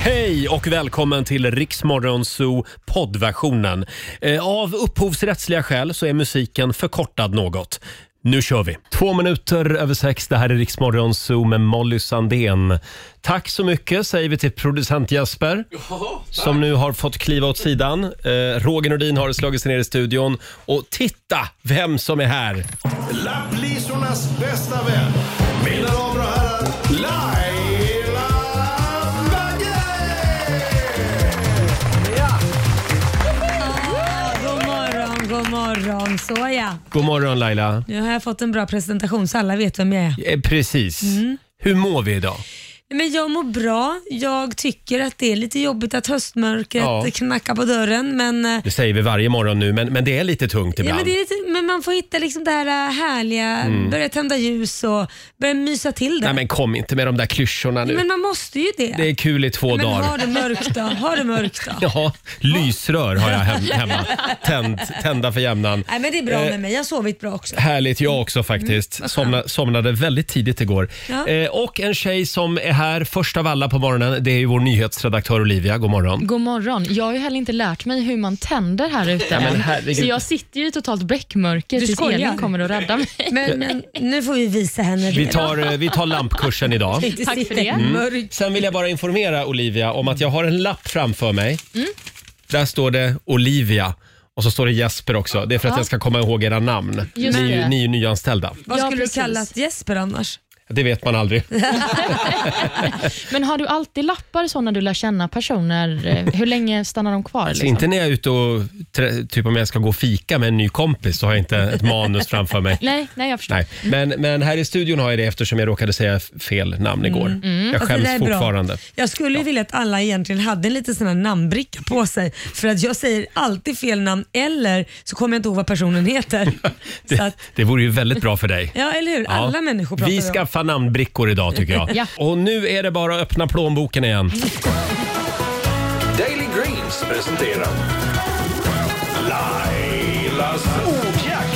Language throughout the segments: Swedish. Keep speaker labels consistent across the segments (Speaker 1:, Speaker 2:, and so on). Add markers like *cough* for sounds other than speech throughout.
Speaker 1: Hej och välkommen till Riksmorgon Zoo poddversionen. Eh, Av upphovsrättsliga skäl så är musiken förkortad något. Nu kör vi! Två minuter över sex, det här är Riksmorgon Zoo med Molly Sandén. Tack så mycket säger vi till producent Jesper som nu har fått kliva åt sidan. Eh, Roger Nordin har slagit sig ner i studion och titta vem som är här!
Speaker 2: Lapplisornas bästa vän. Mina damer och herrar, Laila Bagge!
Speaker 3: God morgon, god morgon. Såja.
Speaker 1: God morgon Laila!
Speaker 3: Nu har jag fått en bra presentation så alla vet vem jag är.
Speaker 1: Eh, Precis.
Speaker 3: Mm.
Speaker 1: Hur mår vi idag?
Speaker 3: Men jag mår bra. Jag tycker att det är lite jobbigt att höstmörkret
Speaker 1: Ja.
Speaker 3: knackar på dörren men, eh,
Speaker 1: Det säger vi varje morgon nu, men, men det är lite tungt
Speaker 3: ja,
Speaker 1: ibland. Mm.
Speaker 3: men, det är lite, men man får hitta liksom det här eh, härliga, börja tända ljus och börja mysa till det.
Speaker 1: Nej, men kom inte med de där klyschorna nu.
Speaker 3: men man måste ju det.
Speaker 1: Det är kul i två
Speaker 3: men
Speaker 1: dagar.
Speaker 3: har det mörkt då? Har det mörkt då?
Speaker 1: *laughs* Ja, lysrör har jag hem,
Speaker 3: *laughs*
Speaker 1: hemma. Tänd, tända för jämnan.
Speaker 3: Nej, men det är bra
Speaker 1: Eh.
Speaker 3: med mig. Jag har sovit bra
Speaker 1: *laughs*
Speaker 3: också.
Speaker 1: Härligt, jag också faktiskt. Somna, somnade väldigt tidigt igår.
Speaker 3: Mm, Ja.
Speaker 1: Eh, och en tjej som är här först av alla på morgonen, det är ju vår nyhetsredaktör Olivia. God morgon.
Speaker 4: God morgon. Jag har ju heller inte lärt mig hur man tänder här ute
Speaker 1: men
Speaker 4: än.
Speaker 1: herregud.
Speaker 4: Så jag sitter ju i totalt bläckmörker
Speaker 3: Du
Speaker 4: tills
Speaker 3: skojar.
Speaker 4: Elin kommer och räddar mig.
Speaker 3: Men, men nu får vi visa henne
Speaker 1: Vi
Speaker 3: det.
Speaker 1: tar, eh, vi tar lampkursen idag.
Speaker 3: Inte
Speaker 4: Tack för
Speaker 3: sitta
Speaker 4: det.
Speaker 3: i
Speaker 4: Mm.
Speaker 3: mörk.
Speaker 1: Sen vill jag bara informera Olivia om att jag har en lapp framför mig.
Speaker 3: Mm.
Speaker 1: Där står det Olivia och så står det Jesper också. Det är för att jag ska komma ihåg era namn. Ni,
Speaker 4: Just
Speaker 1: är ju-
Speaker 4: det.
Speaker 1: ni är ju nyanställda.
Speaker 3: Vad
Speaker 4: Ja,
Speaker 3: skulle
Speaker 4: precis.
Speaker 3: du kallat Jesper annars?
Speaker 1: Det vet man aldrig.
Speaker 4: Men har du alltid lappar så när du lär känna personer? Eh, Hur länge stannar de kvar?
Speaker 1: Så
Speaker 4: Liksom?
Speaker 1: Alltså, inte när jag är ute och trä- typ om jag ska gå och fika med en ny kompis så har jag inte ett manus framför
Speaker 3: *laughs*
Speaker 1: mig.
Speaker 4: Nej, nej, jag förstår.
Speaker 1: Nej. Men, men här i studion har jag det eftersom jag råkade säga f- fel namn igår. Jag
Speaker 3: Alltså, det
Speaker 1: skäms
Speaker 3: där är bra.
Speaker 1: fortfarande.
Speaker 3: Jag skulle ju vilja att alla egentligen hade en liten sån här namnbricka på sig för att jag säger alltid fel namn eller så kommer jag inte ihåg vad
Speaker 1: *laughs*
Speaker 3: personen heter. så
Speaker 1: Det,
Speaker 3: att,
Speaker 1: det vore ju väldigt bra för dig.
Speaker 3: ja, eller hur? *laughs* Alla
Speaker 1: Ja.
Speaker 3: människor pratar
Speaker 1: Vi
Speaker 3: om.
Speaker 1: skaffar namnbrickor idag tycker
Speaker 3: *laughs*
Speaker 1: jag.
Speaker 4: Ja.
Speaker 1: Och nu är det bara att öppna plånboken igen.
Speaker 2: Daily Greens presenterar Lailas ordjakt.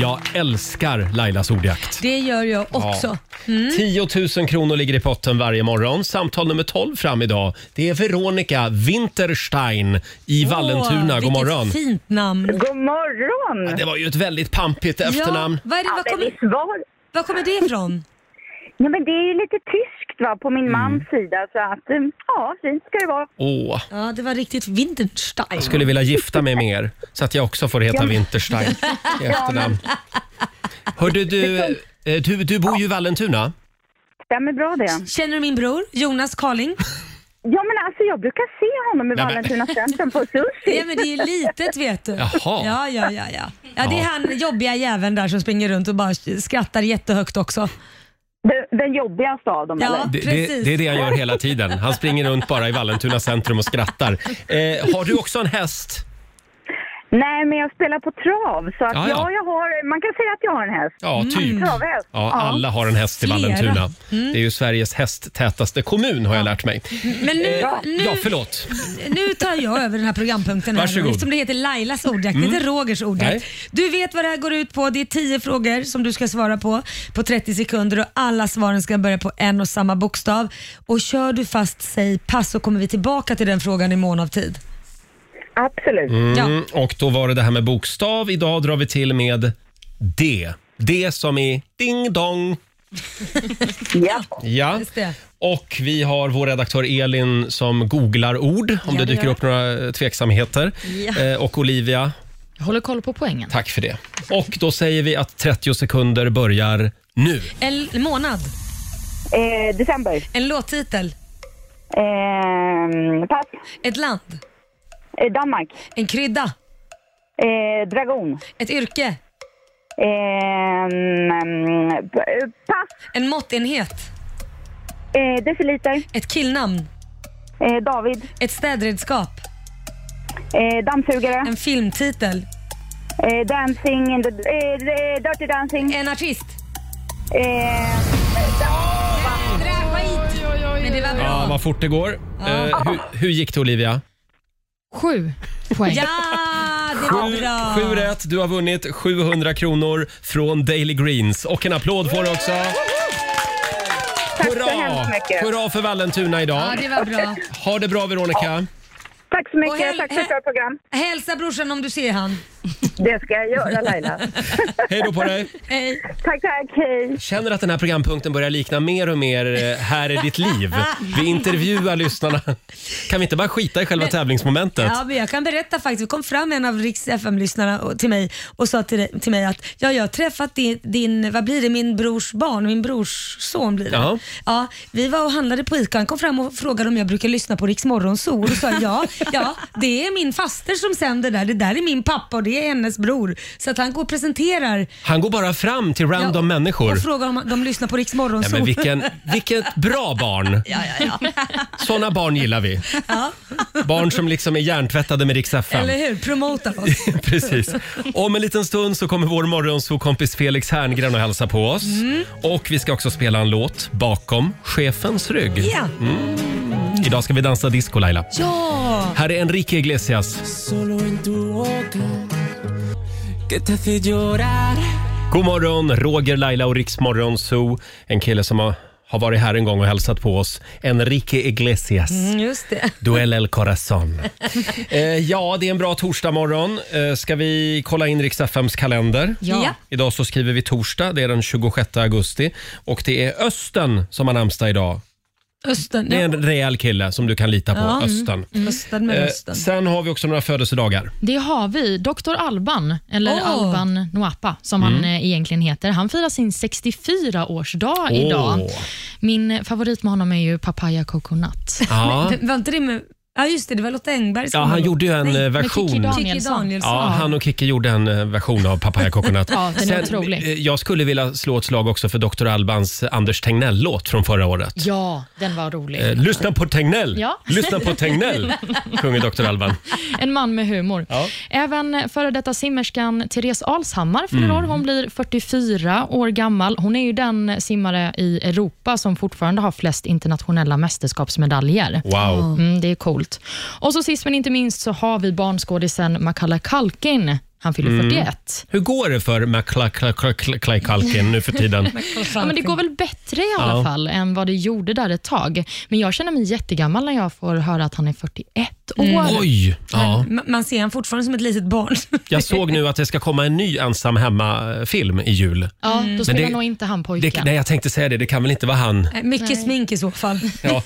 Speaker 1: Jag älskar Lailas ordjakt.
Speaker 3: Det gör jag också. Mm.
Speaker 1: 10 000 kronor ligger i potten varje morgon. Samtal nummer 12 fram idag. Det är Veronica Winterstein i Vallentuna.
Speaker 3: Åh,
Speaker 1: God morgon.
Speaker 3: Vilket fint namn.
Speaker 5: God morgon!
Speaker 1: Det var ju ett väldigt pampigt efternamn.
Speaker 3: Ja, vad är det,
Speaker 5: Ja,
Speaker 3: vad,
Speaker 5: men
Speaker 3: kommer,
Speaker 5: visst var...
Speaker 3: vad kommer det ifrån?
Speaker 5: Ja, men det är ju lite tyskt va, på min mans sida, så att eh, ja, fint ska det vara.
Speaker 1: Åh,
Speaker 3: Ja, det var riktigt Winterstein.
Speaker 1: jag skulle vilja gifta mig med er så att jag också får heta
Speaker 5: Ja.
Speaker 3: *laughs*
Speaker 1: Winterstein i efternamn. Hördu, du, eh, du, du bor ju i Vallentuna.
Speaker 5: Stämmer bra det.
Speaker 3: Känner du min bror Jonas Karling?
Speaker 5: Ja, men alltså jag brukar se honom i
Speaker 1: Nej, men-
Speaker 5: Vallentuna centrum på sushi.
Speaker 3: Ja, men det är ju litet vet du.
Speaker 1: Jaha.
Speaker 3: Ja, ja, ja, ja. ja, det
Speaker 1: Ja.
Speaker 3: är han jobbiga jäveln där som springer runt och bara skrattar jättehögt också.
Speaker 5: Den, den jobbigaste av dem,
Speaker 3: Ja.
Speaker 5: eller?
Speaker 1: Det, det,
Speaker 3: Precis.
Speaker 1: det är det han gör hela tiden. Han springer runt bara i Vallentuna centrum och skrattar. Eh, har du också en häst?
Speaker 5: Nej, men jag spelar på trav, så att
Speaker 1: Ja, ja.
Speaker 5: ja, jag har... Man kan säga att jag har en häst.
Speaker 1: Ja,
Speaker 3: Mm.
Speaker 1: typ.
Speaker 5: Travhäst.
Speaker 1: Ja, alla har en häst i
Speaker 3: Flera. Mm.
Speaker 1: Vallentuna. Det är ju Sveriges hästtätaste kommun har jag lärt mig.
Speaker 3: Men nu,
Speaker 1: Ja,
Speaker 3: Mm. nu,
Speaker 1: förlåt.
Speaker 3: nu tar jag över den här programpunkten. Här,
Speaker 1: Varsågod. Mm.
Speaker 3: eftersom det heter Lailas ordjakt, inte Rogers
Speaker 1: Nej.
Speaker 3: ordjakt. Du vet vad det här går ut på. Det är 10 frågor som du ska svara på på 30 sekunder och alla svaren ska börja på en och samma bokstav. Och kör du fast, säg pass så kommer vi tillbaka till den frågan i mån av tid.
Speaker 5: Absolut.
Speaker 3: Ja.
Speaker 1: Mm, och då var det det här med bokstav. Idag drar vi till med D. D som i ding dong.
Speaker 5: Ja.
Speaker 1: Ja.
Speaker 3: Just det.
Speaker 1: Och vi har vår redaktör Elin som googlar ord om
Speaker 3: Ja,
Speaker 1: det
Speaker 3: det
Speaker 1: dyker
Speaker 3: gör
Speaker 1: upp några eh, tveksamheter.
Speaker 3: Ja.
Speaker 1: Eh, och Olivia,
Speaker 4: Jag håller koll på poängen.
Speaker 1: tack för det. Och då säger vi att 30 sekunder börjar nu.
Speaker 3: En månad,
Speaker 5: Eh, december.
Speaker 3: en låttitel,
Speaker 5: Eh, pass.
Speaker 3: ett land,
Speaker 5: Eh, Danmark.
Speaker 3: en krydda,
Speaker 5: Eh, dragon.
Speaker 3: ett yrke,
Speaker 5: Eh, mm, p- eh, pass.
Speaker 3: en måttenhet,
Speaker 5: Eh, deciliter.
Speaker 3: ett killnamn,
Speaker 5: Eh, David.
Speaker 3: ett städredskap,
Speaker 5: Eh, dammsugare.
Speaker 3: en filmtitel,
Speaker 5: Eh, dancing in the... Eh, eh, dirty dancing.
Speaker 3: en artist.
Speaker 5: Eh,
Speaker 3: Men det var bra.
Speaker 1: Ja, vad fort det går. Eh, hur, hur gick det Olivia?
Speaker 4: Sju poäng.
Speaker 3: Ja, det var bra.
Speaker 1: Sju rätt. Du har vunnit 700 kronor från Daily Greens. Och en applåd får du också.
Speaker 5: Tack
Speaker 1: Hurra!
Speaker 5: så hemskt mycket.
Speaker 1: Hurra för Vallentuna idag.
Speaker 3: Ja, det var bra.
Speaker 1: Ha det bra Veronica.
Speaker 5: Tack så
Speaker 3: Och hel-
Speaker 5: mycket. Tack för ett bra program.
Speaker 3: Hälsa brorsan om du ser han.
Speaker 5: Det ska jag göra
Speaker 3: *laughs*
Speaker 5: Laila.
Speaker 1: Hej då på dig.
Speaker 3: Hej.
Speaker 5: tack, tack. Hej.
Speaker 1: Känner att den här programpunkten börjar likna mer och mer eh, Här är ditt liv. Vi intervjuar lyssnarna. Kan vi inte bara skita i själva tävlingsmomentet?
Speaker 3: Ja, men jag kan berätta faktiskt. Det kom fram en av Riks FM-lyssnarna och- till mig och sa till, dig- till mig att ja, jag har träffat din, din, vad blir det, min brors barn, min brors son blir det.
Speaker 1: Ja.
Speaker 3: Ja, vi var och handlade på ICA. Han kom fram och frågade om jag brukar lyssna på Riks Morgonzoo och då sa jag, ja, ja, det är min faster som sänder där. Det där är min pappa och det är hennes bror. Så att han går och presenterar
Speaker 1: Han går bara fram till random
Speaker 3: Ja,
Speaker 1: människor.
Speaker 3: och frågar om de lyssnar på Riks
Speaker 1: Ja,
Speaker 3: Morgonzoo.
Speaker 1: men vilken, vilket bra barn.
Speaker 3: ja, ja, ja.
Speaker 1: Såna barn gillar vi.
Speaker 3: ja.
Speaker 1: Barn som liksom är hjärntvättade med Rix FM.
Speaker 3: Eller hur? Promota oss.
Speaker 1: *laughs* Precis. Om en liten stund så kommer vår morgonsokompis Felix Herngren och hälsa på oss.
Speaker 3: Mm.
Speaker 1: Och vi ska också spela en låt, Bakom chefens rygg.
Speaker 3: Ja.
Speaker 1: Idag ska vi dansa disco Laila.
Speaker 3: ja.
Speaker 1: Här är Enrique Iglesias.
Speaker 6: Solo en tu boca que te hace llorar.
Speaker 1: God morgon, Roger, Laila och Rix Morgonzoo. En kille som har, har varit här en gång och hälsat på oss. Enrique Iglesias.
Speaker 3: Mm, Just det.
Speaker 1: Duell El
Speaker 3: *laughs*
Speaker 1: Corazon. eh, ja, det är en bra torsdagmorgon. Eh, ska vi kolla in Rix FMs kalender?
Speaker 4: Ja.
Speaker 3: Ja.
Speaker 1: Idag så skriver vi torsdag, det är den 26 augusti. Och det är Östen som har namnsdag idag.
Speaker 3: Östen.
Speaker 1: Det är
Speaker 3: Ja.
Speaker 1: en rejäl kille som du kan lita på,
Speaker 3: Ja, mm.
Speaker 1: Östen.
Speaker 3: Östen med
Speaker 1: Eh,
Speaker 3: rösten.
Speaker 1: sen har vi också några födelsedagar.
Speaker 4: Det har vi. Dr. Alban, eller
Speaker 3: Åh.
Speaker 4: Alban Noapa som han eh, egentligen heter, han firar sin 64-årsdag
Speaker 1: Mm. Åh.
Speaker 4: idag. Min favorit med honom är ju Papaya Coconut.
Speaker 1: Ja.
Speaker 3: Var inte det med... Ja just det, det var Lotta Engberg som
Speaker 1: ja, han gjorde ju en eh,
Speaker 4: Med Kikki
Speaker 1: version.
Speaker 4: Danielsson.
Speaker 3: Kikki Danielsson.
Speaker 1: Ja, han och Kikki gjorde en eh, version av Papaya Coconut.
Speaker 4: Ja, den är
Speaker 1: Sen,
Speaker 4: otrolig.
Speaker 1: eh, jag skulle vilja slå ett slag också för Dr. Albans Anders Tegnell-låt från förra året.
Speaker 4: Ja, den var rolig.
Speaker 1: Eh, Lyssna på Tegnell!
Speaker 4: Ja.
Speaker 1: Lyssna på Tegnell! sjunger Dr. Alban.
Speaker 4: En man med humor.
Speaker 1: Ja.
Speaker 4: Även före detta simmerskan Therese Alshammar fyller
Speaker 1: Mm.
Speaker 4: år. Hon blir 44 år gammal. Hon är ju den simmare i Europa som fortfarande har flest internationella mästerskapsmedaljer.
Speaker 1: Wow.
Speaker 4: Mm, det är coolt. Och så sist men inte minst så har vi barnskådisen Macaulay Culkin. Han fyller
Speaker 1: Mm.
Speaker 4: 41.
Speaker 1: Hur går det för McClay-Kalkin nu för tiden?
Speaker 4: Ja, men det går väl bättre i alla
Speaker 1: Ja.
Speaker 4: fall än vad det gjorde där ett tag. Men jag känner mig jättegammal när jag får höra att han är 41 år.
Speaker 1: Mm. Oj! Ja.
Speaker 3: Ma- Man ser han fortfarande som ett litet barn. *laughs*
Speaker 1: Jag såg nu att det ska komma en ny ensam hemma-film i jul.
Speaker 4: Ja, då spelar
Speaker 1: det-
Speaker 4: nog inte han pojken.
Speaker 1: Det, nej, jag tänkte säga det. Det kan väl inte vara han?
Speaker 3: Eh, Mycket smink i så fall.
Speaker 1: Ja.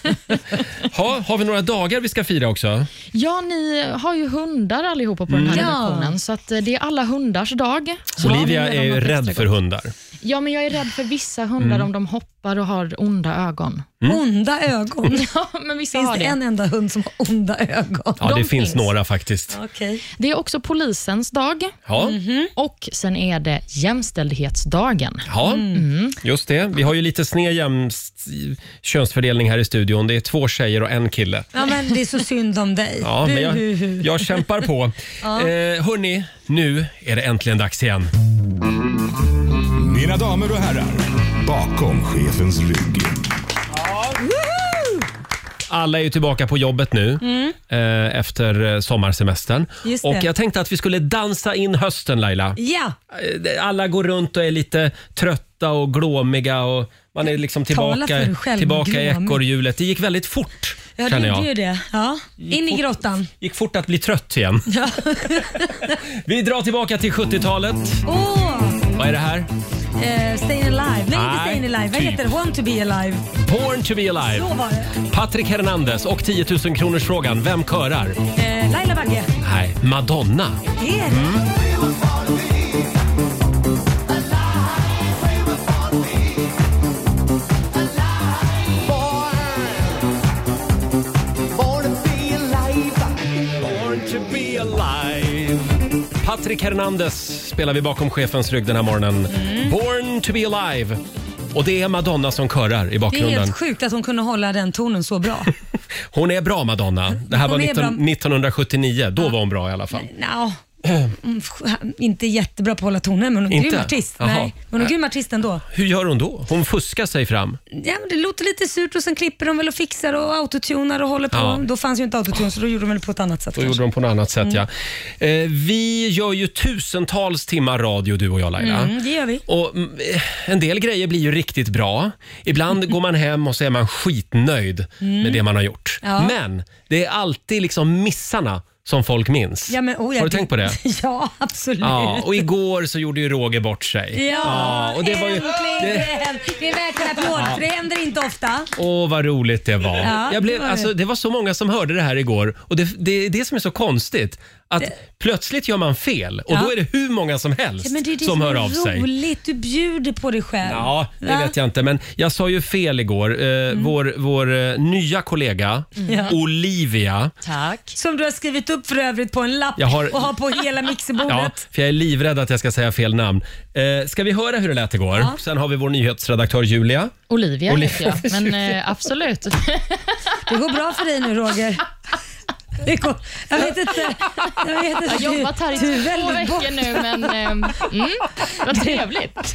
Speaker 1: Ha, har vi några dagar vi ska fira också?
Speaker 4: Ja, ni har ju hundar allihopa på den här
Speaker 3: Ja.
Speaker 4: redaktionen, så att eh, det är alla hundars dag. Så
Speaker 1: Olivia
Speaker 4: har ni
Speaker 1: är ju
Speaker 4: redan något
Speaker 1: rädd
Speaker 4: extra
Speaker 1: för
Speaker 4: gott.
Speaker 1: hundar.
Speaker 4: Ja, men jag är rädd för vissa hundar om de hoppar och har onda ögon.
Speaker 1: Mm.
Speaker 3: Onda ögon.
Speaker 4: Ja, men vissa
Speaker 3: Finns
Speaker 4: har
Speaker 3: det
Speaker 4: det.
Speaker 3: en enda hund som har onda ögon?
Speaker 1: Ja, det
Speaker 4: De
Speaker 1: finns,
Speaker 4: finns.
Speaker 1: några faktiskt.
Speaker 3: Okej.
Speaker 4: Det är också polisens dag
Speaker 1: Ja,
Speaker 4: och sen är det jämställdhetsdagen.
Speaker 1: ja just det. Vi har ju lite sned jämst, könsfördelning här i studion. Det är två tjejer och en kille.
Speaker 3: Ja, men det är så synd om dig.
Speaker 1: Ja, men jag,
Speaker 3: Buhuhu.
Speaker 1: jag kämpar på. eh, hörni, nu är det äntligen dags igen.
Speaker 2: Mina damer och herrar, bakom chefens rygg.
Speaker 1: Alla är ju tillbaka på jobbet nu eh, efter eh, sommarsemestern.
Speaker 3: Mm. Just det.
Speaker 1: Och jag tänkte att vi skulle dansa in hösten Laila.
Speaker 3: Ja,
Speaker 1: Eh, Alla går runt och är lite trötta och glåmiga och man är liksom
Speaker 3: Tala för
Speaker 1: tillbaka,
Speaker 3: dig själv,
Speaker 1: tillbaka i
Speaker 3: glåmig.
Speaker 1: ekorrhjulet. Det gick väldigt fort
Speaker 3: jag
Speaker 1: känner
Speaker 3: gjorde ju
Speaker 1: jag.
Speaker 3: det. Ja. In i *laughs* grottan.
Speaker 1: Gick fort att bli trött
Speaker 3: *laughs*
Speaker 1: igen. vi drar tillbaka till 70-talet.
Speaker 3: Åh!
Speaker 1: Vad är det här?
Speaker 3: eh, Stayin' Alive. Nej, inte
Speaker 1: Nej,
Speaker 3: Stayin' Alive. Vad
Speaker 1: typ.
Speaker 3: heter det? Want to be alive.
Speaker 1: Born to be alive.
Speaker 3: Så var det.
Speaker 1: Patrik Hernandez och 10 000 kronors frågan. Vem körar?
Speaker 3: Eh, Laila Bagge.
Speaker 1: Nej, Madonna.
Speaker 3: Det är
Speaker 1: Mm,
Speaker 3: det.
Speaker 1: Patrik Hernandez spelar vi bakom chefens rygg den här morgonen.
Speaker 3: Mm.
Speaker 1: Born to be alive. Och det är Madonna som körar i
Speaker 3: Det är
Speaker 1: bakgrunden.
Speaker 3: helt sjukt att hon kunde hålla den tonen så bra.
Speaker 1: *laughs* Hon är bra Madonna. Det här
Speaker 3: Hon
Speaker 1: var
Speaker 3: är
Speaker 1: 19,
Speaker 3: bra.
Speaker 1: 1979. Då var hon bra i alla fall.
Speaker 3: Nja, Mm, f- inte jättebra på att hålla toner, men hon är en
Speaker 1: Inte?
Speaker 3: grym artist.
Speaker 1: Jaha.
Speaker 3: Nej, men hon är en grym artist ändå.
Speaker 1: Hur gör hon då? Hon fuskar sig fram.
Speaker 3: Ja, men det låter lite surt och sen klipper de väl och fixar och autotunar och håller på.
Speaker 1: Ja.
Speaker 3: Då fanns ju inte autotune, så då gjorde de väl på ett annat sätt.
Speaker 1: Då gjorde de på något annat sätt, ja.
Speaker 3: Mm.
Speaker 1: Eh, vi gör ju tusentals timmar radio, du och jag Laila.
Speaker 3: Mm, det gör vi.
Speaker 1: Och mm, eh, en del grejer blir ju riktigt bra. Ibland går man hem och så är man skitnöjd med det man har gjort.
Speaker 3: Ja.
Speaker 1: Men det är alltid liksom missarna som folk minns.
Speaker 3: Ja, men, oh, ja,
Speaker 1: har du tänkt på det?
Speaker 3: *laughs* ja,
Speaker 1: *laughs*
Speaker 3: absolut.
Speaker 1: Ja, och igår så gjorde ju Roger bort sig.
Speaker 3: Ja,
Speaker 1: och det var ju...
Speaker 3: äntligen!
Speaker 1: Det,
Speaker 3: Det är värt en applåd, för det händer inte ofta.
Speaker 1: Åh, vad roligt det var.
Speaker 3: Ja,
Speaker 1: jag
Speaker 3: det
Speaker 1: blev,
Speaker 3: var det.
Speaker 1: alltså, det var så många som hörde det här igår och det, det är det som är så konstigt. Att plötsligt gör man fel och
Speaker 3: Ja.
Speaker 1: då är det hur många som helst
Speaker 3: Ja, men det är det
Speaker 1: som hör
Speaker 3: är
Speaker 1: av sig.
Speaker 3: roligt. Du bjuder på dig själv.
Speaker 1: Ja, det
Speaker 3: Va? Mm.
Speaker 1: vet jag inte. Men jag sa ju fel igår. Eh, Vår, vår eh, nya kollega
Speaker 3: Ja.
Speaker 1: Olivia.
Speaker 4: Tack.
Speaker 3: Som du har skrivit upp för övrigt på en lapp
Speaker 1: Jag har-
Speaker 3: och har på hela
Speaker 1: Ja,
Speaker 3: mixerbordet.
Speaker 1: för jag är livrädd att jag ska säga fel namn. Eh, ska vi höra hur det lät igår?
Speaker 3: Ja.
Speaker 1: Sen har vi vår nyhetsredaktör Julia.
Speaker 4: Olivia,
Speaker 1: Olivia.
Speaker 4: heter jag, men eh, absolut.
Speaker 3: Det går bra för dig
Speaker 4: *laughs*
Speaker 3: nu Roger. Det går, jag vet inte. Jag, vet inte.
Speaker 4: Jag har jobbat här i
Speaker 3: Du- du är
Speaker 4: två
Speaker 3: väldigt
Speaker 4: veckor nu, men eh, mm, vad trevligt.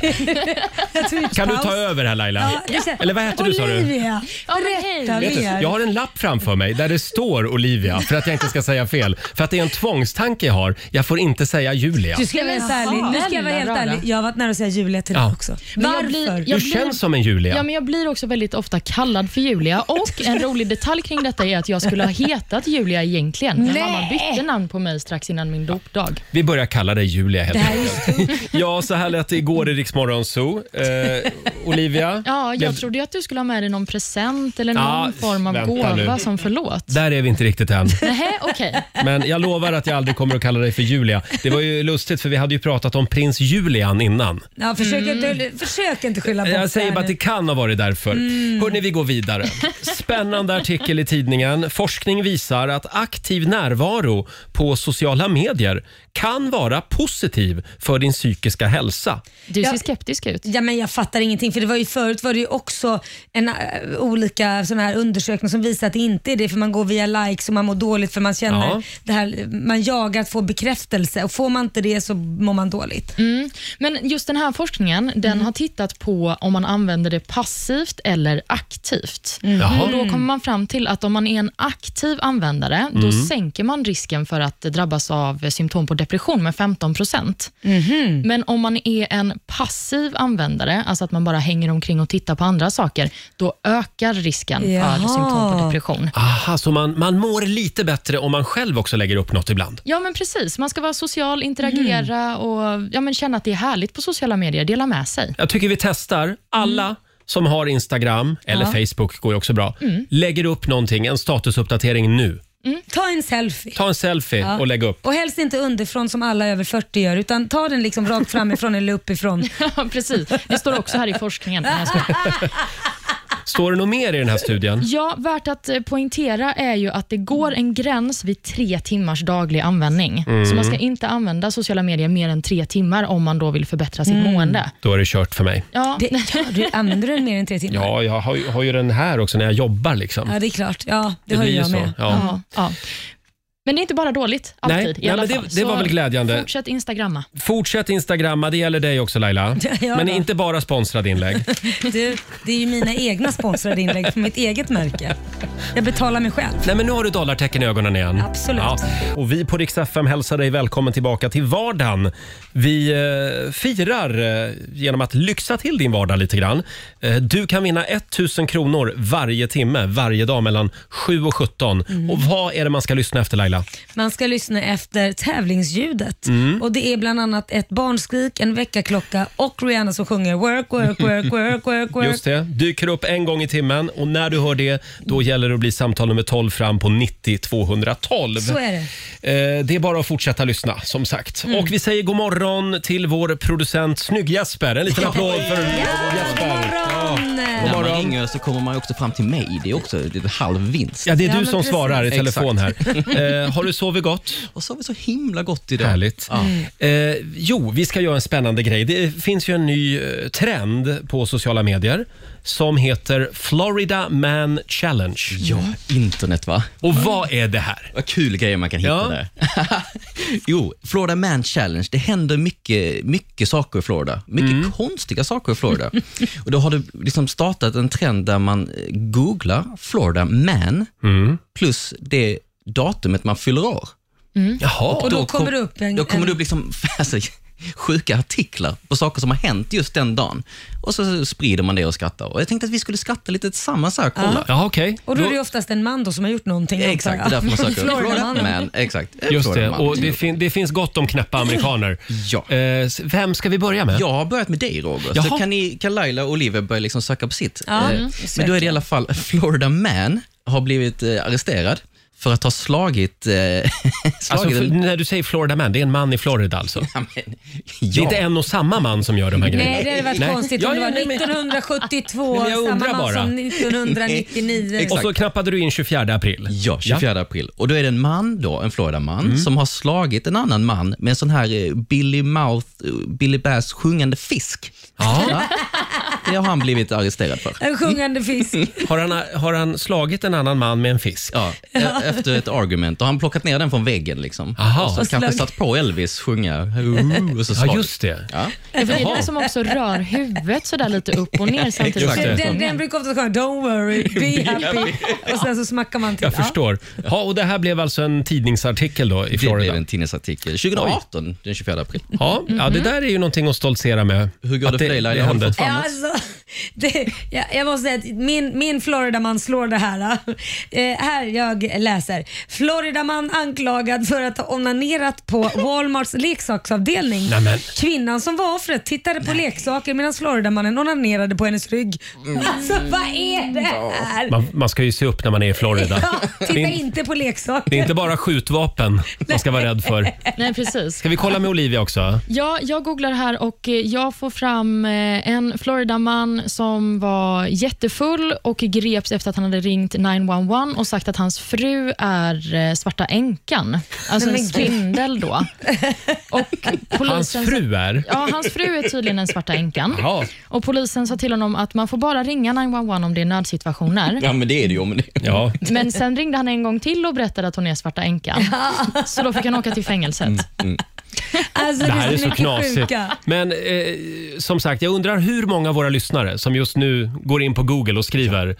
Speaker 3: Jag tog ut
Speaker 1: Kan du
Speaker 3: paus.
Speaker 1: ta över här Laila?
Speaker 3: Ja, det känns-
Speaker 1: Eller vad heter du sa du?
Speaker 3: Olivia,
Speaker 4: Ja, men
Speaker 3: berätta
Speaker 4: hej.
Speaker 1: Vet du,
Speaker 3: mer.
Speaker 1: jag har en lapp framför mig där det står Olivia för att jag inte ska säga fel. För att det är en tvångstanke jag har. Jag får inte säga Julia.
Speaker 3: Du ska jag vara helt ärlig. Nu ska jag vara helt
Speaker 4: Snälla rara.
Speaker 3: ärlig. Jag har varit nära att säga Julia till
Speaker 1: Ja.
Speaker 3: dig också.
Speaker 4: Men
Speaker 3: Varför?
Speaker 4: jag blir- jag
Speaker 1: Du
Speaker 4: blir-
Speaker 1: känns som en Julia.
Speaker 4: Ja, men jag blir också väldigt ofta kallad för Julia. Och *laughs* en rolig detalj kring detta är att jag skulle ha hetat Julia egentligen. Men
Speaker 3: Nej.
Speaker 4: mamma bytte namn på mig strax innan min dopdag.
Speaker 1: Vi börjar kalla dig Julia helt
Speaker 3: Det här är ju
Speaker 1: enkelt. Ja, så här lät det igår i Rix Morgon Zoo. Eh, Olivia?
Speaker 4: Ja, jag
Speaker 1: blev-
Speaker 4: trodde ju att du skulle ha med dig någon present eller någon
Speaker 1: Ja,
Speaker 4: form av
Speaker 1: vänta
Speaker 4: gåva
Speaker 1: nu.
Speaker 4: som förlåt.
Speaker 1: Där är vi inte riktigt än.
Speaker 4: Nej, okej.
Speaker 1: Men jag lovar att jag aldrig kommer att kalla dig för Julia. Det var ju lustigt för vi hade ju pratat om prins Julian innan.
Speaker 3: Ja, försök,
Speaker 4: Mm.
Speaker 3: inte, försök inte skylla bort
Speaker 1: Jag säger
Speaker 3: här
Speaker 1: bara att
Speaker 3: nu.
Speaker 1: det kan ha varit därför.
Speaker 4: Mm.
Speaker 1: Hörni, vi går vidare. Spännande artikel i tidningen. Forskning visar att aktiv närvaro på sociala medier kan vara positiv för din psykiska hälsa.
Speaker 4: Du ser
Speaker 3: Ja.
Speaker 4: skeptisk ut.
Speaker 3: Ja, men jag fattar ingenting. För det var ju, förut var det ju också en, äh, olika såna här undersökningar som visar att det inte är det. För man går via likes och man mår dåligt för man känner
Speaker 1: Ja.
Speaker 3: det här, man jagar att få bekräftelse och får man inte det så mår man dåligt.
Speaker 4: Men just den här forskningen den har tittat på om man använder det passivt eller aktivt. Och
Speaker 1: Jaha.
Speaker 4: då kommer man fram till att om man är en aktiv användare, då sänker man risken för att drabbas av symptom på depression med 15 procent. Men om man är en passiv användare, alltså att man bara hänger omkring och tittar på andra saker, då ökar risken för
Speaker 3: Jaha.
Speaker 4: symptom på depression.
Speaker 1: Aha, så man, man mår lite bättre om man själv också lägger upp något ibland.
Speaker 4: Ja, men precis. Man ska vara social, interagera och ja, men känna att det är härligt på sociala medier, dela med sig.
Speaker 1: Jag tycker vi testar. Alla
Speaker 3: Mm.
Speaker 1: som har Instagram, eller Facebook går ju också bra,
Speaker 3: Mm.
Speaker 1: lägger upp någonting, en statusuppdatering nu.
Speaker 3: Ta en selfie.
Speaker 1: Ta en selfie och lägg upp.
Speaker 3: Och helst inte underifrån som alla över 40 gör, utan ta den liksom rakt framifrån eller uppifrån.
Speaker 4: Ja, precis. Det står också här i forskningen. Nej, jag skojar.
Speaker 1: Står det något mer i den här
Speaker 3: *laughs*
Speaker 1: studien?
Speaker 4: Ja, värt att eh, poängtera är ju att det går en gräns vid tre timmars daglig användning. Så
Speaker 1: Mm.
Speaker 4: man ska inte använda sociala medier mer än tre timmar om man då vill förbättra sitt mående.
Speaker 1: Då är det kört för mig.
Speaker 4: *laughs* Ja,
Speaker 3: Mm. Det, ja, du använder den mer än tre timmar?
Speaker 1: Ja, jag har ju, har ju den här också när jag jobbar. Liksom.
Speaker 3: Ja, det är klart. Ja, det,
Speaker 1: Det
Speaker 3: har
Speaker 1: blir
Speaker 3: ju
Speaker 1: ju
Speaker 3: jag
Speaker 1: så.
Speaker 3: med.
Speaker 1: Ja.
Speaker 4: ja, ja. Men det är inte bara dåligt alltid
Speaker 1: Nej,
Speaker 4: i
Speaker 1: nej,
Speaker 4: alla
Speaker 1: men det-
Speaker 4: fall.
Speaker 1: det var
Speaker 4: Så
Speaker 1: väl glädjande.
Speaker 4: Fortsätt instagramma.
Speaker 1: Fortsätt instagramma, det gäller dig också Laila.
Speaker 3: *laughs* Ja,
Speaker 1: Men
Speaker 3: då.
Speaker 1: inte bara sponsrade inlägg.
Speaker 3: Du, det är ju mina egna sponsrade inlägg på mitt eget märke. Jag betalar mig själv.
Speaker 1: Nej men nu har du dollartecken i ögonen igen.
Speaker 3: Absolut.
Speaker 1: Och vi på Rix FM hälsar dig välkommen tillbaka till vardagen. Vi eh, firar eh, genom att lyxa till din vardag lite grann. Eh, du kan vinna 1000 kronor varje timme, varje dag mellan 7 och 17. Och vad är det man ska lyssna efter Laila?
Speaker 3: Man ska lyssna efter tävlingsljudet.
Speaker 1: Mm.
Speaker 3: Och Det är bland annat ett barnskrik, en väckarklocka och Rihanna som sjunger work, work, work, work, work, work.
Speaker 1: Just det, dyker upp en gång i timmen och när du hör det då gäller det att bli samtal nummer 12 fram på 90 212.
Speaker 3: Så är det. Mm.
Speaker 1: Eh, Det är bara att fortsätta lyssna, som sagt. Och vi säger god morgon till vår producent Snygg-Jesper. En liten applåd för Jesper.
Speaker 3: Morgon!
Speaker 1: God
Speaker 6: När man
Speaker 1: morgon.
Speaker 6: ringer så kommer man också fram till mig. Det är också det är halv vinst.
Speaker 1: Ja, det är
Speaker 3: Ja,
Speaker 1: du
Speaker 3: men
Speaker 1: som
Speaker 3: precis.
Speaker 1: svarar i telefon här. Eh, har du sovit gott?
Speaker 6: Och så har vi så himla gott idag.
Speaker 1: Härligt. Eh, jo, vi ska göra en spännande grej. Det finns ju en ny eh, trend på sociala medier. som heter Florida Man Challenge.
Speaker 7: Ja, internet va?
Speaker 1: Och vad är det här?
Speaker 7: Vad kul grejer man kan hitta
Speaker 1: Ja.
Speaker 7: där. *laughs* jo, Florida Man Challenge. Det händer mycket, mycket saker i Florida. Mycket
Speaker 1: Mm.
Speaker 7: konstiga saker i
Speaker 1: *laughs*
Speaker 7: Florida. och Då har det liksom startat en trend där man eh, googlar Florida Man
Speaker 1: Mm.
Speaker 7: plus det datumet man fyller år.
Speaker 1: Jaha.
Speaker 3: Mm. Och då kommer det upp en-
Speaker 7: Då kommer det
Speaker 3: en-
Speaker 7: upp liksom, *laughs* alltså, sjuka artiklar på saker som har hänt just den dagen. Och så sprider man det och skrattar. Och jag tänkte att vi skulle skratta lite tillsammans här, kolla.
Speaker 1: Jaha, okej.
Speaker 3: Och då är det ju oftast en man då som har gjort någonting. antar
Speaker 7: Exakt, det
Speaker 3: jag.
Speaker 7: är därför man söker.
Speaker 3: Florida-mannen.
Speaker 7: Man, exakt. Mm.
Speaker 1: Just det,
Speaker 7: Florida-man.
Speaker 1: och det, fin- det finns gott om knäppa amerikaner.
Speaker 7: Ja.
Speaker 1: Eh, s- vem ska vi börja med?
Speaker 7: Jag har börjat med dig Roger,
Speaker 1: Jaha.
Speaker 7: så kan, ni, kan Laila och Oliver börja liksom söka på sitt.
Speaker 3: Ja,
Speaker 7: Eh,
Speaker 3: mm,
Speaker 7: Men då är
Speaker 3: säkert.
Speaker 7: det i alla fall Florida Man har blivit eh, arresterad för att ha slagit... Eh, *laughs* slagit
Speaker 1: Alltså, för,
Speaker 7: en,
Speaker 1: när du säger Florida man, det är en man i Florida alltså?
Speaker 7: ja, men,
Speaker 1: Det är inte
Speaker 7: ja.
Speaker 1: en och samma man som gör de här grejerna?
Speaker 3: Nej, det hade varit konstigt
Speaker 1: Ja,
Speaker 3: om det
Speaker 1: ja,
Speaker 3: var
Speaker 1: nej, men- Nej,
Speaker 3: 1972,
Speaker 1: men jag undrar
Speaker 3: samma man
Speaker 1: bara.
Speaker 3: som
Speaker 1: *laughs*
Speaker 3: 1999.
Speaker 1: Och så knappade du in 24 april.
Speaker 7: Ja, 24 april. Och då är det en man, då, en Florida-man,
Speaker 1: Mm.
Speaker 7: som har slagit en annan man med en sån här eh, Billy Mouth, eh, Billy Bass sjungande fisk.
Speaker 1: Ja.
Speaker 7: Det har han blivit arresterad
Speaker 3: *laughs*
Speaker 7: för.
Speaker 3: En sjungande fisk.
Speaker 1: Har, han, har han slagit en annan man med en fisk? *laughs*
Speaker 7: Ja, e- efter ett argument. Och han plockat ner den från väggen. Liksom.
Speaker 1: Aha.
Speaker 7: Och så
Speaker 1: Och
Speaker 7: kanske
Speaker 3: slagit.
Speaker 7: satt på Elvis sjunga. "Ooh", Uh, Och så
Speaker 1: Ja,
Speaker 7: slagit.
Speaker 1: just det.
Speaker 7: Ja.
Speaker 4: För det är den som också rör huvudet sådär lite upp och ner
Speaker 1: *laughs*
Speaker 4: samtidigt
Speaker 1: Exakt.
Speaker 4: som den
Speaker 3: Den,
Speaker 4: sjunger.
Speaker 3: den brukar ofta sjunga “Don't worry,
Speaker 1: *laughs*
Speaker 3: be happy” och sen så smackar man till.
Speaker 1: Jag
Speaker 3: Ja.
Speaker 1: förstår. Ja, och det här blev alltså en tidningsartikel då i
Speaker 7: Det blev
Speaker 1: Florida?
Speaker 7: en tidningsartikel 2018, den 24 april.
Speaker 1: Ja, ja,
Speaker 3: Mhm.
Speaker 1: det där är ju någonting att stoltsera med.
Speaker 7: Hur går
Speaker 1: Att
Speaker 7: det för dig, Laila? Har du
Speaker 1: hände.
Speaker 7: fått fram
Speaker 3: Ja,
Speaker 7: något?
Speaker 3: alltså, *laughs* det, ja, jag måste säga att min, min Floridaman slår det här. *laughs* då. Eh, här jag läser. Floridaman anklagad för att ha
Speaker 1: *laughs*
Speaker 3: onanerat på Walmarts leksaksavdelning.
Speaker 1: Nämen.
Speaker 3: Kvinnan som var offret tittade på leksaker medan Floridamannen onanerade på hennes rygg. Alltså vad är det här?
Speaker 1: Mm. Man, man ska ju se upp när man är i Florida.
Speaker 3: *laughs* Ja,
Speaker 1: Det
Speaker 3: titta
Speaker 1: är-
Speaker 3: inte på leksaker.
Speaker 1: Det är inte bara skjutvapen man ska vara rädd för.
Speaker 4: Nej, precis.
Speaker 1: Ska vi kolla med Olivia också?
Speaker 4: Ja, jag googlar här och eh, jag får fram eh, en Floridaman som var jättefull och greps efter att han hade ringt 911 och sagt att hans fru är eh, svarta änkan. Alltså en
Speaker 3: men gud.
Speaker 4: svindel
Speaker 3: *laughs*
Speaker 4: då. Och
Speaker 1: Hans
Speaker 4: polisen-
Speaker 1: fru är...
Speaker 4: Ja, hans fru är tydligen en svarta änkan.
Speaker 1: Jaha.
Speaker 4: Och Polisen sa till honom att man får bara ringa 911 om det är nödsituationer.
Speaker 7: Ja, men det är det ju. Men det...
Speaker 1: Ja.
Speaker 4: Men sen ringde han en gång till och berättade att hon är svarta änkan. Så då fick han åka till
Speaker 1: Mm.
Speaker 4: fängelset.
Speaker 3: Alltså,
Speaker 1: Det här är så
Speaker 3: mycket
Speaker 1: knasigt.
Speaker 3: sjuka.
Speaker 1: Men eh, som sagt, jag undrar hur många av våra lyssnare som just nu går in på Google och skriver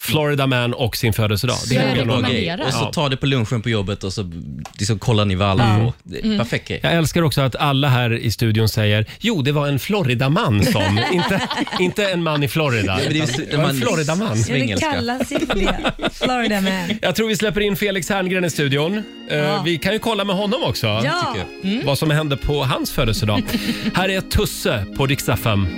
Speaker 1: Florida man och sin födelsedag. Det
Speaker 4: Ja,
Speaker 1: är
Speaker 4: jag
Speaker 1: nog-
Speaker 4: rekommenderar.
Speaker 7: Okej, Och så
Speaker 1: Ja.
Speaker 7: tar det på lunchen på jobbet och så liksom kollar ni vad alla
Speaker 1: Mm.
Speaker 7: får. Det är Perfekt grej.
Speaker 1: jag älskar också att alla här i studion säger Jo, det var en Floridaman som. inte, inte en man i Florida.
Speaker 7: men det är ju
Speaker 1: utan
Speaker 7: så-
Speaker 1: det var en Floridaman.
Speaker 3: Ja, det
Speaker 7: Svengelska.
Speaker 3: kallas ju
Speaker 1: *laughs*
Speaker 3: för det. Florida man.
Speaker 1: Jag tror vi släpper in Felix Herngren i studion. Eh, Vi kan ju kolla med honom också.
Speaker 3: Ja. Mm.
Speaker 7: tycker
Speaker 1: Vad som hände på hans
Speaker 3: *laughs*
Speaker 1: födelsedag. Här är Tusse på riksdag 5.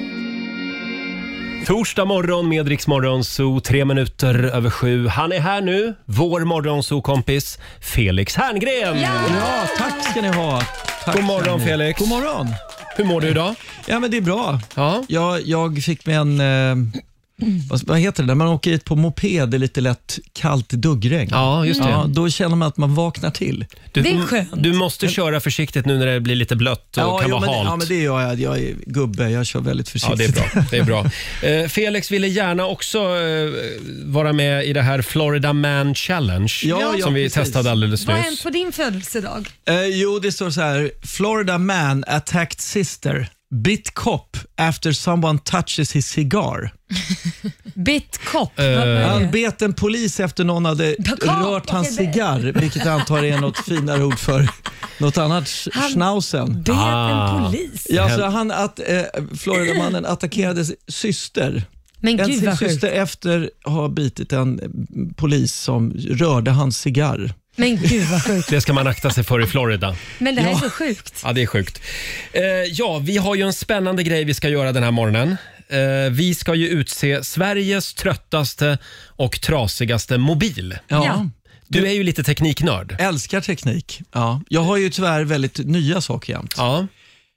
Speaker 1: Torsdag morgon med Rix Morgonzoo, tre minuter över sju. Han är här nu, vår Morgonzoo-kompis Felix Herngren!
Speaker 8: Ja, tack ska ni ha. Tack
Speaker 1: God morgon,
Speaker 8: ska ni ha.
Speaker 1: Felix.
Speaker 8: God morgon.
Speaker 1: Hur mår du idag?
Speaker 8: Ja, men det är bra.
Speaker 1: Ja.
Speaker 8: Jag, jag fick mig en, eh, vad, vad heter det, när man åker hit på moped, det är lite lätt kallt duggregn.
Speaker 1: Ja, just det.
Speaker 8: Ja, då känner man att man vaknar till.
Speaker 1: Du,
Speaker 3: Det är skönt.
Speaker 1: du måste köra försiktigt nu när det blir lite blött och
Speaker 8: ja,
Speaker 1: kan
Speaker 8: jo,
Speaker 1: vara
Speaker 8: men,
Speaker 1: halt.
Speaker 8: ja, men det gör jag. Jag är gubbe, jag kör väldigt
Speaker 1: Ja, det är
Speaker 8: försiktigt.
Speaker 1: bra. Det är bra. Eh, Felix ville gärna också eh, vara med i det här Florida Man Challenge
Speaker 8: Ja, ja,
Speaker 1: som vi
Speaker 8: precis.
Speaker 1: testade alldeles
Speaker 3: Vad har hänt
Speaker 1: nyss.
Speaker 3: på din födelsedag?
Speaker 8: Eh, jo, det står så här. Florida man attacked sister, bit cop after someone touches his cigar.
Speaker 3: Bitkopp?
Speaker 1: Eh,
Speaker 3: Vad var
Speaker 8: Han
Speaker 3: det?
Speaker 8: bet en polis efter någon hade
Speaker 3: Cop,
Speaker 8: rört hans
Speaker 3: okej, det-
Speaker 8: cigarr, vilket jag antar är något finare ord för något annat, sch-
Speaker 3: Han-
Speaker 8: schnauzen.
Speaker 3: Bet en
Speaker 1: Ah.
Speaker 3: polis?
Speaker 8: Ja, så han att, eh, Floridamannen attackerade s- syster.
Speaker 3: Men
Speaker 8: en
Speaker 3: gud
Speaker 8: sin
Speaker 3: vad sjukt.
Speaker 8: syster efter att ha bitit en eh, polis som rörde hans cigarr.
Speaker 3: Men gud vad sjukt.
Speaker 1: Det ska man akta sig för i Florida.
Speaker 3: Men det här är så sjukt.
Speaker 1: Ja, det är sjukt. Eh, ja, vi har ju en spännande grej vi ska göra den här morgonen. Eh, vi ska ju utse Sveriges tröttaste och trasigaste mobil.
Speaker 8: Ja.
Speaker 3: Ja.
Speaker 1: Du är ju lite tekniknörd.
Speaker 8: Älskar teknik. Ja. Jag har ju tyvärr väldigt nya saker jämt.
Speaker 1: Ja. Mm.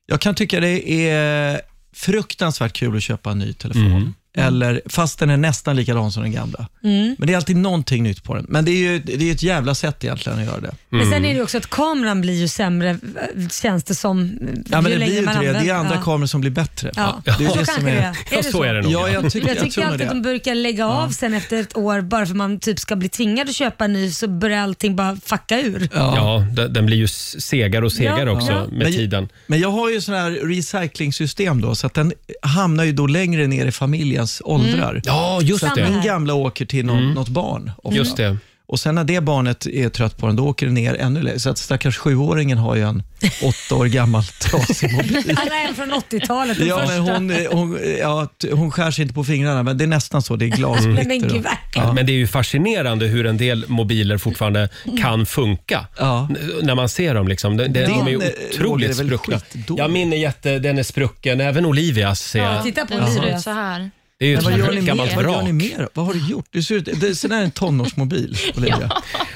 Speaker 8: Jag kan tycka det är fruktansvärt kul att köpa en ny telefon. eller, fast den är nästan likadan som den gamla.
Speaker 3: Mm.
Speaker 8: Men det är alltid någonting nytt på den. Men det är ju det är ju ett jävla sätt egentligen att göra det.
Speaker 3: Men sen är det ju också att kameran blir ju sämre eh, känns det som.
Speaker 8: Ja,
Speaker 3: ju
Speaker 8: men det
Speaker 3: längre
Speaker 8: blir ju inte
Speaker 3: man
Speaker 8: det. Det är
Speaker 3: använder.
Speaker 8: andra
Speaker 3: ja.
Speaker 8: kameror som blir bättre.
Speaker 3: Ja.
Speaker 8: Det är ju
Speaker 3: så
Speaker 8: det
Speaker 3: kanske
Speaker 8: som
Speaker 3: det
Speaker 8: är...
Speaker 3: är.
Speaker 1: Ja, så är det nog.
Speaker 8: Ja, jag tycker,
Speaker 3: Jag
Speaker 8: jag
Speaker 3: tycker
Speaker 8: tror nog
Speaker 3: alltid att de
Speaker 8: det.
Speaker 3: brukar lägga av sen efter ett år bara för man typ ska bli tvingad att köpa en ny så börjar allting bara fucka ur.
Speaker 1: Ja, d- den blir ju s- segare och segare
Speaker 3: Ja,
Speaker 1: också
Speaker 3: ja.
Speaker 1: med
Speaker 8: Men-
Speaker 1: tiden.
Speaker 8: Men jag har ju sån här recyclingsystem då, så att den hamnar ju då längre ner i familjens
Speaker 3: Mm.
Speaker 8: åldrar.
Speaker 1: Ja, just
Speaker 3: Samma
Speaker 1: det. Mm.
Speaker 3: här.
Speaker 8: Min gamla åker till någon, något barn. ofta.
Speaker 1: Just det.
Speaker 8: Och sen när det barnet är trött på den, då åker det ner ännu längre. Så att stackars sjuåringen har ju en åtta år gammal *laughs* trasig mobil.
Speaker 3: Alla är från 80-talet.
Speaker 8: *laughs*
Speaker 3: den
Speaker 8: Ja,
Speaker 3: första.
Speaker 8: men hon, eh, hon, eh, ja, t- hon skär sig inte på fingrarna, men det är nästan så. Det är
Speaker 3: Nej, men
Speaker 8: glasglitter.
Speaker 3: gud,
Speaker 8: och-
Speaker 3: verkligen.
Speaker 1: Ja. Men det är ju fascinerande hur en del mobiler fortfarande kan funka.
Speaker 8: Mm. Ja.
Speaker 1: N- När man ser dem liksom. De, de, de är ju
Speaker 8: Din, eh, Roger,
Speaker 1: otroligt
Speaker 8: är väl
Speaker 1: spruckna.
Speaker 8: skitdålig?
Speaker 1: Ja, min är jätte, den är sprucken. Även Olivias ser
Speaker 3: Ja,
Speaker 1: jag.
Speaker 3: titta på
Speaker 4: Den ser
Speaker 3: Olivia.
Speaker 4: ut så här.
Speaker 1: Det är ju
Speaker 8: Men vad gör
Speaker 1: ett
Speaker 8: ni mer?
Speaker 1: gammalt
Speaker 8: Vad gör ni
Speaker 1: vrak.
Speaker 8: mer? Vad har du gjort? Det ser ut, det, sån här är en tonårsmobil,
Speaker 3: *laughs*
Speaker 8: Olivia.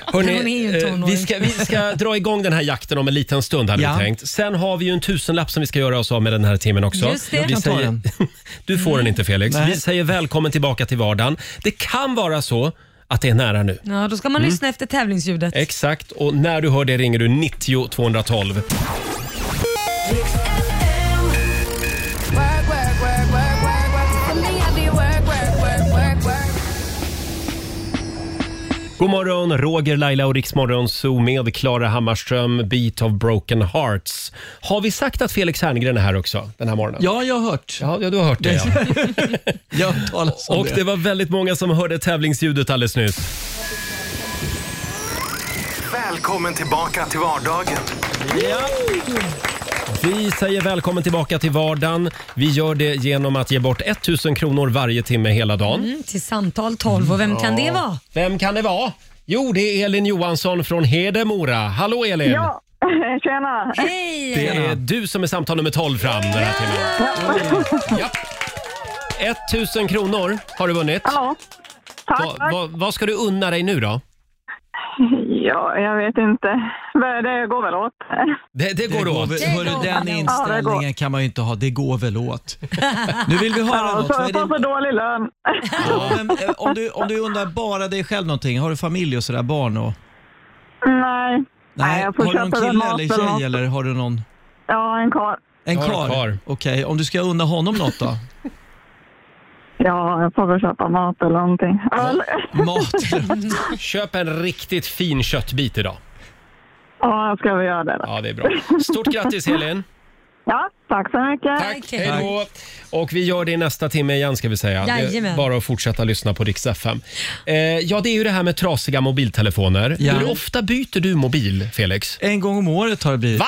Speaker 1: Hörrni,
Speaker 3: Hon är ju en
Speaker 1: eh, vi,
Speaker 3: tonåring.
Speaker 1: ska, vi
Speaker 8: *laughs*
Speaker 1: ska dra igång den här jakten om en liten stund hade
Speaker 8: Ja.
Speaker 1: vi tänkt. Sen har vi ju en tusenlapp som vi ska göra oss av med den här timmen också.
Speaker 3: Just det. Jag
Speaker 1: Vi
Speaker 8: kan ta
Speaker 1: säger,
Speaker 8: den.
Speaker 1: *laughs* du får den inte Felix.
Speaker 8: Nej.
Speaker 1: Vi säger välkommen tillbaka till vardagen. Det kan vara så att det är nära nu.
Speaker 3: Ja, då ska man lyssna efter tävlingsljudet.
Speaker 1: Exakt, och när du hör det ringer du 90 212. God morgon, Roger, Laila och Riksmorgon Zoo med Klara Hammarström, Beat of Broken Hearts. Har vi sagt att Felix Herngren är här också den här morgonen?
Speaker 8: Ja, jag har hört.
Speaker 1: Ja, ja, du har hört det. Ja.
Speaker 8: Jag har hört talas om
Speaker 1: Och det var väldigt många som hörde tävlingsljudet alldeles nyss.
Speaker 9: Välkommen tillbaka till vardagen.
Speaker 1: Vi säger välkommen tillbaka till vardagen. Vi gör det genom att ge bort 1000 kronor varje timme hela dagen.
Speaker 3: Mm, till samtal 12 och vem kan det vara?
Speaker 1: Vem kan det vara? Jo, det är Elin Johansson från Hedemora. Hallå Elin!
Speaker 5: Ja, tjena.
Speaker 3: Hej!
Speaker 1: Det är du som är samtal nummer 12 fram den här timmen. Ja. 1000 kronor har du vunnit.
Speaker 5: Ja. Tack,
Speaker 1: Va,
Speaker 5: tack.
Speaker 1: va, vad ska du unna dig nu då?
Speaker 5: Ja, jag vet inte. Men Det går väl åt.
Speaker 1: Det, det går åt.
Speaker 8: väl- hörru, den inställningen kan man ju inte ha. Det går väl åt. Nu vill vi höra
Speaker 5: Ja,
Speaker 8: något.
Speaker 5: så
Speaker 8: Vad är
Speaker 5: jag får så
Speaker 8: din...
Speaker 5: dålig lön.
Speaker 8: ja, men, eh, om, du, om du undrar bara dig själv någonting, har du familj och sådär, barn och...
Speaker 5: Nej. Nej, jag får
Speaker 8: har du någon
Speaker 5: köpa den
Speaker 8: kille
Speaker 5: mat
Speaker 8: eller
Speaker 5: eller något.
Speaker 8: tjej eller har du någon?
Speaker 5: Ja, en karl.
Speaker 8: En
Speaker 1: Jag har
Speaker 8: karl?
Speaker 1: en karl.
Speaker 8: Okej, om du ska unna honom något då?
Speaker 5: Ja, jag får väl köpa mat eller någonting. Öl.
Speaker 8: Mat?
Speaker 1: Köp en riktigt fin köttbit idag.
Speaker 5: Ja, jag ska väl göra det då.
Speaker 1: Ja, det är bra. Stort grattis Elin!
Speaker 5: Ja, tack så mycket.
Speaker 1: Tack!
Speaker 3: Okej.
Speaker 1: Hej då! Och vi gör det i nästa timme igen ska vi säga. Det är
Speaker 3: Jajamän.
Speaker 1: bara att fortsätta lyssna på Rix FM. Eh, ja, det är ju det här med trasiga mobiltelefoner.
Speaker 8: Ja.
Speaker 1: Hur ofta byter du mobil, Felix?
Speaker 8: En gång om året har det blivit.
Speaker 1: Va?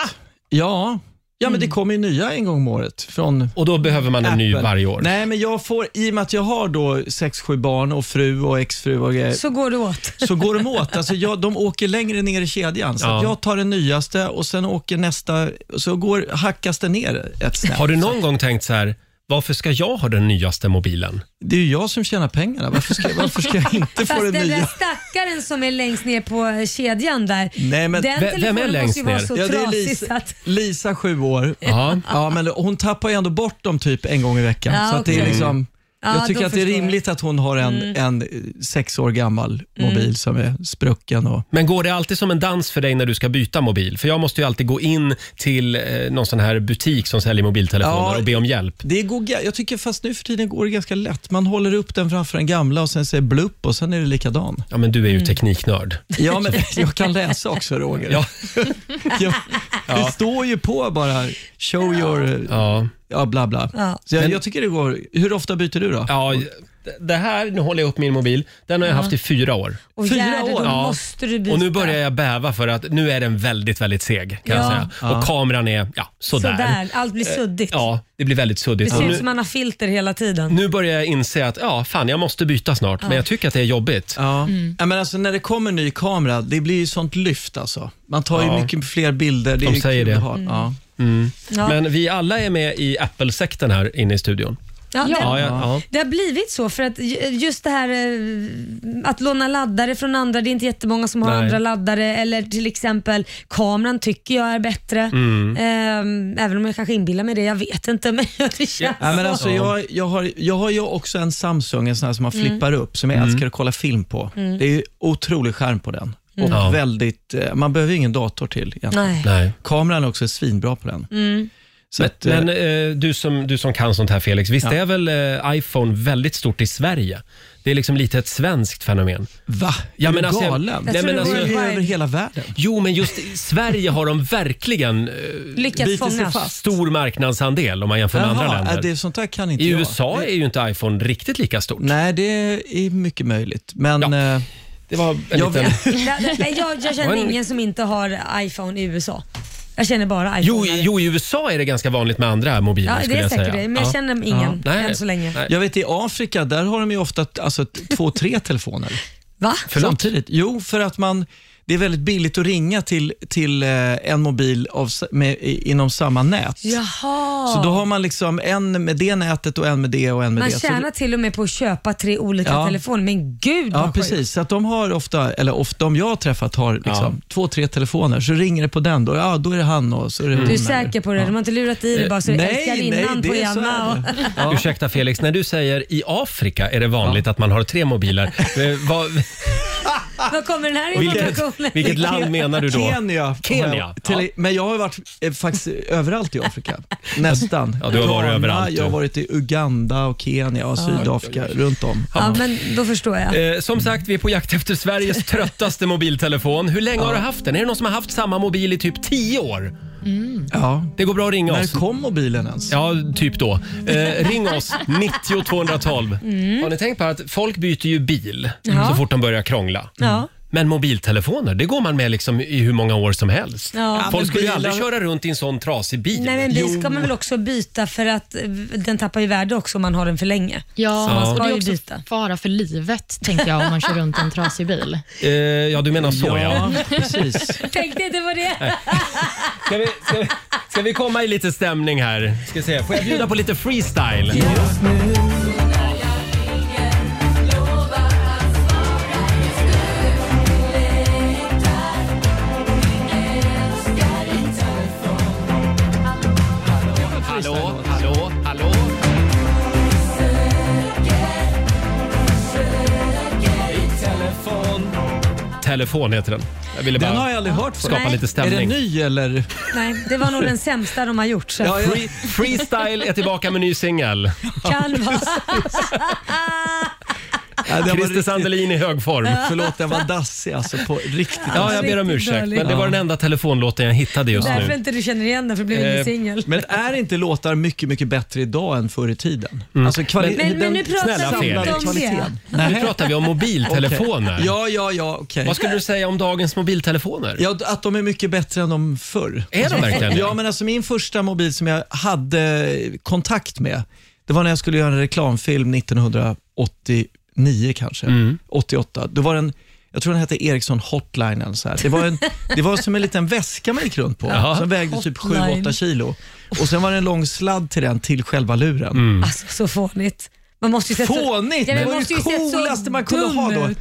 Speaker 8: Ja. Ja,
Speaker 5: Mm.
Speaker 8: men det kommer ju nya en gång om året från
Speaker 1: Och då behöver man en ny
Speaker 8: Apple.
Speaker 1: varje år.
Speaker 8: Nej, men jag får, i och med att jag har då sex, sju barn och fru och exfru och grejer,
Speaker 3: Så går det åt.
Speaker 8: så går de åt. Alltså jag, de åker längre ner i kedjan. Så
Speaker 1: Ja.
Speaker 8: att jag tar den nyaste och sen åker nästa, så går, hackas det ner ett snäpp.
Speaker 1: Har du någon gång tänkt så här, varför ska jag ha den nyaste mobilen?
Speaker 8: Det är ju jag som tjänar pengarna. Varför ska, varför ska
Speaker 3: *laughs*
Speaker 8: jag inte få
Speaker 3: Fast
Speaker 8: den
Speaker 3: den där
Speaker 8: nya?
Speaker 3: stackaren som är längst ner på eh, kedjan där.
Speaker 8: Nej, men-
Speaker 1: Vem-
Speaker 3: den
Speaker 1: vem är
Speaker 3: telefonen
Speaker 1: längst
Speaker 3: måste ju vara
Speaker 1: ner?
Speaker 3: så
Speaker 8: Ja, det är
Speaker 3: trasig så
Speaker 8: Lisa,
Speaker 3: att...
Speaker 8: Lisa sju år.
Speaker 1: Ja.
Speaker 8: Ja, men hon tappar ju ändå bort dem typ en gång i veckan.
Speaker 3: Ja,
Speaker 8: så att det är
Speaker 3: okej.
Speaker 8: liksom,
Speaker 3: Ja,
Speaker 8: jag tycker
Speaker 3: då
Speaker 8: att det är
Speaker 3: förstår jag. Mm.
Speaker 8: rimligt att hon har en, en eh, sex år gammal mobil som är sprucken. Och,
Speaker 1: Men går det alltid som en dans för dig när du ska byta mobil? För jag måste ju alltid gå in till eh, någon sån här butik som säljer mobiltelefoner
Speaker 8: Ja.
Speaker 1: och be om hjälp.
Speaker 8: det går, ga- jag tycker fast nu för tiden går det ganska lätt. Man håller upp den framför den gamla och sen säger blupp och sen är det likadan.
Speaker 1: Ja, men du är ju
Speaker 3: Mm.
Speaker 1: tekniknörd.
Speaker 8: Ja, men *laughs* jag kan läsa också Roger. *laughs*
Speaker 1: Ja.
Speaker 8: Jag, Det står ju på bara, show your,
Speaker 1: Ja.
Speaker 8: ja bla bla.
Speaker 3: Ja.
Speaker 8: Så jag, jag tycker det går, hur ofta byter du då?
Speaker 1: Ja, d- det här, nu håller jag upp min mobil. Den har jag haft i fyra år.
Speaker 3: Och
Speaker 8: Fyra
Speaker 3: Gärde,
Speaker 8: år.
Speaker 3: då
Speaker 1: Ja.
Speaker 3: måste du byta.
Speaker 1: Och nu börjar jag bäva för att nu är den väldigt, väldigt seg kan jag
Speaker 3: Ja.
Speaker 1: säga. Och kameran är ja, sådär.
Speaker 3: Sådär, allt blir suddigt.
Speaker 1: Ja, det blir väldigt
Speaker 3: Det
Speaker 1: suddigt.
Speaker 3: ser
Speaker 1: Och
Speaker 3: ut
Speaker 1: nu,
Speaker 3: som man har filter hela tiden.
Speaker 1: nu börjar jag inse att ja, fan jag måste byta snart. Men jag tycker att det är jobbigt.
Speaker 8: Ja. ja, men alltså när det kommer ny kamera, det blir ju sånt lyft alltså. Man tar
Speaker 1: Ja.
Speaker 8: ju mycket fler bilder. Det
Speaker 1: De
Speaker 8: är ju
Speaker 1: säger
Speaker 8: kul
Speaker 1: det.
Speaker 8: Att ha. Ja.
Speaker 3: Ja.
Speaker 1: Men vi alla är med i Apple-sekten här inne i studion.
Speaker 3: Ja,
Speaker 4: Ja.
Speaker 3: Det,
Speaker 1: Ja, ja, ja.
Speaker 3: det har blivit så för att ju- just det här eh, att låna laddare från andra, det är inte jättemånga som har
Speaker 1: Nej.
Speaker 3: andra laddare eller till exempel kameran tycker jag är bättre. Ehm, även om jag kanske inbillar mig det, jag vet inte *laughs* men det känns
Speaker 8: Ja, men
Speaker 3: så.
Speaker 8: alltså, jag, jag, har, jag har ju också en Samsung, en sån här som man
Speaker 1: Mm.
Speaker 8: flippar upp, som jag älskar att kolla film på. Det är ju otrolig skärm på den. Och
Speaker 1: Mm. Ja.
Speaker 8: väldigt, eh, man behöver ju ingen dator till egentligen.
Speaker 3: Nej.
Speaker 1: Nej. Mm.
Speaker 8: Kameran är också svinbra på den. Så att, eh,
Speaker 1: Men eh, du, som, du som kan sånt här Felix, visst
Speaker 8: Ja.
Speaker 1: är väl eh, iPhone väldigt stort i Sverige? Det är liksom lite ett svenskt fenomen.
Speaker 8: va?
Speaker 1: Ja,
Speaker 8: är
Speaker 1: men
Speaker 8: du
Speaker 1: alltså, jag-
Speaker 8: galen?
Speaker 1: Nej,
Speaker 3: Jag tror
Speaker 1: men
Speaker 3: det
Speaker 1: alltså-
Speaker 8: det är ju
Speaker 3: var
Speaker 8: över hela världen.
Speaker 1: Jo, men just i Sverige har de verkligen eh,
Speaker 3: lyckats
Speaker 8: biter sig
Speaker 3: fånga.
Speaker 8: fast.
Speaker 1: stor marknadsandel om man jämför med andra
Speaker 8: Jaha,
Speaker 1: länder.
Speaker 8: äh, det, sånt där kan inte
Speaker 1: I
Speaker 8: jag.
Speaker 1: USA är ju inte iPhone riktigt lika stort.
Speaker 8: Nej, det är mycket möjligt. Men
Speaker 1: Ja.
Speaker 8: eh,
Speaker 1: Det var en
Speaker 8: Jag
Speaker 1: liten...
Speaker 8: vet.
Speaker 3: Ja, nej, Jag, jag känner ingen som inte har iPhone i USA. Jag känner bara
Speaker 1: Jo,
Speaker 3: iPhone.
Speaker 1: i- jo, i USA är det ganska vanligt med andra mobiler
Speaker 3: ja,
Speaker 1: skulle
Speaker 3: det är
Speaker 1: jag
Speaker 3: säkert
Speaker 1: säga.
Speaker 3: det, men jag
Speaker 1: Ja.
Speaker 3: känner ingen
Speaker 1: Ja. Nej.
Speaker 3: än så länge.
Speaker 1: Nej.
Speaker 8: jag vet i Afrika, där har de ju ofta t- alltså, t- två, tre telefoner.
Speaker 3: Va?
Speaker 1: Förlåt?
Speaker 8: Samtidigt. Jo, för att man, det är väldigt billigt att ringa till, till eh, en mobil av, s- med, i, inom samma nät.
Speaker 3: Jaha.
Speaker 8: Så då har man liksom en med det nätet och en med det och en med
Speaker 3: Man
Speaker 8: det. Så-
Speaker 3: tjänar till och med på att köpa tre olika
Speaker 8: Ja.
Speaker 3: telefoner. Men gud
Speaker 8: Ja,
Speaker 3: vad sjukt.
Speaker 8: precis. Så att de har ofta, eller ofta om jag har träffat, har liksom två, tre telefoner. Så ringer det på den, då, ja, då är det han och så är det hon.
Speaker 3: Du är säker på det? De har inte lurat i dig bara så är det älskarinnan på
Speaker 8: är så
Speaker 3: Janna.
Speaker 8: är
Speaker 3: Och... *laughs*
Speaker 8: det. Ja.
Speaker 1: Ursäkta Felix, när du säger i Afrika är det vanligt att man har tre
Speaker 3: *laughs*
Speaker 1: mobiler. Eh, vad,
Speaker 3: Var kommer den här
Speaker 1: vilket,
Speaker 3: informationen?
Speaker 1: vilket land menar du då?
Speaker 8: Kenya.
Speaker 1: Kenya,
Speaker 8: Har jag- till- Men jag har ju varit eh, faktiskt överallt i
Speaker 3: *laughs*
Speaker 8: Afrika. Nästan.
Speaker 1: Ja, du har varit
Speaker 8: Ghana,
Speaker 1: överallt, du.
Speaker 8: Jag har varit i Uganda och Kenya och Sydafrika, runt om.
Speaker 3: Ja, men då förstår jag.
Speaker 1: Eh, som sagt, vi är på jakt efter Sveriges tröttaste mobiltelefon. Hur länge har du haft den? Är det någon som har haft samma mobil i typ 10 år?
Speaker 8: Ja.
Speaker 1: Det går bra att ringa
Speaker 8: När
Speaker 1: oss.
Speaker 8: kom mobilen ens?
Speaker 1: Ja, typ då. Eh, ring oss, 90 212. Har ni tänkt på att folk byter ju bil så fort de börjar krångla?
Speaker 3: Ja.
Speaker 1: Men mobiltelefoner, det går man med liksom i hur många år som helst.
Speaker 3: Ja.
Speaker 1: Folk
Speaker 8: men
Speaker 1: skulle ju
Speaker 8: bilar-
Speaker 1: aldrig köra runt i en sån trasig bil.
Speaker 3: Nej men bil ska man väl också byta för att eh, den tappar ju värde också om man har den för länge.
Speaker 4: Ja,
Speaker 1: Så man
Speaker 4: och
Speaker 3: ska
Speaker 4: det
Speaker 3: ju
Speaker 4: är också
Speaker 3: byta.
Speaker 4: fara för livet, tänker jag, om man kör runt i en trasig bil.
Speaker 1: Eh, ja, du menar så ja.
Speaker 8: precis.
Speaker 3: Tänkte inte på det.
Speaker 1: Ska, vi, ska, vi, ska vi komma i lite stämning här? Ska se. Får jag bjuda på lite freestyle? Hallå, hallå, hallå. Telefon heter den. Jag ville bara
Speaker 8: Den har jag aldrig hört förut.
Speaker 1: skapa
Speaker 3: Nej.
Speaker 1: lite
Speaker 8: Är
Speaker 1: stämning.
Speaker 8: den ny
Speaker 1: *laughs*
Speaker 8: eller?
Speaker 3: Nej, det var nog den sämsta de har gjort. Så
Speaker 8: Ja, ja.
Speaker 1: Free, freestyle är tillbaka med ny singel.
Speaker 3: kan vara.
Speaker 8: Nej, den var
Speaker 1: Christer
Speaker 8: riktigt-
Speaker 1: Sandelin i hög form.
Speaker 8: Förlåt, den var dassig alltså. På riktigt.
Speaker 1: Ja, jag ber om
Speaker 3: Riktigt
Speaker 1: ursäkt,
Speaker 3: dålig.
Speaker 1: men det var den enda telefonlåten jag hittade just
Speaker 3: Därför
Speaker 1: nu.
Speaker 3: inte du känner igen den för det blev ingen
Speaker 1: Eh,
Speaker 3: singel.
Speaker 8: Men är inte låtar mycket, mycket bättre idag än förr i tiden?
Speaker 1: Mm.
Speaker 8: Alltså kvali-
Speaker 3: Men, men nu
Speaker 1: snälla
Speaker 3: pratar vi inte
Speaker 1: Felix.
Speaker 3: om det.
Speaker 8: Kvaliteten.
Speaker 1: Nu pratar vi om mobiltelefoner.
Speaker 8: Ja, ja, ja, okej.
Speaker 1: Vad skulle du säga om dagens mobiltelefoner?
Speaker 8: Ja, att de är mycket bättre än de förr.
Speaker 1: Är de verkligen det?
Speaker 8: Ja, men alltså min första mobil som jag hade kontakt med, det var när jag skulle göra en reklamfilm 1989 kanske,
Speaker 1: Mm.
Speaker 8: 88. Då var den, jag tror den hette Ericsson Hotline eller så här. Det var, en, det var som en liten väska man gick runt på,
Speaker 1: Jaha.
Speaker 8: som vägde typ
Speaker 3: Hotline.
Speaker 8: 7-8 kilo. Och sen var det en lång sladd till den, till själva luren.
Speaker 1: Mm.
Speaker 3: Alltså så fånigt. Man måste ju sett så-
Speaker 8: Fånigt!
Speaker 3: Ja, men
Speaker 8: det var
Speaker 3: måste ju
Speaker 8: det
Speaker 3: sett så
Speaker 8: coolaste man kunde
Speaker 3: dum
Speaker 8: ha då.
Speaker 3: ut.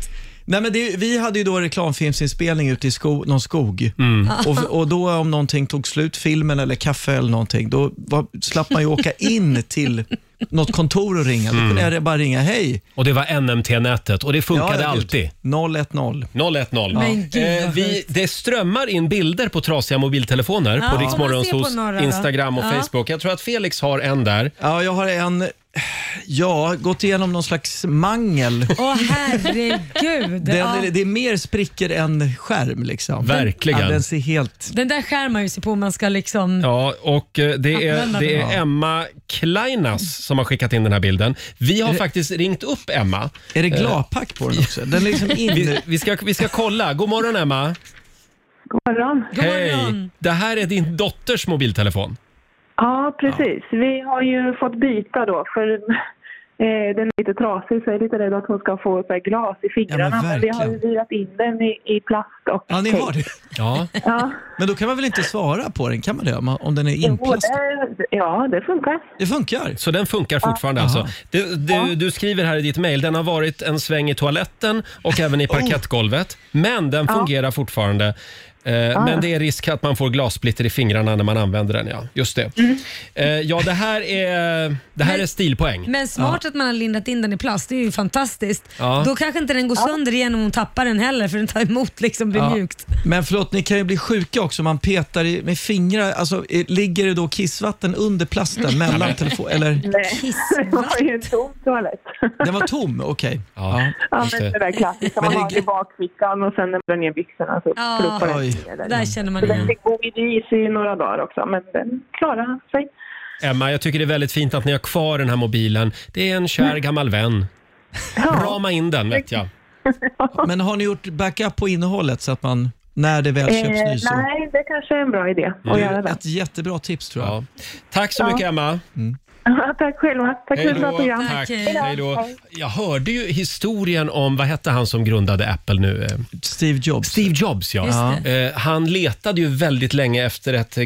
Speaker 8: Nej, men det, vi hade ju då reklamfilmsinspelning ute i sko, någon skog.
Speaker 1: Mm.
Speaker 8: Och, och då om någonting tog slut, filmen eller kaffe eller någonting, då var, slapp man ju åka in till något kontor och ringa. Då kunde jag bara ringa, hej.
Speaker 1: Och det var NMT-nätet och det Mm. funkade
Speaker 8: Ja,
Speaker 1: alltid.
Speaker 8: 010.
Speaker 1: 010.
Speaker 3: Men gud, vad
Speaker 1: Eh, vi,
Speaker 3: sjukt.
Speaker 1: det strömmar in bilder på trasiga mobiltelefoner på
Speaker 3: Ja, får man se på
Speaker 1: Riksmorgonsos
Speaker 3: några då?
Speaker 1: Instagram och
Speaker 3: Ja.
Speaker 1: Facebook. Jag tror att Felix har en där.
Speaker 8: Ja, jag har en, ja, gått igenom någon slags
Speaker 3: *laughs*
Speaker 8: mangel.
Speaker 3: Åh herregud.
Speaker 8: Den,
Speaker 3: ja.
Speaker 8: Det är mer sprickor än skärm liksom.
Speaker 1: Verkligen.
Speaker 8: Ja, den ser helt...
Speaker 3: Den där skär man ju sig på om man ska liksom...
Speaker 1: Ja, och eh, det är,
Speaker 3: Använda
Speaker 1: det
Speaker 3: den.
Speaker 1: är Emma Kleinas som har skickat in den här bilden. Vi har faktiskt ringt upp Emma.
Speaker 8: Är det glapack på den också? Den är liksom in...
Speaker 1: Eh. Vi, vi, ska, vi ska kolla. God morgon Emma.
Speaker 5: God morgon.
Speaker 3: God
Speaker 1: Hej!
Speaker 3: morgon.
Speaker 1: Det här är din dotters mobiltelefon.
Speaker 5: Ja, precis. Vi har ju fått byta då för *laughs* eh, den är lite trasig så jag är lite rädd att hon ska få så här, glas i fingrarna.
Speaker 8: Ja, men
Speaker 5: men, vi har ju
Speaker 8: verkligen.
Speaker 5: virat in den i, i plast och
Speaker 8: Ja, ni har
Speaker 5: cake.
Speaker 8: det.
Speaker 1: Ja.
Speaker 5: Ja,
Speaker 8: *laughs* Men då kan man väl inte svara på den, kan man det? Om man- Om den är
Speaker 5: jo,
Speaker 8: inplastad?
Speaker 5: det, ja, det funkar.
Speaker 8: Det funkar.
Speaker 1: Så den funkar fortfarande alltså? Du, du, du skriver här i ditt mejl, den har varit en sväng i toaletten och även i parkettgolvet. Men den fungerar fortfarande. Eh, Men det är risk att man får glassplitter i fingrarna när man använder den. Ja, just det. Eh, ja, det här är, det här är stilpoäng.
Speaker 3: Men smart att man har lindat in den i plast, det är ju fantastiskt.
Speaker 1: Ja.
Speaker 3: Då kanske inte den går sönder igen om hon tappar den heller för den tar emot liksom, blir mjukt.
Speaker 8: Men förlåt, ni kan ju bli sjuka också om man petar i, med fingrar. Alltså, eh, ligger det då kissvatten
Speaker 5: *laughs*
Speaker 8: under plasten mellan telefonen? Eller?
Speaker 5: Nej, *laughs* det var ju en tom toalett.
Speaker 8: Den var tom, okej.
Speaker 1: Ja.
Speaker 5: Ja,
Speaker 1: Just
Speaker 5: men
Speaker 1: det.
Speaker 5: det där klassiska
Speaker 8: Men
Speaker 5: man
Speaker 8: det-
Speaker 5: har det i bakfickan och sen när man drar ner byxorna så
Speaker 3: Ja.
Speaker 5: ploppar den
Speaker 8: Oj.
Speaker 5: ner den.
Speaker 3: Där känner man
Speaker 5: Så den
Speaker 3: igen.
Speaker 5: fick gå i is i några dagar också, men den klarade sig.
Speaker 1: Emma, jag tycker det är väldigt fint att ni har kvar den här mobilen. Det är en kär gammal vän. Rama in den vet jag.
Speaker 8: Men har ni gjort backup på innehållet så att man, när det väl köps
Speaker 5: Eh,
Speaker 8: ny så...
Speaker 5: nej, det kanske är en bra idé
Speaker 1: Mm.
Speaker 5: att göra det.
Speaker 8: Ett jättebra tips tror jag.
Speaker 1: Ja. Tack så mycket Emma.
Speaker 5: *laughs* Tack själva. Tack för
Speaker 1: Hej
Speaker 5: ett bra
Speaker 1: då.
Speaker 5: program.
Speaker 1: Tack.
Speaker 3: Hej
Speaker 5: då.
Speaker 1: Hej då. Jag hörde ju historien om, vad hette han som grundade Apple nu? Eh,
Speaker 8: Steve Jobs.
Speaker 1: Steve Jobs ja.
Speaker 3: Just
Speaker 1: Eh, Han letade ju väldigt länge efter ett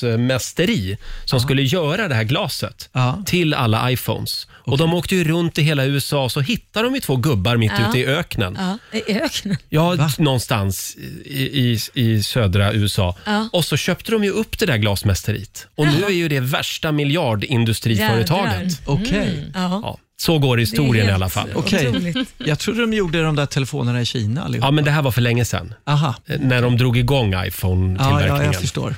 Speaker 1: glasmästeri som skulle göra det här glaset
Speaker 8: Ja.
Speaker 1: till alla iPhones. Och de åkte ju runt i hela USA och så hittade de ju två gubbar mitt
Speaker 3: Ja.
Speaker 1: ute i öknen.
Speaker 3: Ja, I öknen.
Speaker 1: Ja, någonstans i, i, i södra USA.
Speaker 3: Ja.
Speaker 1: Och så köpte de ju upp det där glasmästeriet. Och nu är ju det värsta miljardindustriföretaget.
Speaker 3: Jädrar.
Speaker 1: Mm.
Speaker 8: Okej.
Speaker 3: Ja.
Speaker 1: Ja, så går
Speaker 3: Det är
Speaker 1: historien i
Speaker 3: helt
Speaker 1: alla fall.
Speaker 8: Okej.
Speaker 3: otroligt.
Speaker 8: Jag trodde de gjorde de där telefonerna i Kina allihop.
Speaker 1: Ja, men det här var för länge sedan.
Speaker 8: Aha.
Speaker 1: eh, När de drog igång
Speaker 8: Ja,
Speaker 1: iPhone-tillverkningen.
Speaker 8: ja, jag förstår.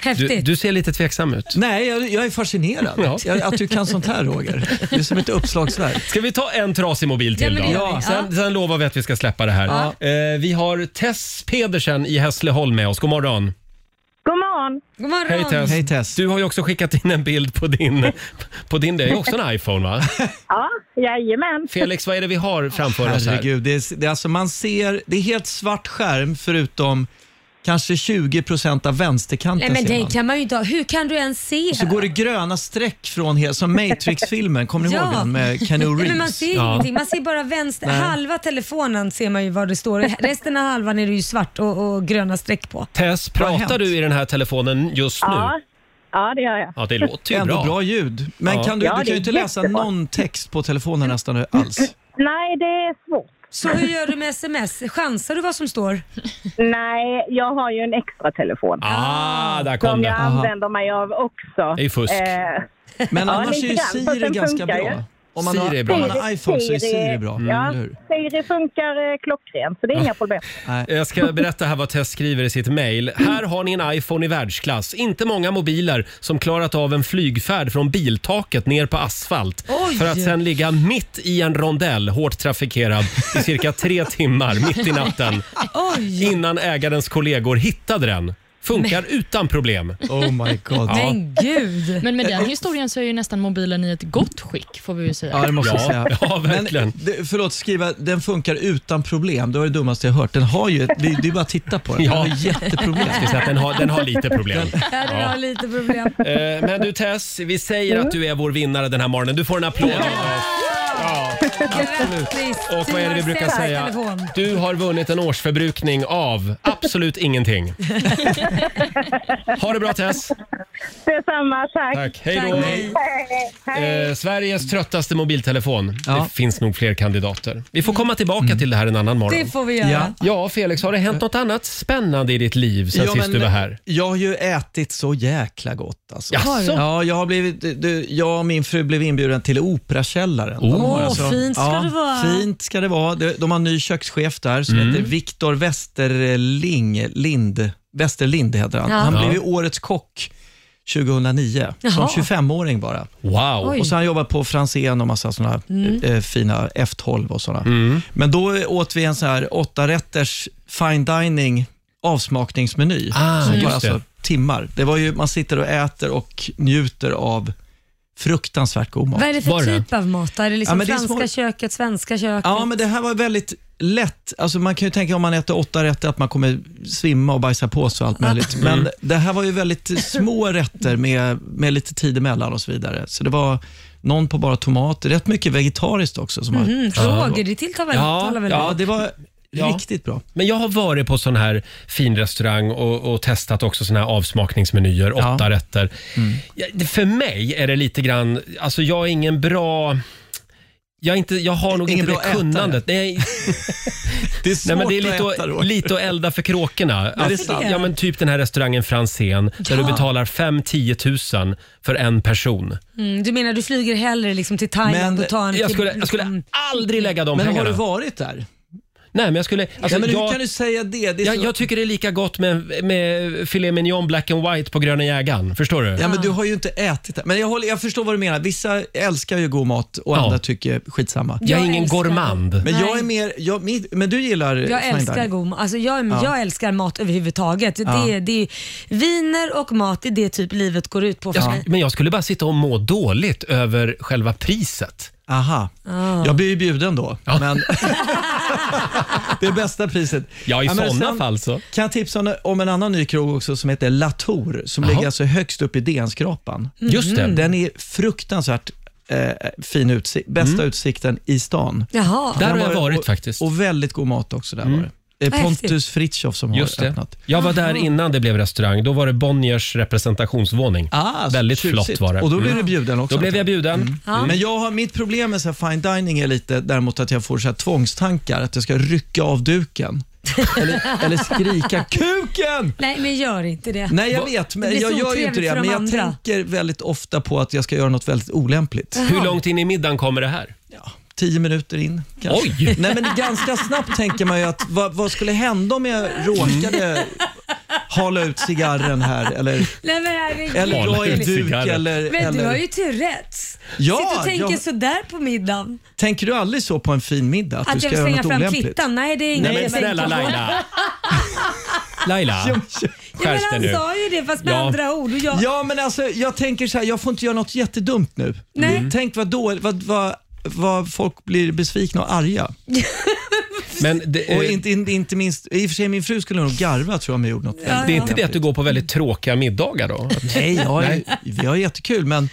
Speaker 3: Häftigt.
Speaker 1: du, du ser lite tveksam ut.
Speaker 8: Nej, jag, jag är fascinerad.
Speaker 1: Ja.
Speaker 8: Jag, att du kan sånt här Roger. Du är som ett uppslagsverk.
Speaker 1: Ska vi ta en trasig mobil
Speaker 3: Ja,
Speaker 1: till
Speaker 3: men
Speaker 1: då?
Speaker 3: det gör vi.
Speaker 1: Sen, sen lovar vi att vi ska släppa det här. Eh, vi har Tess Pedersen i Hässleholm med oss. God morgon.
Speaker 5: God morgon.
Speaker 3: God morgon.
Speaker 1: Hej Tess.
Speaker 8: Hej Tess.
Speaker 1: Du har ju också skickat in en bild på din... På din det är ju också en iPhone va?
Speaker 5: Ja, jajamän.
Speaker 1: Felix, vad är det vi har framför oss här?
Speaker 8: Herregud, det är, det är alltså man ser, det är helt svart skärm förutom kanske 20% av
Speaker 3: Nej
Speaker 8: vänsterkanten
Speaker 3: men
Speaker 8: ser
Speaker 3: den
Speaker 8: man.
Speaker 3: kan man ju inte ha. Hur kan du ens se?
Speaker 8: Så går det gröna streck från hela, som Matrix-filmen,
Speaker 5: *laughs*
Speaker 8: kommer ni
Speaker 3: Ja.
Speaker 8: ihåg den med Keanu
Speaker 3: Nej, men man
Speaker 8: Reeves?
Speaker 3: ser ju
Speaker 1: Ja.
Speaker 3: ingenting. Man ser bara vänster. Halva telefonen ser man ju vad det står. Resten av halvan är det ju svart och, och gröna streck på.
Speaker 1: Tess,
Speaker 8: har
Speaker 1: pratar
Speaker 8: hänt?
Speaker 1: du i den här telefonen just nu?
Speaker 5: Ja. ja, det gör jag.
Speaker 1: Ja, det låter ju
Speaker 8: Ändå
Speaker 1: bra.
Speaker 8: bra. ljud. Men
Speaker 1: Ja.
Speaker 8: kan du,
Speaker 5: Ja,
Speaker 8: du
Speaker 5: det
Speaker 8: kan
Speaker 5: är
Speaker 8: ju inte läsa
Speaker 5: jättebra.
Speaker 8: någon text på telefonen nästan
Speaker 5: *laughs*
Speaker 8: alls.
Speaker 5: Nej, det är svårt.
Speaker 3: Så hur gör du med sms? Chansar du vad som står?
Speaker 5: Nej, jag har ju en extra telefon.
Speaker 1: Ah, där kom
Speaker 5: Som jag
Speaker 1: det.
Speaker 5: använder mig av också.
Speaker 1: Det är fusk.
Speaker 5: Eh,
Speaker 8: Men
Speaker 5: Ja,
Speaker 8: annars är
Speaker 5: lite
Speaker 8: ju
Speaker 5: grann, fast
Speaker 8: Siri
Speaker 5: den
Speaker 8: ganska
Speaker 5: funkar ju.
Speaker 8: bra. Om man,
Speaker 1: Siri är
Speaker 8: har,
Speaker 1: bra.
Speaker 8: om man har iPhone så är Siri bra.
Speaker 5: Ja,
Speaker 8: Eller hur?
Speaker 5: Siri funkar eh, klockrent, så det är
Speaker 1: Ah.
Speaker 5: inga problem.
Speaker 1: Eh,
Speaker 8: *laughs*
Speaker 1: Jag ska berätta här vad Tess skriver i sitt mejl. Här har ni en iPhone i världsklass. Inte många mobiler som klarat av en flygfärd från biltaket ner på asfalt
Speaker 3: Oj!
Speaker 1: för att sen ligga mitt i en rondell, hårt trafikerad, i cirka tre timmar mitt i natten
Speaker 3: Oj!
Speaker 1: innan ägarens kollegor hittade den. Funkar utan problem.
Speaker 8: Oh
Speaker 5: *laughs*
Speaker 8: my god. Ja,
Speaker 3: Men gud!
Speaker 4: Men med den historien så är ju nästan mobilen i ett gott skick, får vi ju säga.
Speaker 8: det måste jag
Speaker 1: Ja,
Speaker 8: säga.
Speaker 1: ja verkligen.
Speaker 8: Men, eh, det, förlåt, skriva den funkar utan problem. Det var det dummaste jag hört. Den har ju ett, det, det är bara att titta på den. Den
Speaker 1: Ja.
Speaker 8: har ju jätteproblem.
Speaker 1: Jag ska säga att den har, den
Speaker 8: *laughs*
Speaker 1: har lite problem.
Speaker 3: Ja, den har lite *laughs* problem.
Speaker 1: Eh, Men du Tess, vi säger att du är vår vinnare den här morgonen. Du får en applåd av oss.
Speaker 3: Grattis!
Speaker 1: Och vad är det vi brukar
Speaker 3: Till
Speaker 1: säga?
Speaker 3: telefon.
Speaker 1: Du har vunnit en årsförbrukning av absolut ingenting. Ha det bra Tess.
Speaker 5: Detsamma, tack.
Speaker 1: Tack. Hej
Speaker 3: Tack, hej.
Speaker 1: då.
Speaker 5: Hej, hej.
Speaker 1: Eh, Sveriges tröttaste mobiltelefon.
Speaker 8: Ja. Mm.
Speaker 1: Det finns nog fler kandidater. Vi får komma tillbaka till det här en annan
Speaker 3: Det
Speaker 1: morgon.
Speaker 3: får vi göra.
Speaker 8: Ja.
Speaker 1: Ja, Felix, har det hänt något annat spännande i ditt liv sen
Speaker 8: Ja,
Speaker 1: sist
Speaker 8: men
Speaker 1: du var här?
Speaker 8: Jag har ju ätit så jäkla gott. Alltså.
Speaker 1: Jaså?
Speaker 8: Ja, jag, har blivit, du, jag och min fru blev inbjuden till Operakällaren. De har alltså-
Speaker 3: Åh, fint ska det vara.
Speaker 8: Fint ska det vara. De, de har en ny kökschef där som heter Viktor Westerling. Lind, Westerlind heter han.
Speaker 3: Ja.
Speaker 8: Han
Speaker 1: Ja.
Speaker 8: blev ju årets kock 2009, som
Speaker 3: Jaha.
Speaker 8: 25-åring bara.
Speaker 1: Wow!
Speaker 3: Oj.
Speaker 8: Och så har han jobbat på Franzén och massa såna eh, fina F12 och sådana.
Speaker 1: Mm.
Speaker 8: Men då åt vi en sån här åtta rätters fine dining avsmakningsmeny.
Speaker 1: Ah,
Speaker 8: som
Speaker 1: just
Speaker 8: tar
Speaker 1: det.
Speaker 8: alltså timmar. Det var ju, man sitter och äter och njuter av fruktansvärt god mat.
Speaker 3: Vad är det för
Speaker 1: Var det?
Speaker 3: typ av mat? då? Är det liksom
Speaker 8: Ja, men det är
Speaker 3: franska
Speaker 8: små-
Speaker 3: köket, svenska köket?
Speaker 8: Ja, men det här var väldigt lätt. Alltså man kan ju tänka om man äter åtta rätter att man kommer svimma och bajsa på sig och allt möjligt. Men det här var ju väldigt små rätter med, med lite tid emellan och så vidare. Så det var någon på bara tomat, rätt mycket vegetariskt också. Som var-
Speaker 3: Mm, Roger, det tilltalar väl?
Speaker 1: Ja,
Speaker 3: talar väl
Speaker 8: Mm-hmm. Ja,
Speaker 3: bra.
Speaker 8: det var
Speaker 1: Ja.
Speaker 8: Riktigt bra.
Speaker 1: Men jag har varit på sån här fin restaurang och, och testat också såna här avsmakningsmenyer, åtta
Speaker 8: Ja. Mm.
Speaker 1: rätter. Ja, det- för mig är det lite grann, alltså jag är ingen bra... Jag, är inte, jag har nog
Speaker 8: Ingen
Speaker 1: inte
Speaker 8: bra
Speaker 1: det
Speaker 8: ätare.
Speaker 1: kunnandet.
Speaker 8: *laughs*
Speaker 1: Nej,
Speaker 8: Det är
Speaker 1: nej,
Speaker 8: svårt
Speaker 1: men det är
Speaker 8: att äta
Speaker 1: lite,
Speaker 8: då.
Speaker 1: att, lite att elda för kråkorna.
Speaker 8: det är
Speaker 1: Att,
Speaker 8: sant.
Speaker 1: ja, men typ den här restaurangen Franzén där du
Speaker 3: Ja.
Speaker 1: betalar 5-10 000 för en person.
Speaker 3: Mm, du menar du flyger hellre liksom till Thailand
Speaker 8: Men
Speaker 3: och tar en
Speaker 1: Jag skulle, jag
Speaker 3: liksom-
Speaker 1: skulle aldrig lägga de
Speaker 8: Mm. Men har
Speaker 1: pengarna.
Speaker 8: du varit där?
Speaker 1: Nej, men jag skulle... Alltså,
Speaker 8: ja, men
Speaker 1: jag,
Speaker 8: Hur kan du säga det? det är
Speaker 1: jag,
Speaker 8: så...
Speaker 1: jag tycker det är lika gott med, med filet mignon black and white på Gröna jägaren. Förstår du?
Speaker 8: Ja, men du har ju inte ätit det. Men jag, håller, jag förstår vad du menar. Vissa älskar ju god mat och
Speaker 1: Ja.
Speaker 8: andra tycker skitsamma.
Speaker 1: jag är
Speaker 3: jag
Speaker 1: ingen
Speaker 3: älskar-
Speaker 1: gourmand.
Speaker 8: Men jag
Speaker 3: Nej.
Speaker 8: är mer... Jag, min- men du gillar
Speaker 3: Jag
Speaker 8: fine
Speaker 3: älskar,
Speaker 8: dining.
Speaker 3: god, alltså jag, jag älskar mat överhuvudtaget. Det, det, viner och mat, det är det typ livet går ut på för
Speaker 1: Jag,
Speaker 3: mig.
Speaker 1: sk- men jag skulle bara sitta och må dåligt över själva priset.
Speaker 8: Aha.
Speaker 3: Ah.
Speaker 8: Jag blir ju bjuden då.
Speaker 1: *laughs*
Speaker 8: Men det är bästa priset.
Speaker 1: Ja, i
Speaker 8: men
Speaker 1: sådana fall så.
Speaker 8: Kan jag tipsa om- om en annan ny krog också som heter Latour som
Speaker 1: Jaha. Mm.
Speaker 8: ligger alltså högst upp i DN-skrapan.
Speaker 1: Just det.
Speaker 8: Den är fruktansvärt eh, fin utsikt. Bästa utsikten i stan.
Speaker 3: Jaha.
Speaker 1: Mm. Där har
Speaker 8: Den
Speaker 1: jag varit
Speaker 8: och,
Speaker 1: faktiskt. Mm.
Speaker 8: Och väldigt god mat också där var det. Eh,
Speaker 3: Vad
Speaker 8: Pontus
Speaker 3: häftigt.
Speaker 8: Fritschoff som
Speaker 1: Just
Speaker 8: har
Speaker 1: det.
Speaker 8: öppnat.
Speaker 1: Jag var där innan det blev restaurang. Då var det Bonniers representationsvåning.
Speaker 8: Ah, så
Speaker 1: Väldigt
Speaker 8: tjusigt.
Speaker 1: flott var det.
Speaker 8: Och då
Speaker 1: Mm.
Speaker 8: blev du bjuden också.
Speaker 1: Då blev jag bjuden.
Speaker 3: Ja.
Speaker 8: Men jag har, mitt problem med så här fine dining är lite däremot att jag får så här tvångstankar, att jag ska rycka av
Speaker 3: *laughs*
Speaker 8: duken. eller, eller skrika ”Kuken!”
Speaker 3: Nej men gör inte det.
Speaker 8: Nej, jag vet,
Speaker 3: Det
Speaker 8: men
Speaker 3: blir så
Speaker 8: jag gör ju inte
Speaker 3: otrevligt
Speaker 8: det.
Speaker 3: för de
Speaker 8: Men jag
Speaker 3: andra.
Speaker 8: tänker väldigt ofta på att jag ska göra något väldigt olämpligt.
Speaker 1: Mm. Hur långt in i middagen kommer det här?
Speaker 8: Ja, tio minuter in kanske.
Speaker 1: Oj!
Speaker 8: *laughs* Nej, men ganska snabbt tänker man ju att vad, vad skulle hända om jag
Speaker 3: Mm.
Speaker 8: råkade hala ut cigarren här eller,
Speaker 3: Nej, men herregud.
Speaker 8: eller dra i
Speaker 1: Hala ut
Speaker 8: duk
Speaker 1: cigarren.
Speaker 8: eller...
Speaker 3: Men du
Speaker 8: eller...
Speaker 3: har ju Tourettes.
Speaker 8: Ja,
Speaker 3: Sitter och tänker
Speaker 8: jag-
Speaker 3: sådär på middagen.
Speaker 8: Tänker du aldrig så på en fin middag? Att, du
Speaker 3: Att
Speaker 8: ska
Speaker 3: jag
Speaker 8: göra
Speaker 3: slänga
Speaker 8: något
Speaker 3: fram
Speaker 8: olämpligt?
Speaker 3: kvittan. Nej det är inget
Speaker 1: Nej men
Speaker 3: jag
Speaker 1: snälla
Speaker 3: tänker
Speaker 8: *laughs*
Speaker 3: på.
Speaker 1: Laila. Laila,
Speaker 3: Ja, men alltså-
Speaker 1: skärp dig
Speaker 3: han
Speaker 1: nu.
Speaker 3: sa ju det fast med
Speaker 1: Ja.
Speaker 3: andra ord. Och jag,
Speaker 8: Ja, men alltså jag tänker så här, jag får inte göra något jättedumt nu.
Speaker 3: Nej.
Speaker 8: Mm. Tänk vad då, vad, vad, vad folk blir besvikna och arga.
Speaker 1: Men det,
Speaker 8: Och
Speaker 1: eh,
Speaker 8: inte, inte, inte minst, i och för sig min fru skulle nog garva tror jag om jag gjorde något.
Speaker 1: det är inte det att du går på väldigt tråkiga middagar då?
Speaker 8: Nej, jag har, ju- vi har jättekul, men,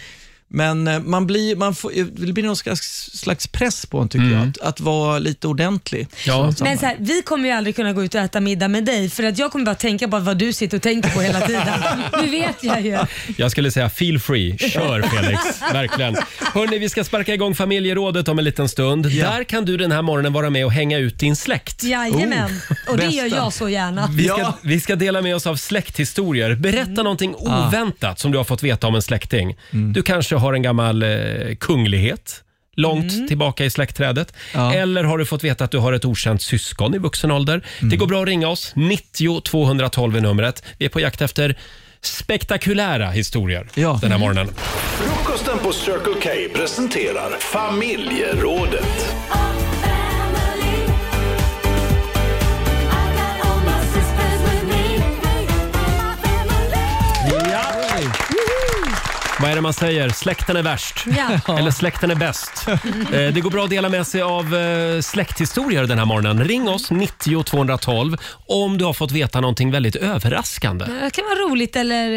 Speaker 8: men eh, man blir, man får, det blir någon slags, slags press på en tycker jag, att, att vara lite ordentlig.
Speaker 1: Ja.
Speaker 3: men så här, vi kommer ju aldrig kunna gå ut och äta middag med dig för att jag kommer bara tänka på vad du sitter och tänker på hela tiden.
Speaker 8: *laughs*
Speaker 3: Nu vet jag
Speaker 8: Oh,
Speaker 3: ju.
Speaker 1: Jag skulle säga feel free. Kör Felix, verkligen. Hörni, vi ska sparka igång familjerådet om en liten stund. Där kan du den här morgonen vara med och hänga ut din släkt.
Speaker 3: Jajamän. och det gör
Speaker 8: bästa.
Speaker 3: jag så gärna.
Speaker 1: Vi
Speaker 8: Ja.
Speaker 1: ska,
Speaker 8: Mm.
Speaker 1: vi ska dela med oss av släkthistorier. Berätta någonting
Speaker 8: Ah.
Speaker 1: oväntat som du har fått veta om en släkting. Du kanske har en gammal eh, kunglighet långt
Speaker 8: Mm.
Speaker 1: tillbaka i släktträdet. Eller har du fått veta att du har ett okänt syskon i vuxen ålder.
Speaker 8: Mm.
Speaker 1: Det går bra att ringa oss. 90 212 är numret. Vi är på jakt efter spektakulära historier
Speaker 8: Ja.
Speaker 1: den här morgonen.
Speaker 2: Frukosten på Circle K presenterar familjerådet.
Speaker 1: Vad är det man säger? Släkten är värst.
Speaker 3: Ja.
Speaker 1: Eller släkten är bäst.
Speaker 8: *laughs*
Speaker 1: Eh, Det går bra att dela med sig av eh, släkthistorier den här morgonen. Ring oss 90 212 om du har fått veta någonting väldigt överraskande.
Speaker 3: Det kan vara roligt eller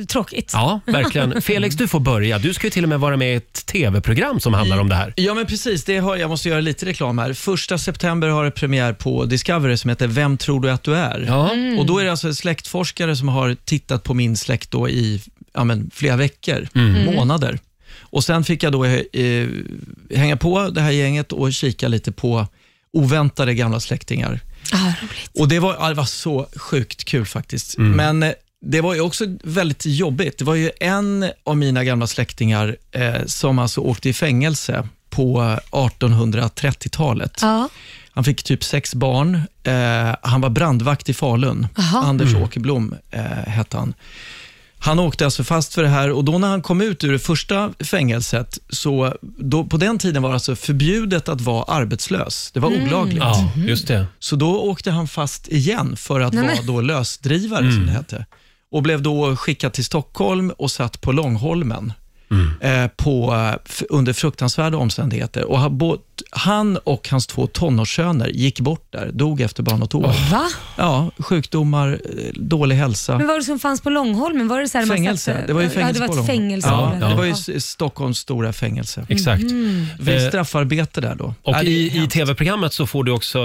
Speaker 3: eh, tråkigt.
Speaker 1: Ja,
Speaker 8: *laughs*
Speaker 1: verkligen. Felix, du får börja. Du ska ju till och med vara med i ett tv-program som handlar om det här.
Speaker 8: Ja, men precis. Det har, jag måste göra lite reklam här. Första september har det premiär på Discovery som heter Vem tror du att du är?
Speaker 1: Ja.
Speaker 8: Och Då är det alltså en släktforskare som har tittat på min släkt då i ja, men, flera veckor, månader. Och Sen fick jag då eh, hänga på det här gänget och kika lite på oväntade gamla släktingar.
Speaker 3: Ah, roligt.
Speaker 8: Och det var, ja, det var så sjukt kul faktiskt. Men eh, det var ju också väldigt jobbigt. Det var ju en av mina gamla släktingar eh, som alltså åkte i fängelse på eh, 1830-talet.
Speaker 3: Ja.
Speaker 8: Han fick typ sex barn. Eh, han var brandvakt i Falun.
Speaker 3: Aha.
Speaker 8: Anders Åkerblom eh, hette han. Han åkte alltså fast för det här och då när han kom ut ur det första fängelset, så då, på den tiden var det alltså förbjudet att vara arbetslös. Det var olagligt.
Speaker 1: Ja, just det.
Speaker 8: Så då åkte han fast igen för att vara då lösdrivare,
Speaker 1: Mm.
Speaker 8: som det hette. Och blev då skickad till Stockholm och satt
Speaker 1: Mm.
Speaker 8: på Långholmen eh, på, eh, f- under fruktansvärda omständigheter. Och har bott, han och hans två tonårssöner gick bort där, dog efter bara något år.
Speaker 3: Va?
Speaker 8: Ja, sjukdomar, eh, dålig hälsa.
Speaker 3: Men vad var det som fanns på Långholmen? Var det så här man
Speaker 8: Fängelse.
Speaker 3: satt-
Speaker 8: Det var ju
Speaker 3: ja,
Speaker 8: fängelse
Speaker 3: det var
Speaker 8: på
Speaker 3: ett
Speaker 8: Långholmen.
Speaker 3: fängelse.
Speaker 8: Ja,
Speaker 3: eller?
Speaker 8: det var ju S- Stockholms stora fängelse.
Speaker 1: Exakt.
Speaker 8: Vi
Speaker 1: Eh,
Speaker 8: straffarbete där då.
Speaker 1: Och
Speaker 8: Mm-hmm. Ja, det är
Speaker 1: i, i
Speaker 8: hemskt.
Speaker 1: tv-programmet så får du också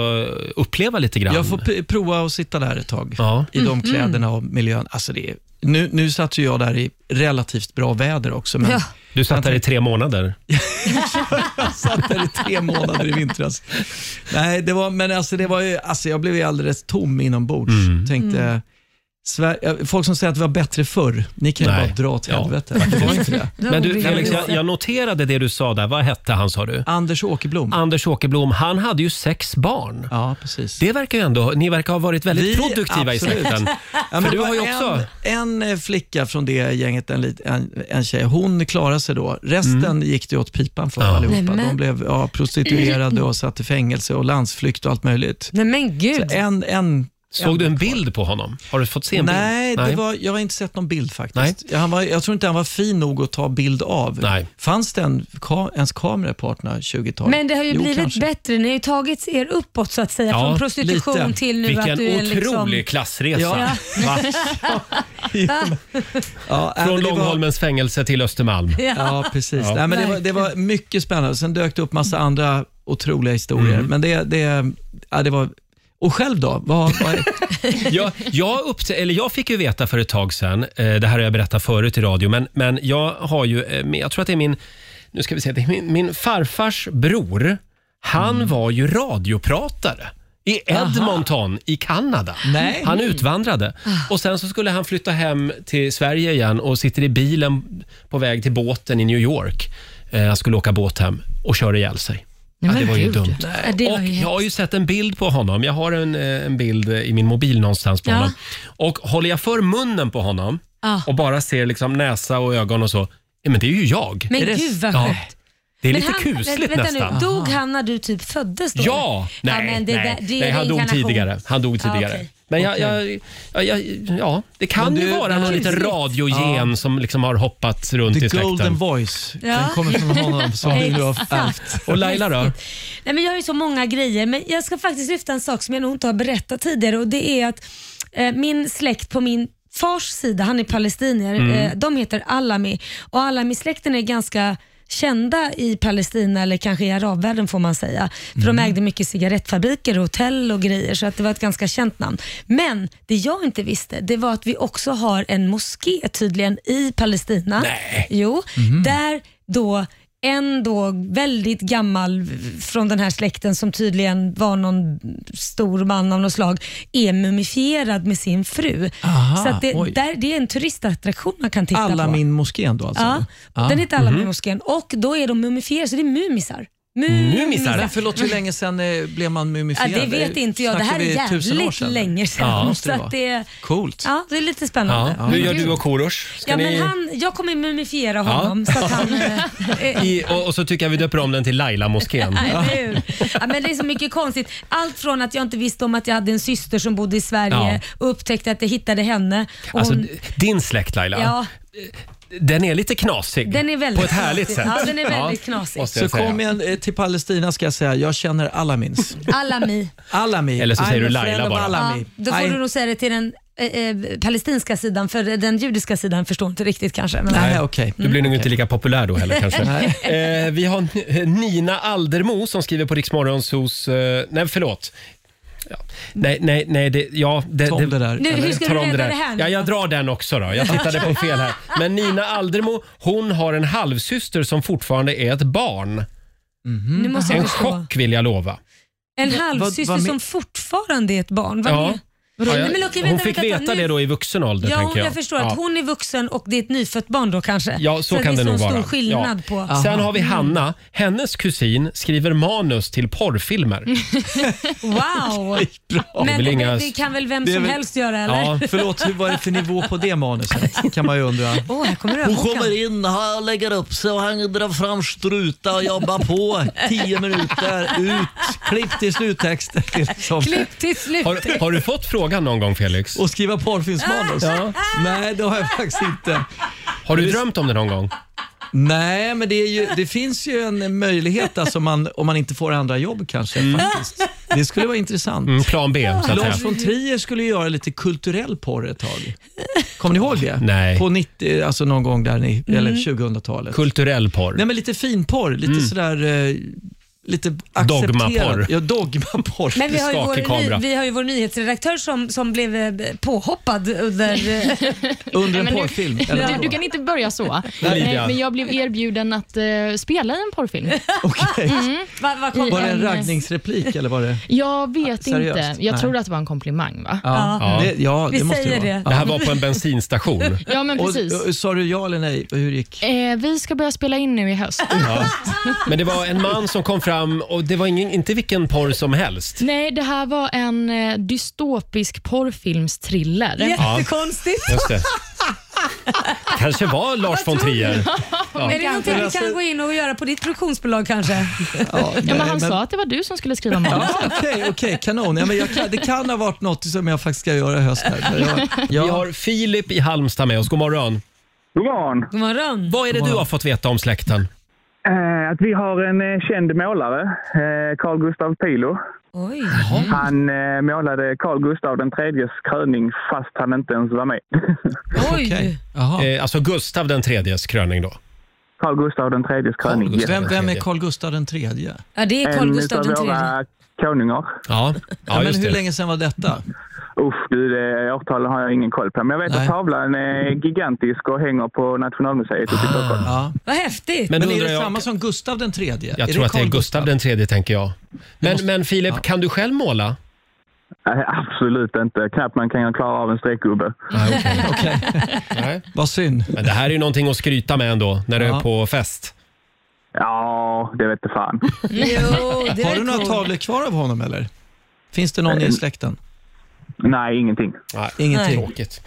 Speaker 1: uppleva lite grann.
Speaker 8: Jag får p- prova att sitta där ett tag
Speaker 1: Ja.
Speaker 8: i de kläderna och miljön. Alltså det är, nu, nu satt ju jag där i relativt bra väder också, men
Speaker 3: Ja.
Speaker 1: Du satt där i tre månader.
Speaker 8: jag *laughs* satt där i tre månader i vintras. Nej, det var, men alltså det var ju, alltså jag blev ju alldeles tom inombords.
Speaker 1: Mm.
Speaker 8: Tänkte, Sver- folk som säger att vi var bättre förr, ni kan ju
Speaker 1: Nej.
Speaker 8: bara dra åt
Speaker 1: Ja,
Speaker 8: helvete. Det var inte det.
Speaker 3: Det var
Speaker 1: Men du,
Speaker 3: obehagligt.
Speaker 1: Felix, jag, jag noterade det du sa där. Vad hette han sa du?
Speaker 8: Anders Åkerblom.
Speaker 1: Anders Åkerblom, han hade ju sex barn.
Speaker 8: Ja, precis.
Speaker 1: Det verkar ju ändå, ni verkar ha varit väldigt
Speaker 8: Vi-
Speaker 1: produktiva i
Speaker 8: absolut. *laughs*
Speaker 1: släkten.
Speaker 8: Ja, men
Speaker 1: För du
Speaker 8: det
Speaker 1: har
Speaker 8: var
Speaker 1: ju också-
Speaker 8: en, en flicka från det gänget, en, lit- en, en tjej, hon klarade sig då. Resten
Speaker 1: Mm.
Speaker 8: gick det åt pipan för allihopa.
Speaker 3: Nämen.
Speaker 8: De blev ja, prostituerade och satt i fängelse och landsflykt och allt möjligt.
Speaker 3: Nej men gud.
Speaker 8: Så en, en,
Speaker 1: Såg du en bild på honom? Har du fått se Mm. en
Speaker 8: nej,
Speaker 1: bild?
Speaker 8: det var, jag har inte sett någon bild faktiskt.
Speaker 1: Nej.
Speaker 8: Jag, han var, jag tror inte han var fin nog att ta bild av.
Speaker 1: Nej.
Speaker 8: Fanns det en, ka, ens kamera på 1820-talet?
Speaker 3: Men det har ju
Speaker 8: Jo,
Speaker 3: blivit
Speaker 8: kanske.
Speaker 3: bättre. Ni har ju tagit er uppåt så att säga.
Speaker 1: Ja,
Speaker 3: från prostitution
Speaker 8: lite.
Speaker 3: till nu
Speaker 1: Vilken
Speaker 3: att du är
Speaker 1: otrolig
Speaker 3: liksom...
Speaker 1: klassresa.
Speaker 3: *laughs*
Speaker 8: Ja.
Speaker 1: Va?
Speaker 8: Ja, nej,
Speaker 1: Från
Speaker 8: men det var-
Speaker 1: Långholmens fängelse till Östermalm.
Speaker 8: Ja, precis. Nej, men det, var, det var mycket spännande. Sen dök det upp massa andra otroliga historier.
Speaker 1: Mm.
Speaker 8: Men det, det, ja, det var... Och själv då? Vad,
Speaker 1: *laughs*
Speaker 8: vad,
Speaker 1: jag, jag, upptä- eller jag fick ju veta för ett tag sedan, eh, det här har jag berättat förut i radio, men, men jag har ju, eh, min- jag tror att det är min, nu ska vi se, det är min, min farfars bror, han
Speaker 3: Mm.
Speaker 1: var ju radiopratare. I Edmonton i Kanada.
Speaker 8: Nej.
Speaker 1: Han utvandrade.
Speaker 3: Ah.
Speaker 1: Och Sen så skulle han flytta hem till Sverige igen och sitter i bilen på väg till båten i New York. Eh, Han skulle åka båt hem och kör ihjäl sig. Ja, det
Speaker 4: men
Speaker 1: var ju
Speaker 4: gud.
Speaker 1: dumt.
Speaker 3: Ja, det var
Speaker 1: Och
Speaker 3: ju
Speaker 1: jag har ju sett en bild på honom. Jag har en, eh, en bild eh, i min mobil någonstans på
Speaker 3: Ja.
Speaker 1: honom. Och håller jag för munnen på honom
Speaker 3: Ja.
Speaker 1: och bara ser liksom näsa och ögon och så. Ja, men det är ju jag.
Speaker 3: Men
Speaker 1: det...
Speaker 3: gud vad
Speaker 1: Ja.
Speaker 3: sjukt.
Speaker 1: Det är
Speaker 3: Men
Speaker 1: lite
Speaker 3: han-
Speaker 1: kusligt
Speaker 3: vänta
Speaker 1: nästan.
Speaker 3: Nu, dog han när du typ föddes då?
Speaker 1: Ja! Nej,
Speaker 3: men det
Speaker 1: nej,
Speaker 3: där- det är
Speaker 1: nej han dog
Speaker 3: reinkarnation.
Speaker 1: tidigare. Han dog
Speaker 3: Ja,
Speaker 1: tidigare.
Speaker 3: okej.
Speaker 1: Men jag, jag, jag, jag, ja, det kan
Speaker 8: Men
Speaker 1: ju
Speaker 8: du-
Speaker 1: vara någon
Speaker 8: Kusligt.
Speaker 1: liten radiogen som liksom har hoppat runt
Speaker 8: the
Speaker 1: i
Speaker 8: golden
Speaker 1: släkten.
Speaker 8: voice.
Speaker 3: Ja.
Speaker 8: Den kommer från honom
Speaker 3: *laughs*
Speaker 8: som vi nu har ärvt.
Speaker 3: Exakt.
Speaker 1: Och Laila då?
Speaker 3: Nej, men jag har ju så många grejer, men jag ska faktiskt lyfta en sak som jag nog inte har berättat tidigare och det är att eh, min släkt på min fars sida, han är palestinier,
Speaker 1: Mm.
Speaker 3: eh, de heter Alami och Alami-släkten är ganska kända i Palestina eller kanske i arabvärlden får man säga. För
Speaker 1: Mm.
Speaker 3: de ägde mycket cigarettfabriker och hotell och grejer så att det var ett ganska känt namn. Men det jag inte visste det var att vi också har en moské tydligen i Palestina. Nej. Jo,
Speaker 1: Mm.
Speaker 3: där då en då väldigt gammal från den här släkten som tydligen var någon stor man av något slag är mumifierad med sin fru.
Speaker 8: Aha,
Speaker 3: så att det,
Speaker 8: oj.
Speaker 3: där, det är en turistattraktion man kan titta på.
Speaker 8: Alla min moskén då alltså?
Speaker 3: Ja,
Speaker 8: Ah.
Speaker 3: Den heter Alla min moskén och då är de mumifierade, så det är mumisar. Mumisar?
Speaker 8: Men förlåt, hur länge sen eh, blev man
Speaker 3: Ja,
Speaker 8: mumifierad?
Speaker 3: det vet inte jag. Det
Speaker 8: Snackar
Speaker 3: här är
Speaker 8: vi tusen år
Speaker 3: jävligt
Speaker 8: sedan?
Speaker 3: länge sedan.
Speaker 8: Ja, måste
Speaker 3: så
Speaker 8: det
Speaker 3: att
Speaker 8: vara.
Speaker 3: det,
Speaker 8: Coolt.
Speaker 3: ja, det är lite
Speaker 1: Ja.
Speaker 3: spännande. Ja.
Speaker 1: Nu gör du och Korosh. Ska ni...
Speaker 3: men han, jag kommer mumifiera honom så
Speaker 8: *laughs*
Speaker 3: att han... eh,
Speaker 1: I, och, och så tycker jag vi döper om den till
Speaker 3: *laughs*
Speaker 1: Laila-moskén. *laughs*
Speaker 3: Nej, eller hur? ja, men det är så mycket konstigt. Allt från att jag inte visste om att jag hade en syster som bodde i Sverige och upptäckte att jag hittade henne. Och
Speaker 1: Alltså,
Speaker 3: hon,
Speaker 1: d- din släkt Laila,
Speaker 3: ja,
Speaker 1: den är lite knasig.
Speaker 3: den är väldigt
Speaker 1: På ett härligt
Speaker 3: knasig.
Speaker 1: sätt.
Speaker 3: Ja, den är väldigt knasig.
Speaker 1: måste
Speaker 8: Så
Speaker 1: jag säga.
Speaker 8: kom igen eh, till Palestina ska jag säga, jag känner
Speaker 3: *laughs*
Speaker 8: Alamins.
Speaker 1: *laughs*
Speaker 3: Alami.
Speaker 8: Alami.
Speaker 1: Eller så säger
Speaker 8: I'm
Speaker 1: du
Speaker 8: a
Speaker 1: Laila
Speaker 8: friend of
Speaker 1: bara.
Speaker 3: Ja,
Speaker 8: Alami.
Speaker 3: då får
Speaker 8: I-
Speaker 3: du nog säga det till den eh, eh, palestinska sidan, för den judiska sidan förstår inte riktigt kanske. Men,
Speaker 8: Nej, Mm, okej.
Speaker 1: Du blir nog inte lika populär då
Speaker 8: *laughs*
Speaker 1: heller kanske. eh, vi har eh, Nina Aldermo som skriver på Riksmorgons hos... Eh, nej, förlåt. Ja. Nej, nej, nej. Det, ja, det,
Speaker 8: Tom det där.
Speaker 3: Nu,
Speaker 1: eller?
Speaker 3: hur ska
Speaker 1: Ta
Speaker 3: du
Speaker 1: om
Speaker 3: rädda
Speaker 1: där.
Speaker 3: det här nu
Speaker 1: Ja, jag
Speaker 3: då?
Speaker 1: drar den också då. Jag tittade på fel här. Men Nina Aldermo, hon har en halvsyster som fortfarande är ett barn.
Speaker 3: nu måste jag
Speaker 1: Mm. En
Speaker 3: förstå.
Speaker 1: chock vill jag lova.
Speaker 3: En
Speaker 8: vad- vad
Speaker 3: halvsyster
Speaker 8: men-
Speaker 3: som fortfarande är ett barn. Vad
Speaker 1: Ja.
Speaker 3: är- Vadå?
Speaker 1: Ja,
Speaker 3: Nej,
Speaker 1: jag,
Speaker 3: men okej,
Speaker 1: hon
Speaker 3: vänta,
Speaker 1: fick
Speaker 3: vänta,
Speaker 1: veta
Speaker 3: nu-
Speaker 1: det då i vuxen ålder
Speaker 3: Ja,
Speaker 1: tänker jag.
Speaker 3: jag förstår
Speaker 1: Ja.
Speaker 3: att hon är vuxen och det är ett nyfött barn då kanske.
Speaker 1: Ja, så,
Speaker 3: att
Speaker 1: kan det, nog vara.
Speaker 3: är så stor skillnad
Speaker 1: ja.
Speaker 3: på. Mm.
Speaker 1: Sen har vi Hanna. Hennes kusin skriver manus till porrfilmer.
Speaker 3: Mm. Wow!
Speaker 1: är
Speaker 3: Men
Speaker 1: väl
Speaker 3: det,
Speaker 1: inga-
Speaker 3: det kan väl vem
Speaker 8: det är
Speaker 3: som
Speaker 8: väl-
Speaker 3: helst göra eller? Åh,
Speaker 1: Ja,
Speaker 8: Förlåt, hur var det för nivå på det manuset? Kan man ju undra.
Speaker 3: här kommer
Speaker 6: Hon
Speaker 3: överbokan.
Speaker 6: kommer in, han lägger upp sig och han drar fram struta och jobbar på.
Speaker 8: Tio minuter, ut, klipp till sluttexten. Liksom.
Speaker 3: Klipp till slut.
Speaker 1: Har, har du fått frågan någon gång Felix?
Speaker 8: Och skriva porrfilmsmanus?
Speaker 1: Ja.
Speaker 8: Nej, det har jag faktiskt inte.
Speaker 1: Har du drömt om det någon gång?
Speaker 8: Nej, men det, är ju, det finns ju en möjlighet alltså man, om man inte får andra jobb kanske.
Speaker 3: Mm.
Speaker 8: Faktiskt. Det skulle vara intressant.
Speaker 1: Mm, plan B, så att
Speaker 8: Lars
Speaker 1: säga.
Speaker 8: von Trier skulle ju göra lite kulturell porr ett tag. Kommer ni ihåg det?
Speaker 1: Nej.
Speaker 8: På 90, alltså någon gång där, ni,
Speaker 4: Mm.
Speaker 8: eller 2000-talet.
Speaker 1: Kulturell porr.
Speaker 8: Nej, men lite finporr, lite sådär... Eh, lite accepterat.
Speaker 1: Mm. Dogmaporr.
Speaker 8: Ja, dogmaporr.
Speaker 3: Men vi har, ju
Speaker 1: Skakig
Speaker 3: vår,
Speaker 1: kamera.
Speaker 3: ny, vi har ju vår nyhetsredaktör som, som blev eh, påhoppad under... eh,
Speaker 8: Under en
Speaker 4: Nej, men du-
Speaker 8: porrfilm. eller
Speaker 4: Du,
Speaker 8: vadå?
Speaker 4: du kan inte börja så.
Speaker 1: Olivia.
Speaker 4: Eh, Men jag blev erbjuden att eh, spela i en porrfilm.
Speaker 8: Okej.
Speaker 3: Vad vad kom
Speaker 8: Var det
Speaker 3: det?
Speaker 8: en raggningsreplik eller var det?
Speaker 4: Jag vet
Speaker 8: Seriöst?
Speaker 4: inte. Jag
Speaker 8: Nej.
Speaker 4: tror att det var en komplimang, va?
Speaker 8: Ja,
Speaker 1: Ja.
Speaker 8: det, ja,
Speaker 3: Vi
Speaker 8: det måste
Speaker 3: säger
Speaker 8: vara.
Speaker 3: det.
Speaker 1: Det här var på en bensinstation.
Speaker 4: Ja, men precis.
Speaker 8: Och, och, sa du ja eller nej? Hur gick?
Speaker 4: Eh, vi ska börja spela in nu i höst.
Speaker 1: Men det var en man som kom fram och det var ingen, inte vilken porr som helst.
Speaker 4: Nej, det här var en eh, dystopisk porrfilmstriller.
Speaker 3: Jättekonstigt.
Speaker 1: Just det. Kanske var Lars von Trier.
Speaker 3: Är det någonting vi kan gå in och göra på ditt produktionsbolag kanske?
Speaker 8: Ja,
Speaker 4: Ja, men
Speaker 8: nej,
Speaker 4: han sa att det var du som skulle skriva
Speaker 8: Ja,
Speaker 4: manus.
Speaker 8: Okej, okej, kanon. Ja, men jag kan, det kan ha varit något som jag faktiskt ska göra i höst.
Speaker 4: *laughs*
Speaker 8: Här, för jag,
Speaker 1: Vi har Filip i Halmstad med oss. God morgon.
Speaker 10: God morgon.
Speaker 3: God morgon.
Speaker 1: Vad är det du har fått veta om släkten?
Speaker 10: Eh, att vi har en eh, känd målare, eh, Carl Gustav Pilo.
Speaker 3: Oj.
Speaker 10: Han eh, målade Carl Gustav den tredjes kröning fast han inte ens var med. *laughs*
Speaker 3: Oj.
Speaker 8: okej. Jaha.
Speaker 1: Eh, alltså Gustav den tredjes kröning då.
Speaker 10: Carl Gustav den tredjes kröning. yes.
Speaker 8: Gustav, vem, vem är Carl Gustav den tredje?
Speaker 3: Ja, det är Carl
Speaker 10: En
Speaker 3: Gustaf
Speaker 10: utav
Speaker 3: den tredje.
Speaker 10: våra konungar.
Speaker 1: Ja,
Speaker 8: Ja,
Speaker 1: ja
Speaker 8: men
Speaker 1: just
Speaker 8: hur
Speaker 1: det.
Speaker 8: länge sedan var detta?
Speaker 10: Usch, du, det årtalet har jag ingen koll på. Men jag vet
Speaker 8: Nej.
Speaker 10: att tavlan är gigantisk och hänger på Nationalmuseet ute i Stockholm.
Speaker 8: Ah. Ja.
Speaker 3: Vad häftigt.
Speaker 1: Men
Speaker 8: Men
Speaker 1: då
Speaker 8: är
Speaker 1: undrar
Speaker 8: det
Speaker 1: jag,
Speaker 8: samma som Gustav den tredje?
Speaker 1: jag tror att det är
Speaker 8: Carl
Speaker 1: Gustav den tredje tänker jag. Men, men Filip, kan du själv måla?
Speaker 10: Nej, absolut inte. Knappt man kan klara av en streckgubbe.
Speaker 1: Nej, okej.
Speaker 8: Okej,
Speaker 1: Nej.
Speaker 8: vad synd.
Speaker 1: Men det här är ju någonting att skryta med ändå, när du
Speaker 8: Ja.
Speaker 1: är på fest.
Speaker 10: Ja, det vet du
Speaker 1: *laughs*
Speaker 10: fan.
Speaker 3: Jo,
Speaker 7: *laughs*
Speaker 3: det
Speaker 8: Har
Speaker 3: är
Speaker 8: du några
Speaker 3: coolt.
Speaker 8: tavlor kvar av honom eller? Finns det
Speaker 7: Eh,
Speaker 8: någon i släkten?
Speaker 10: Nej, ingenting.
Speaker 1: Nej,
Speaker 8: Ingenting.
Speaker 1: Tråkigt.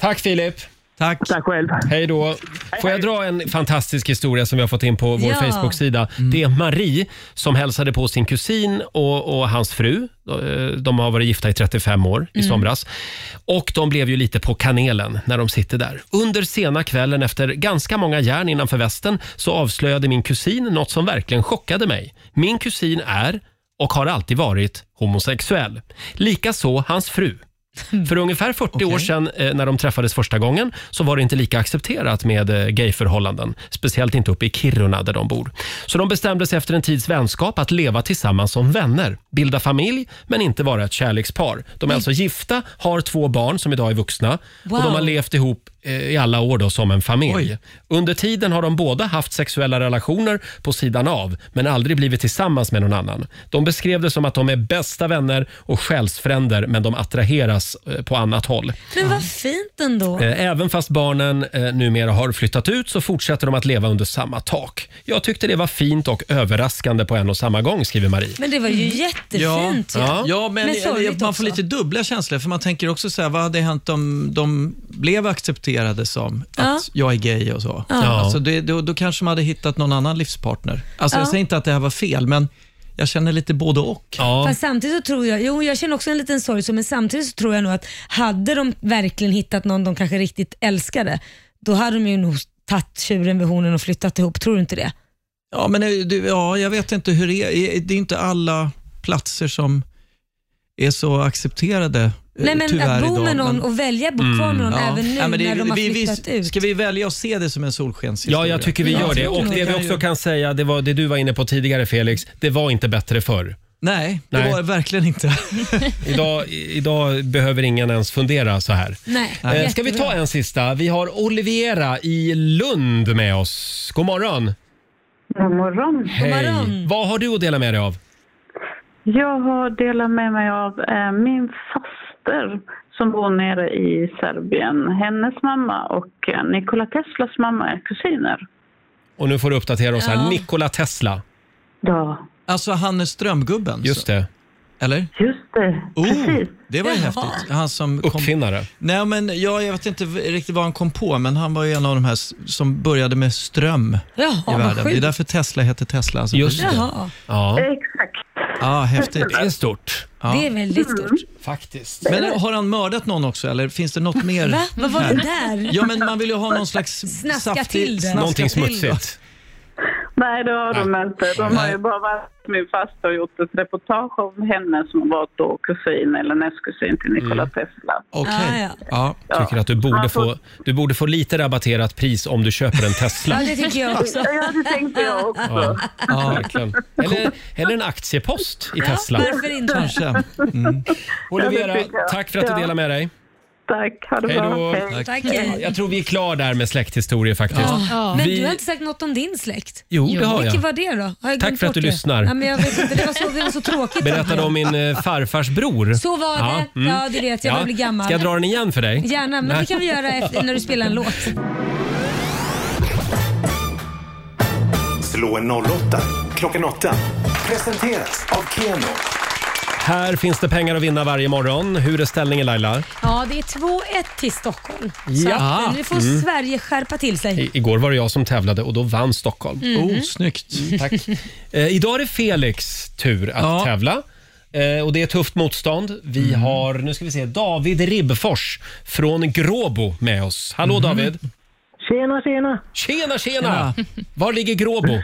Speaker 1: Tack Filip!
Speaker 8: Tack.
Speaker 10: Tack själv.
Speaker 1: Hej då! Får jag dra en fantastisk historia som vi har fått in på vår
Speaker 3: Ja.
Speaker 1: Facebook-sida. Det är Marie som hälsade på sin kusin och, och hans fru. Eh, De har varit gifta i 35 år i somras. Och de blev ju lite på kanelen när de sitter där. Under sena kvällen efter ganska många järn innanför västen så avslöjade min kusin något som verkligen chockade mig. Min kusin är och har alltid varit homosexuell. Likaså hans fru. För ungefär 40 år sedan eh, när de träffades första gången så var det inte lika accepterat med eh, gayförhållanden. Speciellt inte uppe i Kiruna där de bor. Så de bestämde sig efter en tids vänskap att leva tillsammans som vänner, bilda familj men inte vara ett kärlekspar. De är alltså gifta, har två barn som idag är vuxna och de har
Speaker 3: Wow.
Speaker 1: levt ihop eh, i alla år då som en familj. Under tiden har de båda haft sexuella relationer på sidan av men aldrig blivit tillsammans med någon annan. De beskrev det som att de är bästa vänner och själsfränder men de attraheras eh, på annat håll.
Speaker 3: Men vad fint ändå.
Speaker 1: Eh, Även fast barnen eh, numera har flyttat ut så fortsätter de att leva under samma tak. Jag tyckte det var fint och överraskande på en och samma gång, skriver Marie.
Speaker 3: Men det var ju jättefint.
Speaker 1: Ja.
Speaker 3: Ja.
Speaker 8: Ja, men,
Speaker 3: Men sorgligt
Speaker 8: man
Speaker 3: också.
Speaker 8: får lite dubbla känslor, för man tänker också så här, vad hade hänt om de blev accepterade som
Speaker 3: Ja.
Speaker 8: att jag är gay och så?
Speaker 1: Ja.
Speaker 8: Alltså, det, då, då kanske man hade hittat någon annan livspartner. Alltså, Jag säger inte att det här var fel, men jag känner lite både och.
Speaker 1: Ja.
Speaker 3: Fast samtidigt så tror jag, jo jag känner också en liten sorg, så, men samtidigt så tror jag nog att hade de verkligen hittat någon de kanske riktigt älskade, då hade de ju nog tagit tjuren vid hornen och flyttat ihop. Tror du inte det?
Speaker 8: Ja, men eh, du, ja, jag vet inte hur det är. Eh, Det är inte alla platser som är så accepterade, eh,
Speaker 3: Nej men
Speaker 8: tyvärr
Speaker 3: att bo
Speaker 8: idag,
Speaker 3: med någon
Speaker 8: men- Mm,
Speaker 3: och välja att bo kvar med någon även nu
Speaker 8: Ja, men det-
Speaker 3: när de har
Speaker 8: vi- vi-
Speaker 3: flyttat ut.
Speaker 8: Ska vi välja att se det som en solskenshistoria?
Speaker 1: Ja, jag tycker vi gör det. Och det vi också kan säga, det var det du var inne på tidigare Felix, det var inte bättre förr.
Speaker 8: Nej, det
Speaker 1: Nej.
Speaker 8: var det verkligen inte.
Speaker 1: Idag, i- idag behöver ingen ens fundera så här.
Speaker 3: Nej,
Speaker 1: Eh, Ska vi
Speaker 3: jättebra.
Speaker 1: ta en sista? Vi har Oliviera i Lund med oss. God morgon!
Speaker 5: God morgon.
Speaker 3: morgon.
Speaker 1: Vad har du att dela med dig av?
Speaker 5: Jag har delat med mig av eh, min faster som bor nere i Serbien. Hennes mamma och eh, Nikola Teslas mamma är kusiner.
Speaker 1: Och nu får du uppdatera oss här.
Speaker 3: Ja.
Speaker 1: Nikola Tesla.
Speaker 5: Ja,
Speaker 8: Alltså han är Strömgubben.
Speaker 1: Just det,
Speaker 8: Eller?
Speaker 5: just det.
Speaker 8: Oh,
Speaker 5: Precis.
Speaker 8: det var ju häftigt. Han som kom...
Speaker 1: uppfinnare.
Speaker 8: Nej, men jag, jag vet inte v- riktigt vad han kom på, men han var ju en av de här s- som började med ström
Speaker 3: Jaha,
Speaker 8: i
Speaker 3: vad
Speaker 8: världen. Det är
Speaker 3: sjukt.
Speaker 8: därför Tesla heter Tesla. Alltså.
Speaker 1: Just det.
Speaker 3: Jaha.
Speaker 1: Ja.
Speaker 5: Exakt.
Speaker 8: Ja, häftigt.
Speaker 1: Det är stort.
Speaker 3: Det är väldigt stort.
Speaker 8: Faktiskt. Men har han mördat någon också eller finns det något mer?
Speaker 3: Va? Vad var det
Speaker 8: här?
Speaker 3: där?
Speaker 8: Mm. Ja, men man vill ju ha någon slags
Speaker 3: Snaska
Speaker 8: saftig,
Speaker 3: till det.
Speaker 8: snaska
Speaker 1: Någonting
Speaker 8: till då.
Speaker 1: smutsigt.
Speaker 5: Nej, det har de
Speaker 1: Nej.
Speaker 5: inte. De har ju bara varit min faster och gjort ett reportage om henne som var då kusin eller nästkusin till
Speaker 1: Mm.
Speaker 5: Nikola Tesla.
Speaker 8: Okej.
Speaker 3: Ah, ja.
Speaker 8: Ja.
Speaker 1: Tycker att du borde, få, du borde få lite rabatterat pris om du köper en
Speaker 3: ja, *laughs*
Speaker 1: Tesla.
Speaker 3: det tycker jag också.
Speaker 5: Ja, det tänkte jag också.
Speaker 1: Ja,
Speaker 8: Ja.
Speaker 1: verkligen. Eller, eller en aktiepost i Tesla.
Speaker 3: Varför inte?
Speaker 8: Kanske. Mm.
Speaker 1: Olivera,
Speaker 5: tycker jag.
Speaker 1: tack för att du
Speaker 5: Ja.
Speaker 1: delade med dig.
Speaker 5: Tack, ha det
Speaker 1: Hej
Speaker 5: bra.
Speaker 1: då.
Speaker 3: Tack.
Speaker 1: Jag tror vi är klar där med släkthistorier faktiskt.
Speaker 4: Ja.
Speaker 3: Men
Speaker 1: Vi-
Speaker 3: du har inte sagt något om din släkt?
Speaker 1: Jo, det har
Speaker 3: Vilken
Speaker 1: jag.
Speaker 3: var det då? Har
Speaker 1: Tack
Speaker 3: jag glömt
Speaker 1: för att
Speaker 3: bort
Speaker 1: du
Speaker 3: det?
Speaker 1: lyssnar.
Speaker 3: Ja, men jag vet inte, det var så, det var så tråkigt.
Speaker 1: Berättade om min eh, farfars bror.
Speaker 3: Så var det.
Speaker 1: mm.
Speaker 3: Ja, du vet, jag börjar bli gammal.
Speaker 1: Ska jag dra den igen för dig?
Speaker 3: Gärna, men det kan vi göra efter, när du spelar
Speaker 1: *laughs*
Speaker 3: en låt.
Speaker 9: Slå en 08 klockan åtta. Presenteras av Keno.
Speaker 1: Här finns det pengar att vinna varje morgon. Hur är ställningen Laila?
Speaker 3: Ja, det är 2-1 till Stockholm. Så
Speaker 1: Ja. Mm.
Speaker 3: att eh, nu får Sverige skärpa till sig.
Speaker 1: I- igår var det jag som tävlade och då vann Stockholm.
Speaker 3: Mm. Mhm.
Speaker 8: Oh, snyggt. Tack.
Speaker 1: Eh, idag är det Felix tur att
Speaker 8: Ja.
Speaker 1: tävla. Eh, och Det är tufft motstånd. Vi har nu ska vi se, David Ribbfors från Gråbo med oss. Hallå David!
Speaker 10: Tjena, tjena!
Speaker 1: Tjena, tjena! Var ligger Gråbo?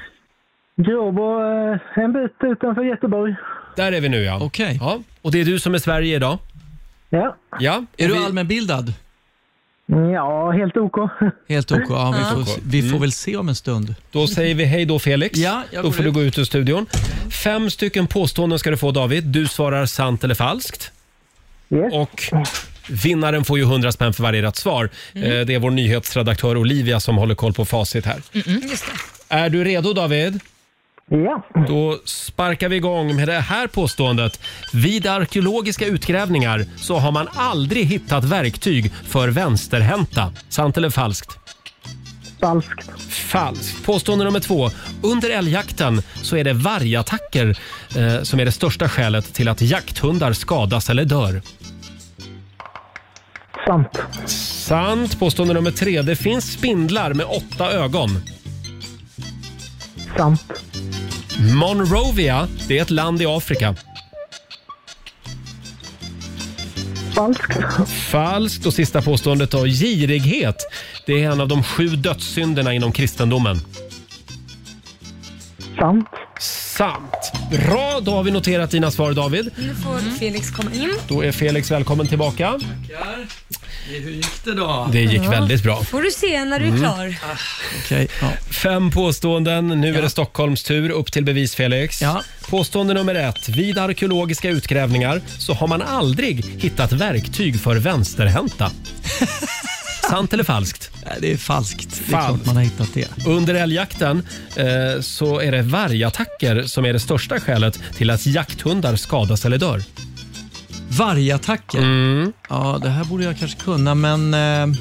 Speaker 10: Gråbo, eh, en bit utanför Göteborg.
Speaker 1: Där är vi nu ja.
Speaker 8: Okej.
Speaker 1: ja. Och det är du som är Sverige idag?
Speaker 10: Ja,
Speaker 1: Ja.
Speaker 8: Är
Speaker 1: Och
Speaker 8: du
Speaker 1: vi-
Speaker 8: allmänbildad?
Speaker 10: ja helt OK.
Speaker 8: Helt OK. Ja, vi
Speaker 1: OK.
Speaker 8: får, vi får väl se om en stund.
Speaker 1: Då säger vi hej då Felix.
Speaker 8: Ja, jag
Speaker 1: då
Speaker 8: går
Speaker 1: får du
Speaker 8: ut.
Speaker 1: gå ut ur studion. Fem stycken påståenden ska du få David. Du svarar sant eller falskt.
Speaker 10: Yes.
Speaker 1: Och vinnaren får ju 100 spänn för varje rätt svar.
Speaker 8: Mm.
Speaker 1: Eh, Det är vår nyhetsredaktör Olivia som håller koll på facit här. Är du redo David?
Speaker 10: Ja,
Speaker 1: Då sparkar vi igång med det här påståendet. Vid arkeologiska utgrävningar så har man aldrig hittat verktyg för vänsterhänta. Sant eller falskt?
Speaker 10: falskt.
Speaker 1: Falskt. Påstående nummer två. Under älgjakten så är det vargattacker eh, som är det största skälet till att jakthundar skadas eller dör.
Speaker 10: Sant.
Speaker 1: Sant. Påstående nummer tre. Det finns spindlar med åtta ögon.
Speaker 10: Sant.
Speaker 1: Monrovia, det är ett land i Afrika.
Speaker 10: Falskt.
Speaker 1: Falskt. Och sista påståendet då. Girighet, det är en av de sju dödssynderna inom kristendomen.
Speaker 10: Sant.
Speaker 1: Sant. Bra, då har vi noterat dina svar David.
Speaker 3: Nu får
Speaker 1: Mm.
Speaker 3: Felix komma in.
Speaker 1: Då är Felix välkommen tillbaka.
Speaker 8: Hur gick det då?
Speaker 1: Det gick väldigt bra.
Speaker 3: får du se när du
Speaker 1: Mm.
Speaker 3: är klar.
Speaker 8: Okej. ja.
Speaker 1: Fem påståenden. Nu är det Stockholms tur. Upp till bevis, Felix.
Speaker 8: Ja.
Speaker 1: Påstående nummer ett. Vid arkeologiska utgrävningar så har man aldrig hittat verktyg
Speaker 8: *laughs*
Speaker 1: för vänsterhänta. Sant eller falskt?
Speaker 8: Nej, Det är falskt. Det är
Speaker 1: Falskt.
Speaker 8: klart man har hittat det.
Speaker 1: Under älgjakten eh, så är det vargattacker som är det största skälet till att jakthundar skadas eller dör.
Speaker 8: Vargattacker.
Speaker 1: Mm.
Speaker 8: Ja, det här borde jag kanske kunna, men eh,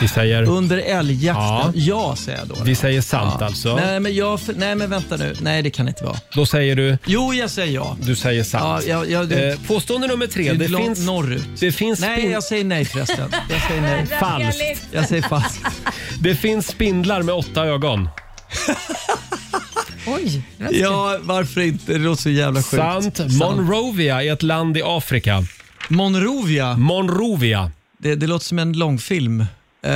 Speaker 1: Vi säger,
Speaker 8: under älgjakten.
Speaker 1: Ja.
Speaker 8: Ja. säger jag då.
Speaker 1: vi säger sant
Speaker 8: Ja.
Speaker 1: alltså.
Speaker 8: Nej men, jag, nej, men vänta nu. Nej, det kan inte vara.
Speaker 1: Då säger du,
Speaker 8: Jo, jag säger ja.
Speaker 1: du säger
Speaker 8: ja,
Speaker 1: sant.
Speaker 8: jag, jag, det,
Speaker 1: Eh, påstående nummer tre.
Speaker 8: det,
Speaker 1: Det
Speaker 8: är långt
Speaker 1: finns...
Speaker 8: norrut.
Speaker 1: Det finns
Speaker 8: Nej,
Speaker 1: spin-
Speaker 8: jag säger nej förresten. Jag säger nej.
Speaker 1: Falskt.
Speaker 8: Jag säger
Speaker 1: *laughs*
Speaker 8: falskt.
Speaker 1: Det finns spindlar med åtta ögon.
Speaker 3: Oj.
Speaker 8: Ja, varför inte? Det låter så jävla sjukt.
Speaker 1: Sant. Monrovia är ett land i Afrika.
Speaker 8: Monrovia.
Speaker 1: Monrovia.
Speaker 8: Det, det låter som en långfilm. Eh,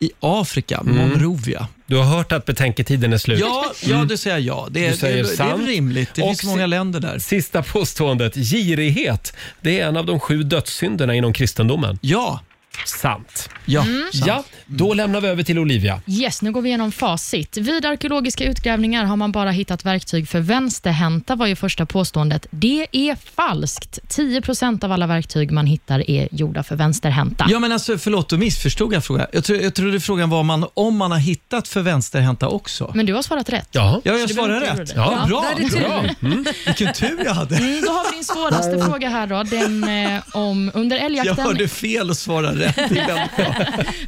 Speaker 8: I Afrika,
Speaker 1: Mm.
Speaker 8: Monrovia.
Speaker 1: Du har hört att betänketiden är slut.
Speaker 8: Ja, ja, Mm. du säger ja. Det, är-
Speaker 1: Du säger
Speaker 8: det, är- det är
Speaker 1: sant.
Speaker 8: rimligt. Det
Speaker 1: Och
Speaker 8: finns
Speaker 1: si-
Speaker 8: många länder där.
Speaker 1: Sista påståendet. Girighet. Det är en av de sju dödssynderna inom kristendomen.
Speaker 8: Ja,
Speaker 1: Sant.
Speaker 8: ja. sant.
Speaker 1: Ja, då lämnar vi över till Olivia.
Speaker 4: Yes, nu går vi igenom facit. Vid arkeologiska utgrävningar har man bara hittat verktyg för vänsterhänta, var ju första påståendet. Det är falskt. 10 av alla verktyg man hittar är gjorda för vänsterhänta.
Speaker 8: Ja, men alltså, förlåt, då missförstod jag frågan. Jag, tror, jag trodde frågan var om man, om man har hittat för vänsterhänta också.
Speaker 4: Men du har svarat rätt.
Speaker 1: Ja.
Speaker 8: Ja, jag
Speaker 4: Så du behöver
Speaker 8: svarade
Speaker 4: inte
Speaker 8: rätt.
Speaker 4: oroa dig.
Speaker 8: Ja, bra,
Speaker 3: där är
Speaker 8: bra. Mm. Vilken tur jag hade.
Speaker 4: Mm, Då har vi din svåraste fråga här då, den eh, om under
Speaker 8: Jag
Speaker 4: älgjakten.
Speaker 8: hörde fel och svarade rätt. Det är väldigt bra.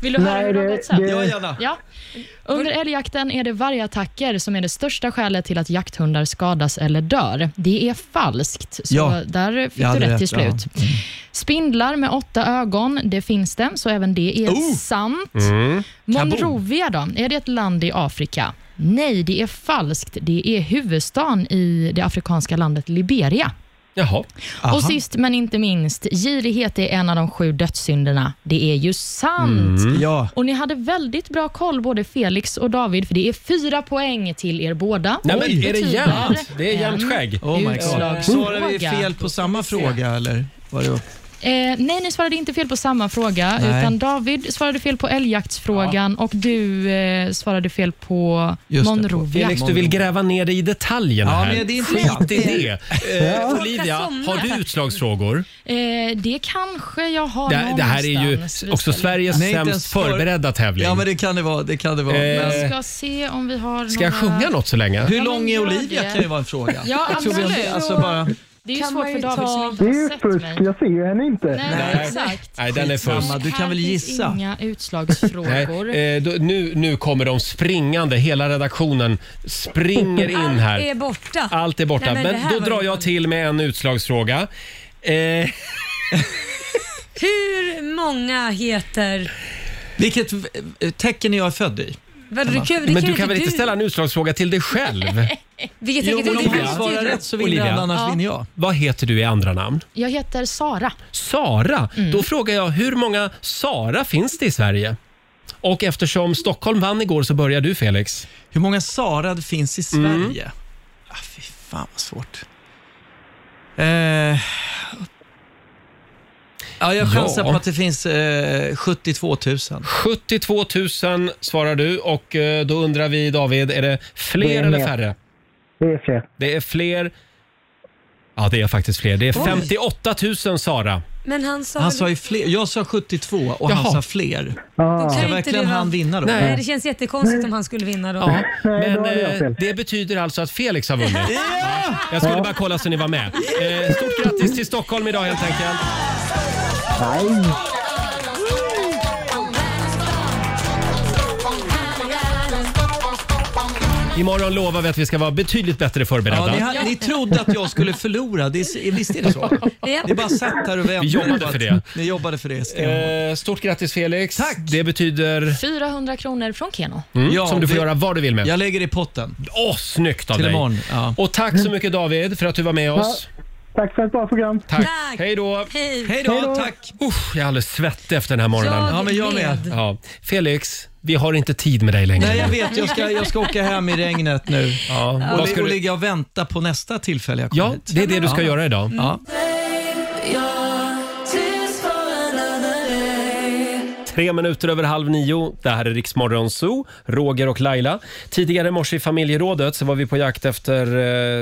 Speaker 4: Vill du höra
Speaker 10: Nej,
Speaker 4: hur det har
Speaker 10: det-
Speaker 4: gått sen?
Speaker 10: det-
Speaker 8: Ja, gärna.
Speaker 4: Ja. Under älgjakten är det vargattacker som är det största skälet till att jakthundar skadas eller dör. Det är falskt, så
Speaker 8: Ja.
Speaker 4: där fick
Speaker 8: Jag Mm.
Speaker 4: du
Speaker 8: hade
Speaker 4: rätt till
Speaker 8: rätt, ja.
Speaker 4: slut. Spindlar med åtta ögon, det finns det, så även det är
Speaker 8: Oh!
Speaker 4: sant. Monrovia då, är det ett land i Afrika? Nej, det är falskt. Det är huvudstaden i det afrikanska landet Liberia.
Speaker 1: Jaha.
Speaker 4: Och sist men inte minst, girighet är en av de sju dödssynderna. Det är ju sant.
Speaker 8: Mm. Ja.
Speaker 4: Och ni hade väldigt bra koll, både Felix och David, för det är fyra poäng till er båda.
Speaker 1: Nej, men
Speaker 4: Och
Speaker 1: är det
Speaker 4: betyder
Speaker 1: jämnt? Det är jämnt
Speaker 4: en
Speaker 1: skägg.
Speaker 8: Oh my god.
Speaker 4: Utslagsfråga.
Speaker 8: Svarade vi fel på samma fråga eller? Var det...
Speaker 4: Eh, nej, ni svarade inte fel på samma fråga.
Speaker 8: Nej.
Speaker 4: Utan David svarade fel på älgjaktsfrågan och du eh, svarade fel på
Speaker 8: Just det, på
Speaker 4: Monrovia.
Speaker 1: Felix, du vill gräva ner dig i detaljerna
Speaker 8: Ja,
Speaker 1: här.
Speaker 8: men det är inte
Speaker 1: Skit
Speaker 8: sant.
Speaker 1: i det. Eh, Olivia,
Speaker 3: Jag somnar.
Speaker 1: har du utslagsfrågor?
Speaker 4: Eh, det kanske jag har
Speaker 1: Det, det här är ju
Speaker 4: någonstans. Vi
Speaker 1: också
Speaker 4: ska-
Speaker 1: Sveriges
Speaker 8: Nej, inte ens
Speaker 1: sämst
Speaker 8: för-
Speaker 1: förberedda tävling.
Speaker 8: Ja, men det kan det vara. Det kan det vara.
Speaker 1: Eh,
Speaker 8: Men...
Speaker 4: Jag ska se om vi har
Speaker 1: Ska jag
Speaker 3: eh,
Speaker 1: sjunga något så länge?
Speaker 8: Hur
Speaker 4: men
Speaker 8: lång är
Speaker 4: gör
Speaker 8: Olivia
Speaker 4: det.
Speaker 8: kan ju vara en fråga.
Speaker 4: Ja,
Speaker 8: Jag tror vi-
Speaker 4: absolut.
Speaker 8: Alltså bara...
Speaker 4: Det är ju
Speaker 3: Kan
Speaker 4: svårt
Speaker 3: man
Speaker 4: för
Speaker 3: ju
Speaker 4: David
Speaker 3: ta-
Speaker 4: som inte har sett mig.
Speaker 10: jag ser ju henne inte.
Speaker 4: Nej,
Speaker 8: Nej.
Speaker 4: exakt.
Speaker 1: Nej, den är fusk.
Speaker 8: Skitsamma, du kan väl
Speaker 4: Här finns
Speaker 8: gissa?
Speaker 4: inga
Speaker 1: Nej,
Speaker 4: utslagsfrågor.
Speaker 1: eh, då, nu, nu kommer de springande, hela redaktionen
Speaker 3: *laughs*
Speaker 1: springer in
Speaker 3: Allt är
Speaker 1: här.
Speaker 3: borta.
Speaker 1: Allt är borta.
Speaker 3: eh, Nej, men det
Speaker 1: Men
Speaker 3: här
Speaker 1: då
Speaker 3: var
Speaker 1: drar
Speaker 3: ju
Speaker 1: jag
Speaker 3: roligt.
Speaker 1: till med en utslagsfråga. Eh,
Speaker 3: Hur många heter...
Speaker 8: Vilket eh, tecken jag är född i?
Speaker 3: Vad, du, kan, det
Speaker 1: men
Speaker 3: kan
Speaker 1: du kan väl inte
Speaker 3: du-
Speaker 1: ställa en utslagsfråga till dig
Speaker 3: *laughs*
Speaker 1: själv?
Speaker 3: Vilket
Speaker 8: Jo,
Speaker 3: jo,
Speaker 8: men
Speaker 3: du,
Speaker 8: om
Speaker 3: det
Speaker 8: han
Speaker 1: Olivia.
Speaker 3: visste
Speaker 8: svarar
Speaker 3: ju du.
Speaker 8: rätt så vinner
Speaker 1: Olivia.
Speaker 8: han, annars
Speaker 4: Ja.
Speaker 8: vinner jag.
Speaker 1: Vad heter du i andra namn?
Speaker 4: Jag heter Sara.
Speaker 1: Sara.
Speaker 3: Mm.
Speaker 1: Då frågar jag, hur många Sara finns det i Sverige? Och eftersom Stockholm vann igår så börjar du Felix.
Speaker 8: Hur många Sarad finns i
Speaker 1: Mm.
Speaker 8: Sverige? Ah, fy fan vad svårt. Eh, ja, jag chansar
Speaker 1: Ja.
Speaker 8: på att det finns eh, 72 000.
Speaker 1: 72 000 svarar du och eh, då undrar vi David, är det fler
Speaker 10: Det är
Speaker 1: eller
Speaker 10: mer.
Speaker 1: färre?
Speaker 10: Det är fler.
Speaker 1: Det är fler. Ja, det är faktiskt fler. Det är 58 000 Sara.
Speaker 3: Men han sa,
Speaker 8: Han
Speaker 3: väl-
Speaker 8: sa ju fler. Jag sa 72 och
Speaker 1: Jaha.
Speaker 8: han sa fler.
Speaker 3: då kan
Speaker 8: Ska
Speaker 3: ju inte det
Speaker 8: verkligen
Speaker 3: vara...
Speaker 8: han vinna då?
Speaker 1: Nej.
Speaker 3: Nej, det känns jättekonstigt om han skulle vinna då.
Speaker 1: Ja,
Speaker 10: Nej,
Speaker 1: men
Speaker 10: då hade jag
Speaker 1: eh,
Speaker 10: fel.
Speaker 1: det betyder alltså att Felix har vunnit. Jag skulle bara kolla så ni var med. Eh, Stort grattis till Stockholm idag helt enkelt.
Speaker 10: Nej.
Speaker 1: Imorgon lovar vi att vi ska vara betydligt bättre förberedda.
Speaker 8: Ja, ni, har- ni trodde att jag skulle förlora. Det är, visst är det
Speaker 1: *laughs*
Speaker 8: så?
Speaker 3: Ja.
Speaker 8: Ni bara satt här och väntade.
Speaker 1: Vi jobbade
Speaker 8: på att-
Speaker 1: för det.
Speaker 8: Ni jobbade för det. Sten.
Speaker 1: Eh, stort grattis Felix. Tack. Det betyder
Speaker 4: 400 kronor från Keno.
Speaker 1: mm,
Speaker 8: Ja,
Speaker 1: som du får
Speaker 8: det-
Speaker 1: göra vad du vill med.
Speaker 8: Jag lägger i potten.
Speaker 1: Åh, snyggt av
Speaker 8: Till
Speaker 1: dig.
Speaker 8: imorgon, ja.
Speaker 1: Och tack så mycket David för att du var med oss.
Speaker 10: Tack för ett bra program.
Speaker 1: Tack.
Speaker 3: Tack.
Speaker 1: Hej då.
Speaker 3: Hej.
Speaker 8: Hej då, tack.
Speaker 1: Usch, jag är alldeles svettig efter den här morgonen.
Speaker 8: Ja, men jag med.
Speaker 1: Ja. Felix, vi har inte tid med dig längre.
Speaker 8: Nej, jag vet. Jag ska, jag ska åka hem i regnet nu.
Speaker 1: Ja,
Speaker 8: Och,
Speaker 1: vad ska
Speaker 8: och
Speaker 1: du...
Speaker 8: ligga och vänta på nästa tillfälle jag kommer
Speaker 1: ja,
Speaker 8: hit.
Speaker 1: det är det du ska
Speaker 8: Ja.
Speaker 1: göra idag.
Speaker 8: Ja.
Speaker 1: Tre minuter över halv nio. Det här är Riksmorgon Zoo, Roger och Laila. Tidigare i morse i familjerådet så var vi på jakt efter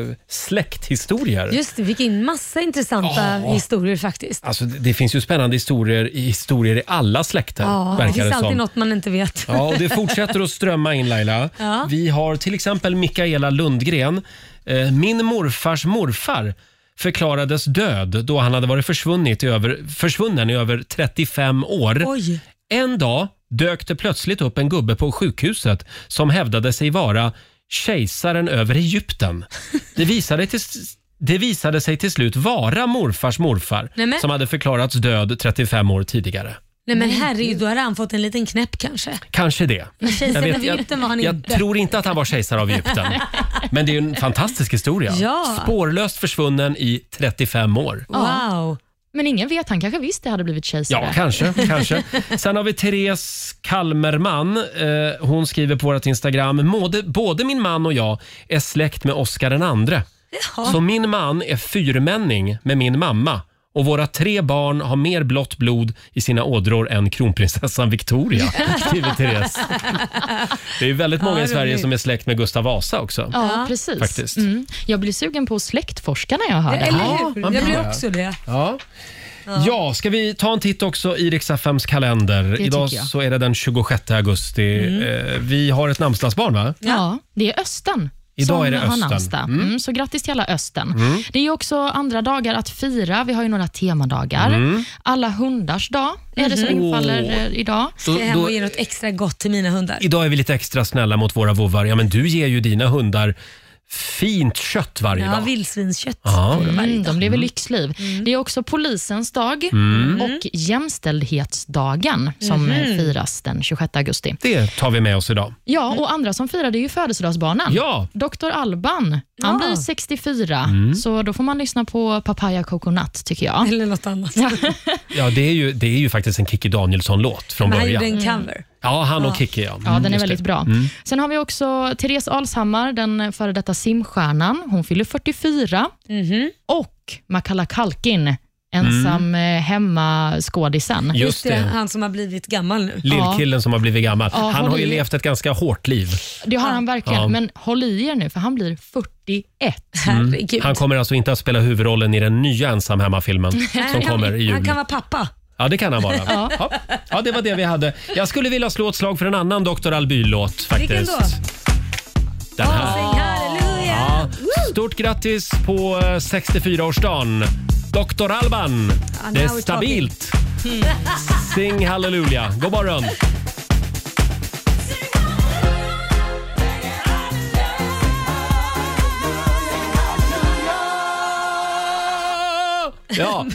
Speaker 1: eh, släkthistorier.
Speaker 3: Just det, vi fick in massa intressanta historier faktiskt.
Speaker 1: Alltså, det det finns ju spännande historier, i- historier i alla släkter,
Speaker 3: Ja, det
Speaker 1: verkar
Speaker 3: finns
Speaker 1: det
Speaker 3: alltid
Speaker 1: som.
Speaker 3: något man inte vet.
Speaker 1: *laughs* Ja, och det fortsätter att strömma in Laila.
Speaker 3: Ja.
Speaker 1: Vi har till exempel Mikaela Lundgren. Eh, Min morfars morfar förklarades död då han hade varit försvunnit i över, försvunnen i över 35 år.
Speaker 3: Oj.
Speaker 1: En dag dök det plötsligt upp en gubbe på sjukhuset som hävdade sig vara kejsaren över
Speaker 3: *laughs*
Speaker 1: Egypten. Det visade, till, det visade sig till slut vara morfars morfar
Speaker 3: Nej, men-
Speaker 1: som hade förklarats död 35 år tidigare.
Speaker 3: Nej men herregud, då hade han fått en liten knäpp kanske.
Speaker 1: Kanske det. Jag,
Speaker 3: Kejsaren
Speaker 1: vet-
Speaker 3: av
Speaker 1: jag-
Speaker 3: Egypten var han
Speaker 1: jag
Speaker 3: inte.
Speaker 1: tror inte att han var kejsare av
Speaker 3: *laughs*
Speaker 1: Egypten. Men det är ju en fantastisk historia.
Speaker 3: Ja.
Speaker 1: Spårlöst försvunnen i 35 år.
Speaker 3: Wow.
Speaker 4: Men ingen vet, han kanske visst det hade blivit
Speaker 1: Ja,
Speaker 4: kejsare.
Speaker 1: kanske. kanske. Sen har vi Therese Kalmerman. Eh, Hon skriver på vårt Instagram. Både, både min man och jag är släkt med Oscar den andre. Så min man är fyrmänning med min mamma och våra tre barn har mer blått blod i sina ådror än kronprinsessan Victoria, skriver Therese. Det är ju väldigt många i
Speaker 3: roligt.
Speaker 1: Sverige som är släkt med Gustav Vasa också.
Speaker 4: Ja, precis.
Speaker 1: Faktiskt.
Speaker 4: Mm. Jag blir sugen på att släktforska när jag hör det här.
Speaker 3: Eller hur?
Speaker 1: man blir
Speaker 3: jag blir
Speaker 1: det.
Speaker 3: också det.
Speaker 1: Ja. ja, ska vi ta en titt också i Rix FMs kalender? Idag
Speaker 4: tycker jag.
Speaker 1: så är det den 26 augusti. Eh, Vi har ett namnsdagsbarn va?
Speaker 4: Ja, det är Östen.
Speaker 1: Idag
Speaker 4: som
Speaker 1: är det
Speaker 4: har
Speaker 1: Östen.
Speaker 4: namnsdag.
Speaker 1: Mm.
Speaker 4: Mm. så grattis till alla Östen. Det är ju också andra dagar att fira. Vi har ju några temadagar.
Speaker 1: Mm.
Speaker 4: Alla hundars dag är det som infaller eh, idag.
Speaker 1: Då,
Speaker 3: Jag är hemma
Speaker 1: då,
Speaker 3: och ger något extra gott till mina hundar.
Speaker 1: idag är vi lite extra snälla mot våra vovvar. Ja, men du ger ju dina hundar fint kött varje
Speaker 3: Ja,
Speaker 1: dag.
Speaker 3: vildsvinskött.
Speaker 1: Ja.
Speaker 4: Mm, de lever lyxliv. Det är också polisens dag
Speaker 1: Mm.
Speaker 4: och jämställdhetsdagen som eh,
Speaker 1: Mhm.
Speaker 4: firas den 26 augusti.
Speaker 1: Det tar vi med oss idag.
Speaker 4: Ja, och andra som firar det är ju födelsedagsbarnen.
Speaker 1: Mm. Ja.
Speaker 4: Dr. Alban, han
Speaker 3: Ja.
Speaker 4: blir 64,
Speaker 1: Mm.
Speaker 4: så då får man lyssna på Papaya Coconut tycker jag.
Speaker 3: Eller något annat.
Speaker 1: Ja, det är ju, det är ju faktiskt en Kikki Danielsson-låt från
Speaker 4: Men han
Speaker 1: början. Mm.
Speaker 4: gjorde en cover.
Speaker 1: Ja, han och
Speaker 4: Ja.
Speaker 1: Kikki. Ja,
Speaker 4: Ja,
Speaker 1: Mm,
Speaker 4: den är
Speaker 1: just
Speaker 4: väldigt
Speaker 1: det.
Speaker 4: bra.
Speaker 1: Mm.
Speaker 4: Sen har vi också Therese Alshammar, den före detta simstjärnan. Hon fyller 44.
Speaker 1: Mhm.
Speaker 4: Och Makalla Kalkin, ensam mm. hemmaskådisen.
Speaker 1: Just det, Mm. det.
Speaker 3: Han som har blivit gammal nu.
Speaker 1: Lillkillen som har blivit gammal.
Speaker 4: Ja,
Speaker 1: han
Speaker 4: håll
Speaker 1: har ju
Speaker 4: i.
Speaker 1: levt ett ganska hårt liv.
Speaker 4: Det har han verkligen.
Speaker 1: Ja.
Speaker 4: Men håll i er nu, för han blir 41.
Speaker 1: Mm. Han kommer alltså inte att spela huvudrollen i den nya ensam hemma-filmen
Speaker 3: Nej,
Speaker 1: som kommer i
Speaker 3: han, han
Speaker 1: jul.
Speaker 3: kan vara pappa.
Speaker 1: Ja, det kan han vara.
Speaker 3: Ja.
Speaker 1: Ja. Ja, det var det vi hade. Jag skulle vilja slå ett slag för en annan Dr. Alby-låt faktiskt.
Speaker 3: Vilken då?
Speaker 1: Den här.
Speaker 3: Säg halleluja.
Speaker 1: Ja. Stort grattis på eh, 64-årsdagen. Dr. Alban.
Speaker 3: now
Speaker 1: Det är
Speaker 3: we're talking.
Speaker 1: stabilt. *laughs* Sing halleluja. God morgon. Ja,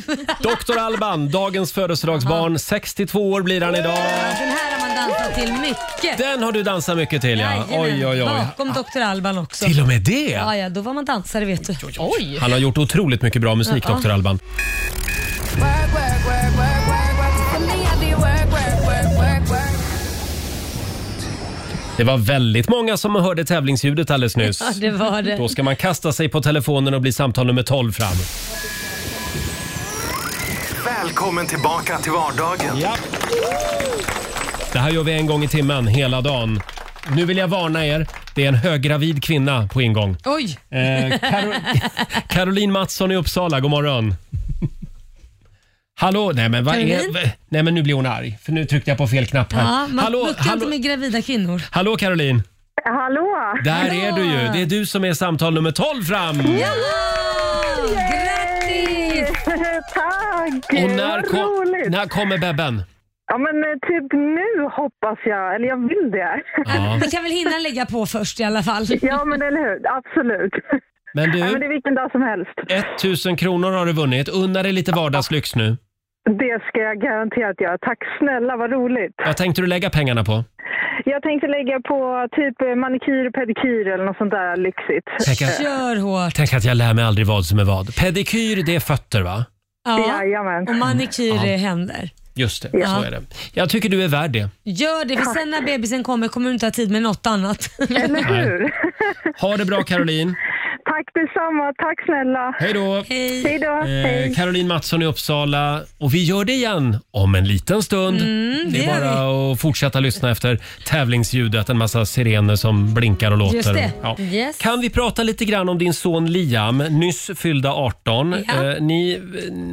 Speaker 1: Dr. Alban, dagens födelsedagsbarn. 62 år blir han idag.
Speaker 3: Den här har man dansat till mycket.
Speaker 1: Den har du dansat mycket till ja. Oj, oj, oj.
Speaker 3: Bakom Dr. Alban också.
Speaker 1: Till och med det?
Speaker 3: Ja, ja, då var man dansare vet du. Oj,
Speaker 1: Han har gjort otroligt mycket bra musik,
Speaker 3: Ja.
Speaker 1: Dr. Alban. Det var väldigt många som hörde tävlingsljudet alldeles nyss.
Speaker 3: *laughs* Ja, det var det.
Speaker 1: Då ska man kasta sig på telefonen och bli samtal nummer 12 fram.
Speaker 9: Välkommen tillbaka till vardagen.
Speaker 1: Det här gör vi en gång i timmen hela dagen. Nu vill jag varna er. Det är en höggravid kvinna på ingång.
Speaker 3: Oj!
Speaker 1: Eh, Karo-
Speaker 3: *laughs*
Speaker 1: Caroline Mattsson i Uppsala, god morgon. Hallå, nej men vad är...
Speaker 3: Caroline?
Speaker 1: va- Nej men nu blir hon arg, för nu tryckte jag på fel knapp här.
Speaker 3: Ja, man
Speaker 1: hallå,
Speaker 3: muckar inte
Speaker 1: hallå,
Speaker 3: med gravida kvinnor.
Speaker 1: hallå Caroline.
Speaker 11: Hallå!
Speaker 1: Där är du ju. Det är du som är samtal nummer 12 fram.
Speaker 11: *laughs*
Speaker 3: Grattis!
Speaker 11: Tack!
Speaker 1: Och när,
Speaker 11: Vad
Speaker 1: kom,
Speaker 11: roligt!
Speaker 1: när kommer bebben?
Speaker 11: Ja, men eh, typ nu hoppas jag, eller jag vill det. *laughs*
Speaker 1: Ja.
Speaker 3: Vi kan väl hinna lägga på först i alla fall.
Speaker 11: Ja, men eller hur? Absolut. *laughs*
Speaker 1: Men
Speaker 11: Ja, men det
Speaker 1: du,
Speaker 11: är vilken dag som helst.
Speaker 1: 1000 kronor har du vunnit. Unna dig lite vardagslyx nu.
Speaker 11: Det ska jag garanterat göra. Tack snälla, vad roligt.
Speaker 1: Vad tänkte du lägga pengarna på?
Speaker 11: Jag tänkte lägga på typ eh, manikyr, pedikyr eller något sånt där lyxigt.
Speaker 1: Tänk att,
Speaker 3: Kör hårt.
Speaker 1: tänk att jag lär mig aldrig vad som är vad. Pedikyr, det är fötter va?
Speaker 3: Ja.
Speaker 11: Jajamän.
Speaker 3: Och manikyr
Speaker 1: Ja.
Speaker 3: är händer.
Speaker 1: Just det,
Speaker 3: Ja.
Speaker 1: så är det. Jag tycker du är värd det.
Speaker 3: Gör det, för sen när bebisen kommer kommer du inte ha tid med något annat.
Speaker 11: Eller
Speaker 1: Nej.
Speaker 11: hur?
Speaker 1: Ha det
Speaker 11: *laughs*
Speaker 1: bra Caroline.
Speaker 11: Tack detsamma. Tack snälla.
Speaker 1: Hej då.
Speaker 11: *laughs* Hej då.
Speaker 1: Eh,
Speaker 11: Hej.
Speaker 1: Caroline Mattsson i Uppsala. Och vi gör det igen om en liten stund.
Speaker 3: Mm,
Speaker 1: det är
Speaker 3: det gör
Speaker 1: bara att fortsätta lyssna efter tävlingsljudet. En massa sirener som blinkar och låter.
Speaker 3: Just det.
Speaker 1: Ja.
Speaker 3: Yes.
Speaker 1: Kan vi prata lite grann om din son Liam, nyss fyllda 18.
Speaker 3: Ja.
Speaker 1: Eh, ni,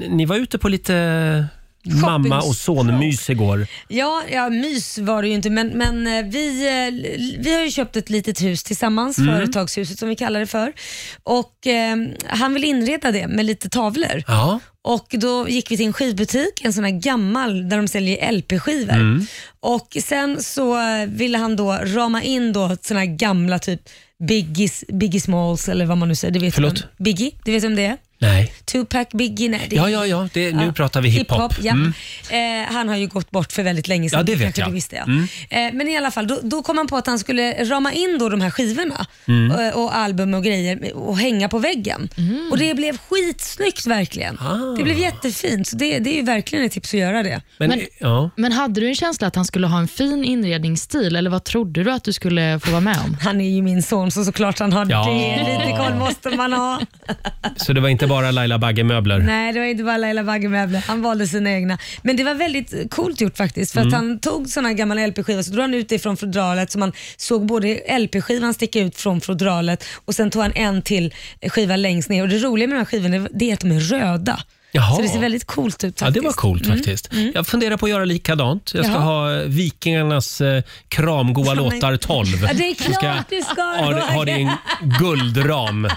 Speaker 1: ni var ute på lite mamma och sonmys igår.
Speaker 3: Ja, ja, mys var det ju inte, men, men eh, vi, eh, vi har ju köpt ett litet hus tillsammans,
Speaker 1: Mm.
Speaker 3: företagshuset som vi kallar det för. Och eh, Han vill inreda det med lite tavlor.
Speaker 1: Ja.
Speaker 3: Och Då gick vi till en skivbutik, en sån här gammal där de säljer LP-skivor.
Speaker 1: Mm.
Speaker 3: Och Sen så eh, ville han då rama in då såna här gamla typ Biggies, Biggie Smalls eller vad man nu säger. Det vet
Speaker 1: Förlåt?
Speaker 3: vem- Biggie, det vet vem det är?
Speaker 1: Nej.
Speaker 3: Tupac, Biggie, nej. det är-
Speaker 1: Ja, ja, ja. Det, nu pratar vi hiphop.
Speaker 3: ja.
Speaker 1: Mm.
Speaker 3: eh, han har ju gått bort för väldigt länge sedan.
Speaker 1: Ja, det vet
Speaker 3: kanske
Speaker 1: jag.
Speaker 3: Du visste, ja.
Speaker 1: Mm.
Speaker 3: eh, men i alla fall, då, då kom han på att han skulle rama in då de här skivorna
Speaker 1: Mm.
Speaker 3: eh, och, album och grejer och hänga på väggen. Och Det blev skitsnyggt verkligen.
Speaker 1: Ah.
Speaker 3: Det blev jättefint. Så det, det är ju verkligen ett tips att göra det.
Speaker 1: Men,
Speaker 4: Men-
Speaker 1: ja.
Speaker 4: Men hade du en känsla att han skulle ha en fin inredningsstil, eller vad trodde du att du skulle få vara med om?
Speaker 3: Han är ju min son så såklart han har
Speaker 1: Ja.
Speaker 3: det. Lite koll måste man ha.
Speaker 1: Så det var inte bara Laila Bagge-möbler?
Speaker 3: Nej, det var inte bara Laila Baggemöbler. Han valde sina egna. Men det var väldigt coolt gjort faktiskt. För
Speaker 1: Mm.
Speaker 3: att han tog såna här gamla LP-skivor så drog han ut det från fodralet så man såg både LP-skivan sticka ut från fodralet och sen tog han en till skiva längst ner. Och det roliga med de här skivorna är- det är att de är röda.
Speaker 1: Jaha.
Speaker 3: Så det ser väldigt coolt ut faktiskt.
Speaker 1: Ja, det var coolt
Speaker 3: Mm.
Speaker 1: faktiskt. Jag funderar på att göra likadant. Jag ska
Speaker 3: Jaha.
Speaker 1: ha Vikingarnas eh, kramgoa
Speaker 3: men-
Speaker 1: låtar 12.
Speaker 3: Ja, det är
Speaker 1: Så ska jag
Speaker 3: klart du ska
Speaker 1: ha det- ha det i en guldram.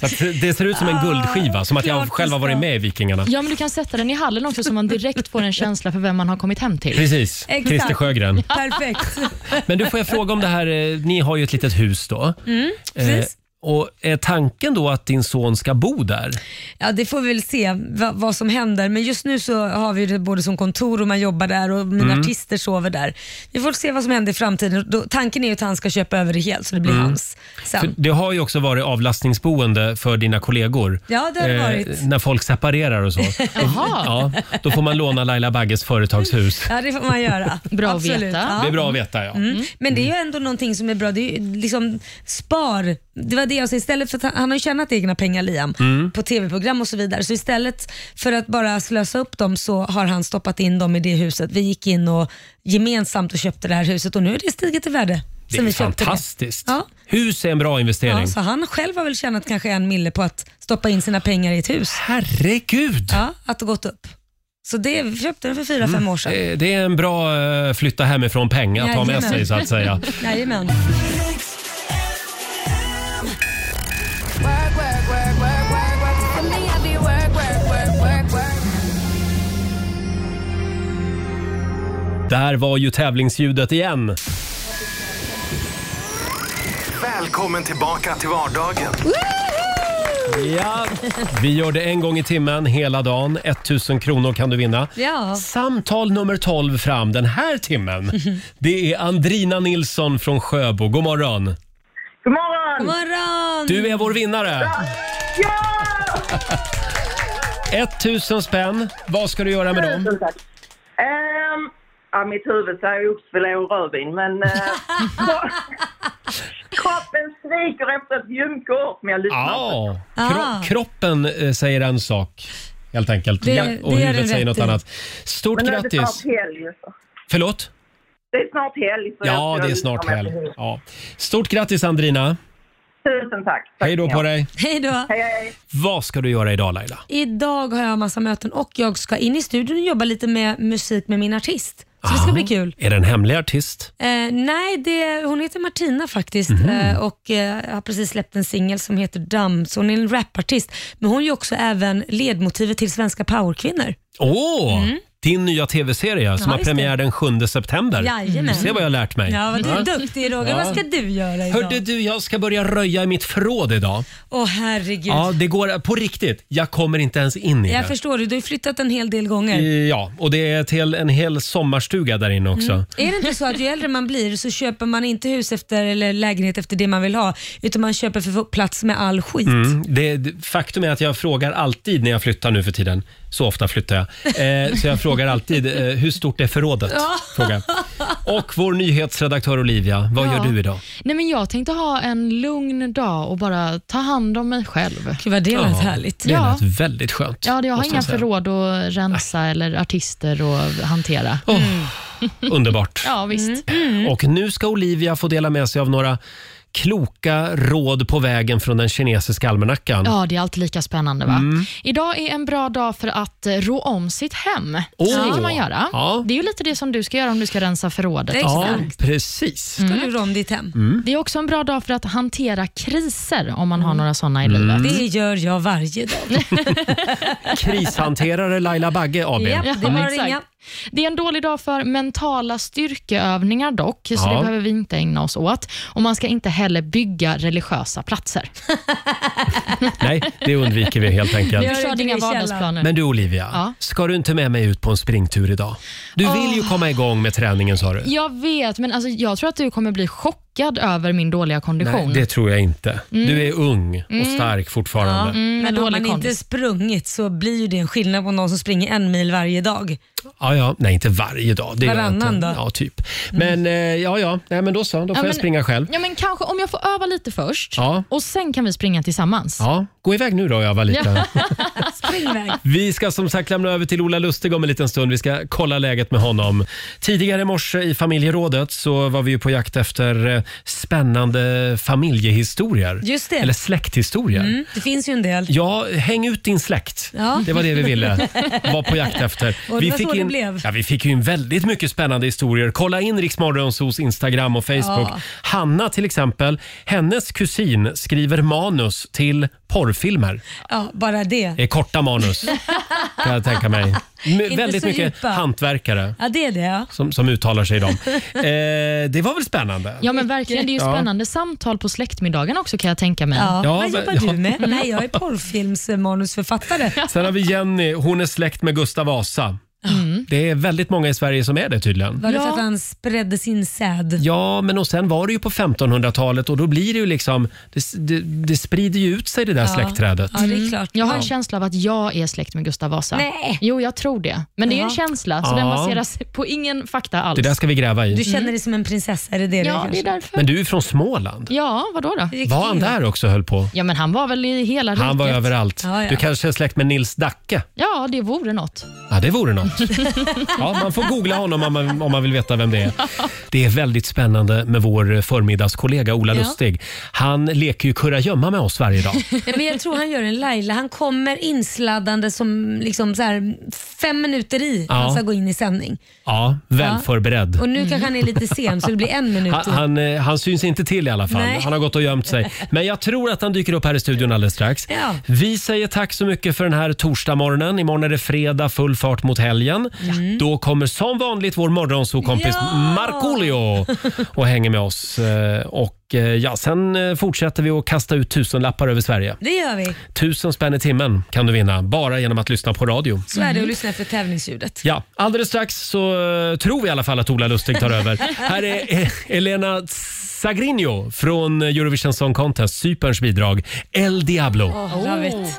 Speaker 1: Så att det ser ut som en guldskiva, som att jag
Speaker 4: klart du
Speaker 1: själv har varit
Speaker 4: ska.
Speaker 1: med i Vikingarna.
Speaker 4: Ja, men du kan sätta den i hallen också så man direkt får en känsla för vem man har kommit hem till.
Speaker 1: Precis,
Speaker 3: Exakt.
Speaker 1: Christer Sjögren.
Speaker 3: Perfekt.
Speaker 1: *laughs* Men du, får jag fråga om det här, eh, ni har ju ett litet hus då.
Speaker 3: Mm,
Speaker 1: Eh,
Speaker 3: precis.
Speaker 1: Och är tanken då att din son ska bo där?
Speaker 3: Ja, det får vi väl se va, vad som händer. Men just nu så har vi det både som kontor och man jobbar där och mina
Speaker 1: Mm.
Speaker 3: artister sover där. Vi får se vad som händer i framtiden. Då, tanken är ju att han ska köpa över det helt så det blir
Speaker 1: Mm.
Speaker 3: hans sen.
Speaker 1: För det har ju också varit avlastningsboende för dina kollegor. Eh,
Speaker 3: Ja, det har det varit.
Speaker 1: när folk separerar
Speaker 3: *laughs*
Speaker 1: och så.
Speaker 3: Jaha.
Speaker 1: Ja, då får man låna Laila Bagges företagshus.
Speaker 3: Ja, det får man göra.
Speaker 4: Bra att
Speaker 3: Absolut.
Speaker 4: veta.
Speaker 3: Ja.
Speaker 1: Det är *laughs* bra att veta, ja.
Speaker 3: Mm. Men det är ju ändå någonting som är bra. Det är ju liksom spar. Det var det jag sa, istället för att han, han har ju tjänat egna pengar Liam
Speaker 1: Mm.
Speaker 3: på tv-program och så vidare. Så istället för att bara slösa upp dem så har han stoppat in dem i det huset. Vi gick in och gemensamt och köpte det här huset och nu har det stigit i värde.
Speaker 1: Det
Speaker 3: sen
Speaker 1: är
Speaker 3: vi köpte
Speaker 1: fantastiskt.
Speaker 3: Ja.
Speaker 1: Hus är en bra investering.
Speaker 3: Ja, så han själv har väl tjänat kanske en mille på att stoppa in sina pengar i ett hus.
Speaker 1: Herregud!
Speaker 3: Ja, att det gått upp. Så det vi köpte den för fyra fem år sedan.
Speaker 1: Eh, Det är en bra eh, flytta hemifrån-peng att ha med
Speaker 3: Jajamän.
Speaker 1: sig så att säga.
Speaker 3: Jajamän.
Speaker 1: Där var ju tävlingsljudet igen.
Speaker 9: Välkommen tillbaka till vardagen.
Speaker 1: Ja. Vi gör det en gång i timmen hela dagen. 1000 kronor kan du vinna.
Speaker 3: Ja.
Speaker 1: Samtal nummer 12 fram den här timmen. Det är Andrina Nilsson från Sjöbo. God morgon!
Speaker 11: God morgon! God
Speaker 3: morgon!
Speaker 1: Du är vår vinnare!
Speaker 11: Ja!
Speaker 1: 1000 spänn. Vad ska du göra med dem?
Speaker 11: Tusen tack. Ehm, ja, mitt huvud säger oxfilé och rödvin, men... eh,
Speaker 1: *laughs*
Speaker 11: kroppen skriker efter ett gymkort, men jag lyssnar
Speaker 1: Ja,
Speaker 11: inte.
Speaker 1: kro- kroppen eh, säger en sak helt enkelt
Speaker 11: Det-
Speaker 1: Ja,
Speaker 11: det
Speaker 1: och
Speaker 11: gör
Speaker 1: huvudet
Speaker 11: du
Speaker 1: säger
Speaker 11: rätt
Speaker 1: något
Speaker 11: i.
Speaker 1: annat. Stort
Speaker 11: men nu är det
Speaker 1: grattis!
Speaker 11: snart helg. så.
Speaker 1: Förlåt?
Speaker 11: Det är snart helg. så jag
Speaker 1: Ja,
Speaker 11: ska
Speaker 1: det är
Speaker 11: lyssna
Speaker 1: snart
Speaker 11: med
Speaker 1: helg.
Speaker 11: precis.
Speaker 1: Ja. Stort grattis Andrina!
Speaker 11: Tusen tack.
Speaker 1: Hej då på dig!
Speaker 3: Hej då.
Speaker 1: Vad ska du göra idag Laila?
Speaker 3: Idag har jag massa möten och jag ska in i studion och jobba lite med musik med min artist. Så det ska bli kul.
Speaker 1: Är det en hemlig artist?
Speaker 3: Eh, nej, det, hon heter Martina faktiskt
Speaker 1: Mhm.
Speaker 3: eh, och eh, har precis släppt en singel som heter Damm, så hon är en rapartist. Men hon är ju också även ledmotivet till Svenska powerkvinnor.
Speaker 1: Åh! Din nya tv-serie som
Speaker 3: Mm. Ja,
Speaker 1: har
Speaker 3: just det.
Speaker 1: premiär den 7 september.
Speaker 3: Jajamän.
Speaker 1: Du Mm, ser vad jag har lärt mig.
Speaker 3: Ja, vad du är duktig Roger.
Speaker 1: Ja.
Speaker 3: Vad ska du göra idag?
Speaker 1: Hörde du, jag ska börja röja i mitt förråd idag.
Speaker 3: Åh herregud.
Speaker 1: Ja, det går på riktigt. Jag kommer inte ens in i
Speaker 3: jag
Speaker 1: det.
Speaker 3: förstår, det. du har ju flyttat en hel del gånger.
Speaker 1: Ja, och det är till en hel sommarstuga där inne också.
Speaker 3: Mm. Är det inte så att ju äldre man blir så köper man inte hus efter eller lägenhet efter det man vill ha utan man köper för att få plats med all skit.
Speaker 1: Mm, det, det- faktum är att jag frågar alltid när jag flyttar nu för tiden. Så ofta flyttar jag. Eh, så jag frågar alltid, eh, hur stort är förrådet?
Speaker 4: Ja.
Speaker 1: Frågar. jag. Och vår nyhetsredaktör Olivia, vad
Speaker 4: Ja.
Speaker 1: gör du idag?
Speaker 4: Nej, men jag tänkte ha en lugn dag och bara ta hand om mig själv.
Speaker 3: Gud vad det
Speaker 1: Ja, Det
Speaker 4: Ja.
Speaker 1: lät väldigt skönt.
Speaker 4: Ja, det- jag har
Speaker 1: måste
Speaker 4: inga
Speaker 1: säga.
Speaker 4: förråd att rensa eller artister att hantera.
Speaker 1: Underbart.
Speaker 4: Ja, visst.
Speaker 1: Och nu ska Olivia få dela med sig av några kloka råd på vägen från den kinesiska almanackan.
Speaker 4: Ja, det är alltid lika spännande. va?
Speaker 1: Mm.
Speaker 4: Idag är en bra dag för att eh, rå om sitt hem.
Speaker 1: Åh.
Speaker 4: Så det kan man göra.
Speaker 1: Ja.
Speaker 4: Det är ju lite det som du ska göra om du ska rensa förrådet. och
Speaker 1: ja
Speaker 4: sådär.
Speaker 1: precis.
Speaker 3: Ska du rå om ditt hem?
Speaker 1: Mm.
Speaker 4: Det är också en bra dag för att hantera kriser om man har några sådana i
Speaker 1: Mm.
Speaker 4: livet.
Speaker 1: Det
Speaker 3: gör jag varje dag.
Speaker 1: Krishanterare Laila Bagge AB.
Speaker 4: exakt. Det är en dålig dag för mentala styrkeövningar dock, så
Speaker 1: Ja.
Speaker 4: det behöver vi inte ägna oss åt. Och Man ska inte heller bygga religiösa platser.
Speaker 1: Nej, det undviker vi helt enkelt.
Speaker 4: Du körde inga vardagsplaner.
Speaker 1: Men du Olivia,
Speaker 4: Ja.
Speaker 1: ska du inte med mig ut på en springtur idag? Du vill ju komma igång med träningen sa du.
Speaker 4: Jag vet, men alltså, jag tror att du kommer bli chockad över min dåliga kondition.
Speaker 1: Nej, det tror jag inte.
Speaker 4: Mm.
Speaker 1: Du är ung och
Speaker 4: Mm.
Speaker 1: stark
Speaker 3: Ja,
Speaker 1: fortfarande.
Speaker 3: men
Speaker 4: dålig
Speaker 3: om man inte
Speaker 4: kondis.
Speaker 3: sprungit så blir ju det en skillnad på någon som springer en mil varje dag.
Speaker 1: Ja, ja. Nej, inte varje dag. Det gör jag
Speaker 3: Varannan
Speaker 1: inte.
Speaker 3: dag. Mm.
Speaker 1: Ja, typ. Men eh, ja, ja. Nej, men då så. Då får
Speaker 4: Ja,
Speaker 1: jag
Speaker 4: men-
Speaker 1: springa själv.
Speaker 4: Ja, men kanske om jag får öva lite först
Speaker 1: Ja.
Speaker 4: och sen kan vi springa tillsammans.
Speaker 1: Ja, gå iväg nu då jag var liten.
Speaker 3: Spring iväg.
Speaker 1: *laughs* Vi ska som sagt lämna över till Ola Lustig om en liten stund. Vi ska kolla läget med honom. Tidigare i morse i familjerådet så var vi ju på jakt efter eh, spännande familjehistorier.
Speaker 3: Just det.
Speaker 1: Eller släkthistorier.
Speaker 3: Mm, det finns ju en del.
Speaker 1: Ja, häng ut din släkt.
Speaker 3: Ja.
Speaker 1: Det var det vi
Speaker 3: *laughs*
Speaker 1: ville vara på jakt efter.
Speaker 3: Och det
Speaker 1: vi
Speaker 3: var så det
Speaker 1: in,
Speaker 3: blev.
Speaker 1: Ja, vi fick ju in väldigt mycket spännande historier. Kolla in Riksmorgonsos Instagram och Facebook.
Speaker 3: Ja.
Speaker 1: Hanna till exempel, hennes kusin skriver manus till porrfilmer.
Speaker 3: Ja, bara det.
Speaker 1: Det är korta
Speaker 3: *laughs*
Speaker 1: manus kan jag tänka mig. M-
Speaker 3: Inte
Speaker 1: väldigt
Speaker 3: så
Speaker 1: mycket
Speaker 3: djupa.
Speaker 1: hantverkare
Speaker 3: Ja, det är det ja.
Speaker 1: som, som uttalar sig i
Speaker 3: *laughs*
Speaker 1: dem. Eh, det var väl spännande?
Speaker 4: Ja, men verkligen. Det är ju
Speaker 1: Ja.
Speaker 4: spännande samtal på släktmiddagen också kan jag tänka mig.
Speaker 1: Ja, Ja,
Speaker 3: Vad
Speaker 1: men-
Speaker 3: jobbar
Speaker 1: ja.
Speaker 3: du med? Nej, jag är porrfilmsmanusförfattare.
Speaker 1: Sen har vi Jenny, hon är släkt med Gustav Vasa.
Speaker 3: Mm.
Speaker 1: Det är väldigt många i Sverige som är det tydligen.
Speaker 3: Var det för att han spredde sin säd?
Speaker 1: Ja, men och sen var det ju på 1500-talet och då blir det ju liksom, det, det, det sprider ju ut sig det där släktträdet.
Speaker 4: Mm. Jag har en känsla av att jag är släkt med Gustav Vasa.
Speaker 3: Nej.
Speaker 4: Jo, jag tror det. Men det är ju en
Speaker 3: Ja.
Speaker 4: känsla, så
Speaker 1: Ja.
Speaker 4: den baseras på ingen fakta alls.
Speaker 1: Det där ska vi gräva i.
Speaker 3: Du känner dig som en prinsessa, är det det
Speaker 4: Ja,
Speaker 3: du
Speaker 4: det är
Speaker 3: kanske?
Speaker 4: därför.
Speaker 1: Men du är från Småland.
Speaker 4: Ja, vadå då?
Speaker 1: Var han där också höll på?
Speaker 4: Ja, men han var väl i hela
Speaker 1: Han var
Speaker 4: riket.
Speaker 1: överallt.
Speaker 4: Ja, ja.
Speaker 1: Du kanske är släkt med Nils Dacke?
Speaker 4: ja det vore något.
Speaker 1: Ja, det vore något. Ja, man får googla honom om man, om man vill veta vem det är. Det är väldigt spännande med vår förmiddagskollega Ola
Speaker 3: Ja.
Speaker 1: Lustig. Han leker ju kurragömma med oss varje dag.
Speaker 3: Nej, men jag tror han gör en Laila. Han kommer insladdande som liksom så här, fem minuter i
Speaker 1: Ja.
Speaker 3: han ska gå in i sändning.
Speaker 1: Ja, väl förberedd.
Speaker 3: Och nu kanske han är lite sen så det blir en minut.
Speaker 1: Han, han, eh, han syns inte till i alla fall.
Speaker 3: Nej.
Speaker 1: Han har gått och gömt
Speaker 3: *laughs*
Speaker 1: sig. Men jag tror att han dyker upp här i studion alldeles strax.
Speaker 3: Ja.
Speaker 1: Vi säger tack så mycket för den här torsdagmorgonen. Imorgon är det fredag, full fart mot helgen.
Speaker 3: Mm.
Speaker 1: Då kommer som vanligt vår morgonsokompis
Speaker 12: Ja!
Speaker 3: *laughs*
Speaker 1: Markoolio och hänger med oss. Eh, Och eh, ja, sen eh, fortsätter vi att kasta ut tusenlappar över Sverige.
Speaker 3: Det gör vi.
Speaker 1: Tusen spänn i timmen kan du vinna bara genom att lyssna på radio.
Speaker 3: Så är det att lyssna efter tävlingsljudet.
Speaker 1: Ja, alldeles strax så eh, tror vi i alla fall att Ola Lustig tar över. Här är eh, Elena Sagrinho från Eurovision Song Contest, Cyperns bidrag El Diablo.
Speaker 3: Åh, love it.